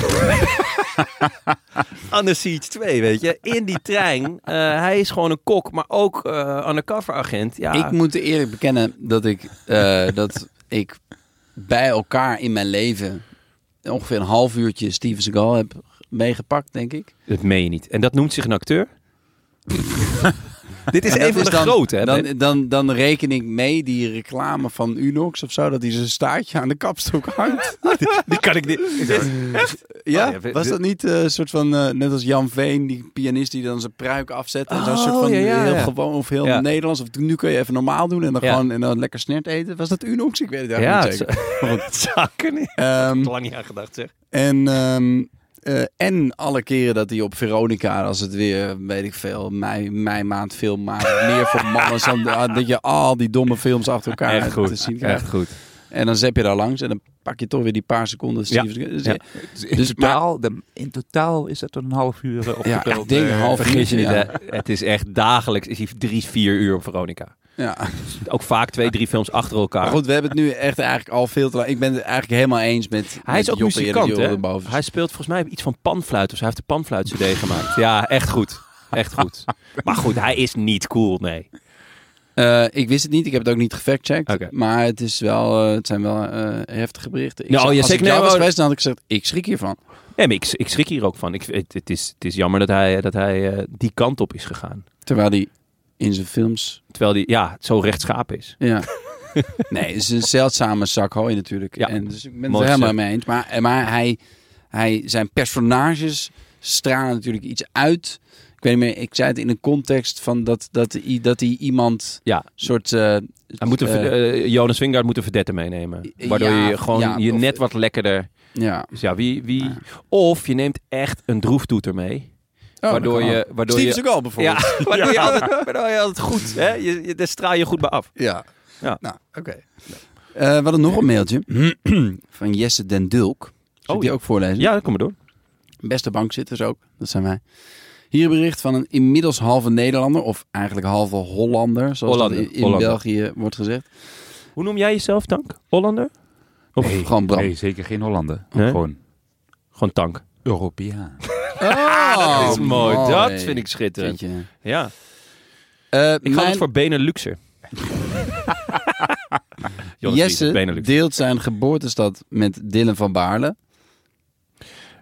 Speaker 1: Under Siege 2, weet je. In die trein. eh, hij is gewoon een kok, maar ook eh undercover agent. Ja.
Speaker 2: Ik moet eerlijk bekennen dat ik, eh, dat ik bij elkaar in mijn leven ongeveer een half uurtje Steven Seagal heb meegepakt, denk ik.
Speaker 1: Dat meen je niet. En dat noemt zich een acteur? Dit is
Speaker 2: En
Speaker 1: een
Speaker 2: dat
Speaker 1: van de
Speaker 2: dan,
Speaker 1: grote. Hè?
Speaker 2: Dan, dan, dan reken ik mee die reclame van Unox of zo, dat hij zijn staartje aan de kapstok hangt.
Speaker 1: die kan ik niet.
Speaker 2: ja,
Speaker 1: Oh, ja,
Speaker 2: was dat niet eh, een soort van, eh, net als Jan Veen, die pianist die dan zijn pruik afzet en zo'n
Speaker 1: Oh,
Speaker 2: soort van
Speaker 1: ja, ja,
Speaker 2: heel
Speaker 1: ja.
Speaker 2: gewoon of heel
Speaker 1: Ja.
Speaker 2: Nederlands of nu kun je even normaal doen en dan
Speaker 1: Ja.
Speaker 2: gewoon en dan lekker snert eten. Was dat Unox? Ik weet het eigenlijk
Speaker 1: Ja,
Speaker 2: niet zeker.
Speaker 1: dat zou kunnen.
Speaker 2: Ehm,
Speaker 1: Lang niet aan gedacht zeg.
Speaker 2: En, ehm, eh, en alle keren dat hij op Veronica, als het weer, weet ik veel, mei, mei maand film maakt, meer voor mannen, dan, dan dat je al die domme films achter elkaar
Speaker 1: Echt goed.
Speaker 2: te zien krijgt.
Speaker 1: Echt goed.
Speaker 2: En dan zep je daar langs en dan pak je toch weer die paar seconden.
Speaker 1: Ja.
Speaker 2: Steven- Dus,
Speaker 1: Ja.
Speaker 2: ja.
Speaker 3: Dus in,
Speaker 2: Dus
Speaker 3: totaal, de- in totaal is dat een half uur eh,
Speaker 2: Ja,
Speaker 3: opgeteld.
Speaker 2: ik denk
Speaker 3: eh,
Speaker 2: een half
Speaker 1: Vergis je
Speaker 2: uurtje,
Speaker 1: niet,
Speaker 2: ja.
Speaker 1: hè? Het is echt dagelijks is hij drie, vier uur op Veronica.
Speaker 2: Ja.
Speaker 1: Ook vaak twee, drie films achter elkaar.
Speaker 2: Maar goed, we hebben het nu echt eigenlijk al veel te lang. Ik ben het eigenlijk helemaal eens met.
Speaker 1: hij is ook muzikant, hè? Hij
Speaker 2: Hij...
Speaker 1: speelt volgens mij iets van panfluit. Dus hij heeft de panfluit CD gemaakt. Ja, echt goed. Echt goed. Maar goed, hij is niet cool, nee.
Speaker 2: Eh, ik wist het niet, ik heb het ook niet gefactcheckt.
Speaker 1: Oké.
Speaker 2: Maar het, is wel, eh, het zijn wel eh, heftige berichten. Ik
Speaker 1: Nou,
Speaker 2: zou-
Speaker 1: je
Speaker 2: als
Speaker 1: zegt
Speaker 2: ik jou
Speaker 1: nee,
Speaker 2: was
Speaker 1: maar-
Speaker 2: geweest, dan had ik gezegd, ik schrik hiervan.
Speaker 1: Nee, maar ik, ik schrik hier ook van. Ik, het, het is, het is jammer dat hij, dat hij eh, die kant op is gegaan.
Speaker 2: Terwijl die in zijn films.
Speaker 1: Terwijl hij ja, zo rechtschapen is.
Speaker 2: Ja. nee, het is een zeldzame zak hooi natuurlijk.
Speaker 1: Ja.
Speaker 2: En dus ik ben het
Speaker 1: Mooi
Speaker 2: er helemaal
Speaker 1: gezegd.
Speaker 2: mee eens. Maar, eh, maar hij, hij, zijn personages stralen natuurlijk iets uit. Ik weet niet meer, ik zei het in een context van dat, dat, i- dat hij iemand
Speaker 1: Ja.
Speaker 2: soort. eh,
Speaker 1: Hij moet een,
Speaker 2: eh,
Speaker 1: verd- eh, Jonas Vingaard moet een verdette meenemen.
Speaker 2: Ja,
Speaker 1: Waardoor je gewoon
Speaker 2: ja,
Speaker 1: je
Speaker 2: of-
Speaker 1: net wat lekkerder...
Speaker 2: ja.
Speaker 1: Dus ja, wie, wie... Of je neemt echt een droeftoeter mee.
Speaker 2: Oh,
Speaker 1: waardoor je... Waardoor
Speaker 2: Steve
Speaker 1: je
Speaker 2: Seagal
Speaker 1: ja,
Speaker 2: bijvoorbeeld.
Speaker 1: waardoor je, altijd, waardoor je altijd goed... Hè? Je, je- daar straal je goed bij af.
Speaker 2: Ja.
Speaker 1: Ja.
Speaker 2: Nou, oké. Eh, we hadden nog een mailtje van Jesse Den Dulk. Zal ik
Speaker 1: Oh,
Speaker 2: die
Speaker 1: ja.
Speaker 2: ook voorlezen?
Speaker 1: Ja, dat kom maar door.
Speaker 2: Beste bankzitters ook, dat zijn wij. Hier een bericht van een inmiddels halve Nederlander, of eigenlijk halve Hollander, zoals dat
Speaker 1: Hollander,
Speaker 2: in, in
Speaker 1: Hollander.
Speaker 2: België wordt gezegd.
Speaker 1: Hoe noem jij jezelf, Tank? Hollander? Of
Speaker 3: Nee,
Speaker 2: gewoon Bram.
Speaker 3: Nee, zeker geen Hollander.
Speaker 1: Nee?
Speaker 3: Gewoon
Speaker 1: gewoon Tank?
Speaker 3: Europeaan.
Speaker 2: Oh,
Speaker 1: Ah, dat is mooi. Dat vind ik schitterend.
Speaker 2: Jeetje.
Speaker 1: Ja.
Speaker 2: Eh,
Speaker 1: Ik ga
Speaker 2: mijn-
Speaker 1: het voor Beneluxer. Jonas Vries,
Speaker 2: Jesse
Speaker 1: Benelux.
Speaker 2: deelt zijn geboortestad met Dylan van Baarle.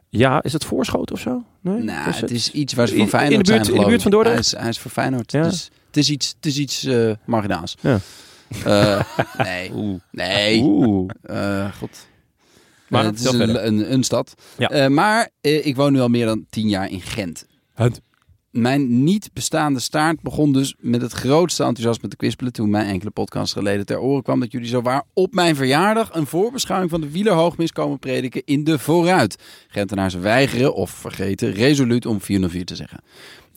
Speaker 1: Ja, is het voorschot of zo? Nee, Dus
Speaker 2: Nou,
Speaker 1: is
Speaker 2: het is iets waar ze voor
Speaker 1: In- in de
Speaker 2: Feyenoord
Speaker 1: buurt-
Speaker 2: zijn,
Speaker 1: in de
Speaker 2: geloof
Speaker 1: buurt van
Speaker 2: ik.
Speaker 1: Dordrecht?
Speaker 2: Hij is, hij is voor Feyenoord.
Speaker 1: Ja.
Speaker 2: Dus het is iets, het is iets eh, marginaals.
Speaker 1: Ja.
Speaker 2: Eh, nee,
Speaker 1: Oeh.
Speaker 2: nee.
Speaker 1: Oeh.
Speaker 2: Eh, God.
Speaker 1: Maar
Speaker 2: Eh, het is
Speaker 1: vertel
Speaker 2: een,
Speaker 1: verder.
Speaker 2: een, een stad.
Speaker 1: Ja.
Speaker 2: Eh, maar eh, ik woon nu al meer dan tien jaar in Gent.
Speaker 1: Gent.
Speaker 2: Mijn niet bestaande staart begon dus met het grootste enthousiasme te kwispelen toen mijn enkele podcast geleden ter oren kwam dat jullie zowaar op mijn verjaardag een voorbeschouwing van de wielerhoogmis komen prediken in de vooruit. Gentenaars weigeren of vergeten resoluut om 404 te zeggen.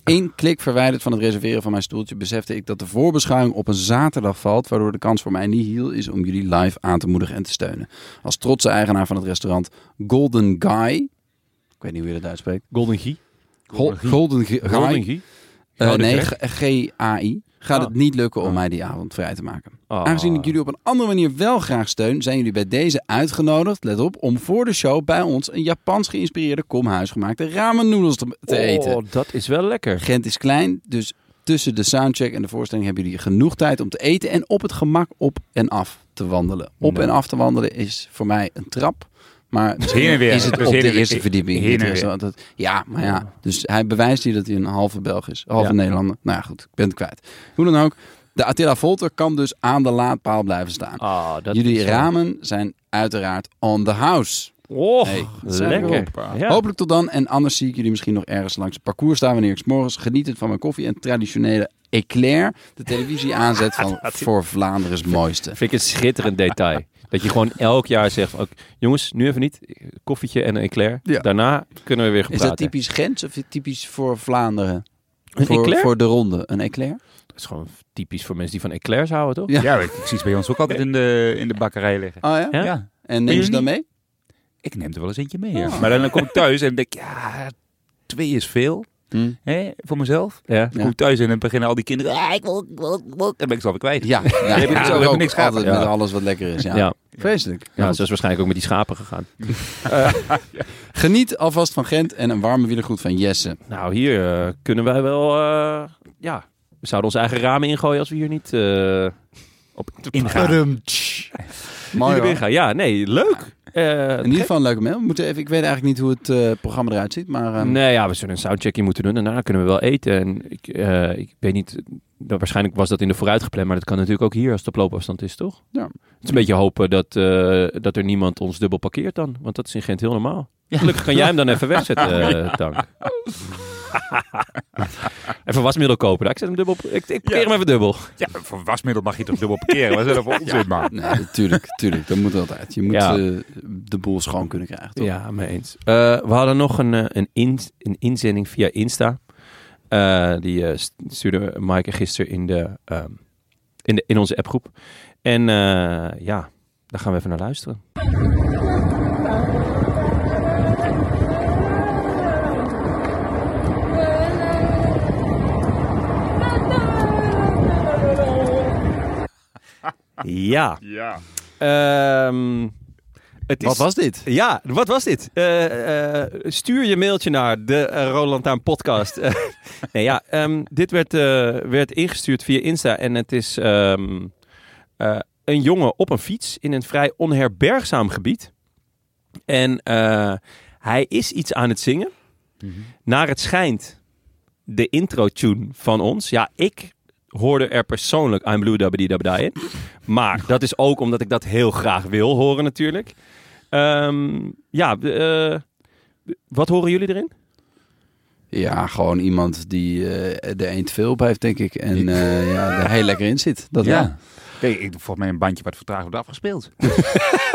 Speaker 2: één klik verwijderd van het reserveren van mijn stoeltje besefte ik dat de voorbeschouwing op een zaterdag valt, waardoor de kans voor mij niet heel is om jullie live aan te moedigen en te steunen. Als trotse eigenaar van het restaurant Golden Guy, ik weet niet hoe je dat uitspreekt,
Speaker 1: Golden Guy.
Speaker 2: Gol- Golden Guy,
Speaker 1: Golden Guy.
Speaker 2: Eh,
Speaker 1: Oh, dit
Speaker 2: nee,
Speaker 1: recht.
Speaker 2: G- G-A-I, gaat
Speaker 1: Ah.
Speaker 2: het niet lukken om mij die avond vrij te maken.
Speaker 1: Ah.
Speaker 2: Aangezien ik jullie op een andere manier wel graag steun, zijn jullie bij deze uitgenodigd, let op, om voor de show bij ons een Japans geïnspireerde kom huisgemaakte ramen noedels te, te eten.
Speaker 1: Oh, dat is wel lekker.
Speaker 2: Gent is klein, dus tussen de soundcheck en de voorstelling hebben jullie genoeg tijd om te eten en op het gemak op en af te wandelen. Op
Speaker 1: Nou.
Speaker 2: en af te wandelen is voor mij een trap. Maar
Speaker 3: heen en weer.
Speaker 2: is het
Speaker 3: Dus
Speaker 2: op
Speaker 3: heen en
Speaker 2: de
Speaker 3: weer.
Speaker 2: eerste verdieping.
Speaker 3: Heen en
Speaker 2: Dit
Speaker 3: weer.
Speaker 2: restaurant, dat- ja, maar ja. Dus hij bewijst hier dat hij een halve Belg is. Halve
Speaker 1: Ja.
Speaker 2: Nederlander. Nou ja, goed. Ik ben het kwijt. Hoe dan ook. De Attila Volter kan dus aan de laadpaal blijven staan.
Speaker 3: Oh,
Speaker 1: Ah, dat
Speaker 2: Jullie
Speaker 1: is wel-
Speaker 2: ramen zijn uiteraard on the house.
Speaker 1: Oh,
Speaker 2: Hey, dat zijn we
Speaker 1: lekker. Ja.
Speaker 2: Hopelijk tot dan. En anders zie ik jullie misschien nog ergens langs het parcours staan wanneer ik 's morgens genietend van mijn koffie en traditionele eclair de televisie aanzet van voor Vlaanderen's mooiste.
Speaker 1: Vind ik een schitterend detail. Dat je gewoon elk jaar zegt, van, oké, jongens, nu even niet. Koffietje en een eclair.
Speaker 2: Ja.
Speaker 1: Daarna kunnen we weer gaan
Speaker 2: Is dat
Speaker 1: praten.
Speaker 2: typisch Gens of typisch voor Vlaanderen?
Speaker 1: Een
Speaker 2: voor,
Speaker 1: eclair?
Speaker 2: voor de ronde, een eclair?
Speaker 1: Dat is gewoon typisch voor mensen die van eclairs houden, toch?
Speaker 2: Ja.
Speaker 3: Ja, weet ik ik zie ze bij ons ook altijd in de, in de bakkerij liggen.
Speaker 2: Oh ja?
Speaker 1: Ja?
Speaker 3: Ja.
Speaker 2: En neem je ze dan mee?
Speaker 3: ik neem er wel eens eentje mee. ja. Maar dan kom ik thuis en denk ik, ja, twee is veel.
Speaker 2: Hm.
Speaker 3: Hè, voor mezelf.
Speaker 1: Ja.
Speaker 3: Dan kom ik thuis en dan beginnen al die kinderen, ah, ik wil, ik wil, ik wil. Dan ben ik ze alweer kwijt.
Speaker 2: Ja, ja,
Speaker 3: hebt
Speaker 2: ik
Speaker 3: het
Speaker 2: ook
Speaker 3: zo, we hebben niks gehad.
Speaker 2: altijd
Speaker 1: Ja.
Speaker 2: met alles wat lekker is. Ja.
Speaker 1: Ja. ja.
Speaker 2: Vreselijk.
Speaker 1: ze is waarschijnlijk ook met die schapen gegaan.
Speaker 2: Geniet alvast van Gent en een warme wielergroet van Jesse.
Speaker 1: Nou, hier eh, kunnen wij wel... eh, ja, we zouden onze eigen ramen ingooien als we hier niet... eh, op
Speaker 3: Ingaan.
Speaker 2: Mooi hoor.
Speaker 1: gaan. Ja, nee, leuk. Eh,
Speaker 2: In ieder geval een leuke mail. We moeten even, ik weet eigenlijk niet hoe het eh, programma eruit ziet, maar... ehm,
Speaker 1: Nee, ja, we zullen een soundcheckje moeten doen. en Daarna kunnen we wel eten. En ik, eh, ik weet niet, nou, waarschijnlijk was dat in de vooruit gepland, maar dat kan natuurlijk ook hier als het op loopafstand is, toch?
Speaker 2: Ja.
Speaker 1: Het is een beetje hopen dat, eh, dat er niemand ons dubbel parkeert dan, want dat is in Gent heel normaal. Gelukkig kan jij hem dan even wegzetten, eh, Dank. even wasmiddel kopen. Nou, ik zet hem dubbel. op- Ik, ik parkeer
Speaker 3: Ja.
Speaker 1: hem even dubbel.
Speaker 3: Ja, voor wasmiddel mag je toch dubbel parkeren? Wat is dat voor onzin, man?
Speaker 2: Nee, tuurlijk, tuurlijk. Dat moet altijd. Je moet
Speaker 1: Ja.
Speaker 2: eh, de boel schoon kunnen krijgen, toch?
Speaker 1: Ja, mee eens. Eh, we hadden nog een, eh, een, in, een inzending via Insta. Eh, die eh, st- stuurde Maaike gisteren in, de, ehm, in, de, in onze appgroep. En eh, ja, daar gaan we even naar luisteren. Ja.
Speaker 3: Ja.
Speaker 1: Ehm, het is,
Speaker 2: Wat was dit?
Speaker 1: ja, wat was dit? Eh, eh, stuur je mailtje naar de eh, Roland Taan podcast. Eh, nee, ja, ehm, dit werd, eh, werd ingestuurd via Insta en het is ehm, eh, een jongen op een fiets in een vrij onherbergzaam gebied. En eh, hij is iets aan het zingen.
Speaker 2: Mhm.
Speaker 1: Naar het schijnt de intro-tune van ons. Ja, ik hoorde er persoonlijk I'm Blue Dabbedy Dabbedy in. Maar dat is ook omdat ik dat heel graag wil horen natuurlijk. Ehm, ja, eh, wat horen jullie erin?
Speaker 2: Ja, gewoon iemand die eh, de een te veel op heeft, denk ik. En eh, ja, er heel lekker in zit. Dat ja.
Speaker 3: ja. Kijk, ik, volgens mij een bandje wat vertraagd wordt afgespeeld.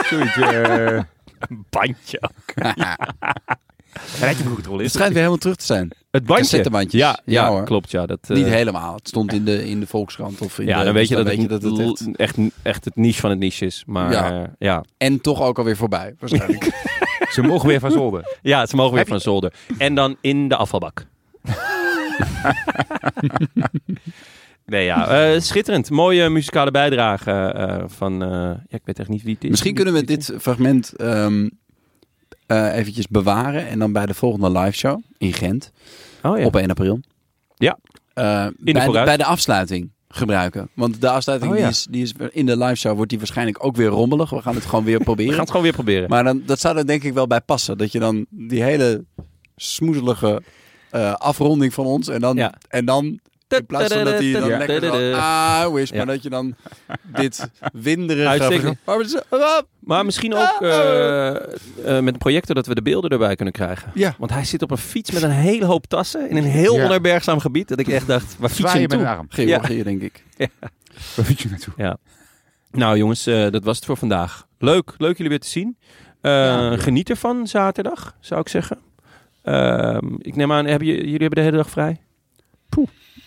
Speaker 3: Zoiets. eh,
Speaker 1: Een bandje.
Speaker 3: Rijdt je broekcontrole
Speaker 2: Het
Speaker 3: is.
Speaker 2: schijnt weer helemaal terug te zijn.
Speaker 1: Het bandje.
Speaker 2: Cassettebandjes.
Speaker 1: Ja, ja,
Speaker 2: Ja, hoor.
Speaker 1: klopt. Ja, dat, eh,
Speaker 2: Niet helemaal. Het stond in de, in de Volkskrant. Of in
Speaker 1: ja,
Speaker 2: de-
Speaker 1: dan weet je
Speaker 2: dus
Speaker 1: dat, het
Speaker 2: weet je dat het echt...
Speaker 1: l- echt, echt het niche van het niche is. Maar
Speaker 2: Ja.
Speaker 1: ja, ja.
Speaker 2: En toch ook alweer voorbij, waarschijnlijk.
Speaker 3: Ze mogen weer van zolder.
Speaker 1: ja ze mogen weer van zolder. En dan in de afvalbak. nee, ja. eh, schitterend. Mooie muzikale bijdrage eh, van... eh, ja, ik weet echt niet wie het is.
Speaker 2: Misschien kunnen we dit fragment ehm, eh, eventjes bewaren. En dan bij de volgende live show in Gent.
Speaker 1: Oh, ja.
Speaker 2: op 1 april.
Speaker 1: Ja.
Speaker 2: Eh,
Speaker 1: de
Speaker 2: bij, de,
Speaker 1: vooruit.
Speaker 2: bij de afsluiting gebruiken. Want de afsluiting
Speaker 1: Oh, ja.
Speaker 2: die is, die is in de live show wordt die waarschijnlijk ook weer rommelig. We gaan het gewoon weer
Speaker 1: we gaan
Speaker 2: proberen.
Speaker 1: het gewoon weer proberen.
Speaker 2: Maar dan, dat zou er denk ik wel bij passen. Dat je dan die hele smoezelige eh, afronding van ons en dan,
Speaker 1: Ja.
Speaker 2: en dan in plaats van dat die dan
Speaker 1: Ja.
Speaker 2: lekker zo, ah, wish, maar
Speaker 1: Ja.
Speaker 2: dat je dan dit winderige...
Speaker 1: Uitstekend.
Speaker 2: Maar we zijn- ah,
Speaker 1: Maar misschien ook eh, eh, met de projector dat we de beelden erbij kunnen krijgen.
Speaker 2: Ja.
Speaker 1: Want hij zit op een fiets met een hele hoop tassen in een heel
Speaker 3: Ja.
Speaker 1: onherbergzaam gebied. Dat ik echt dacht, waar fiets je
Speaker 3: Zwaaien met een
Speaker 1: naartoe?
Speaker 3: arm.
Speaker 2: Georgië, denk ik.
Speaker 3: Waar fiets je naartoe?
Speaker 1: Nou jongens, eh, dat was het voor vandaag. Leuk, leuk jullie weer te zien. Eh, Geniet ervan zaterdag, zou ik zeggen. Ehm, ik neem aan, hebben je- jullie hebben de hele dag vrij?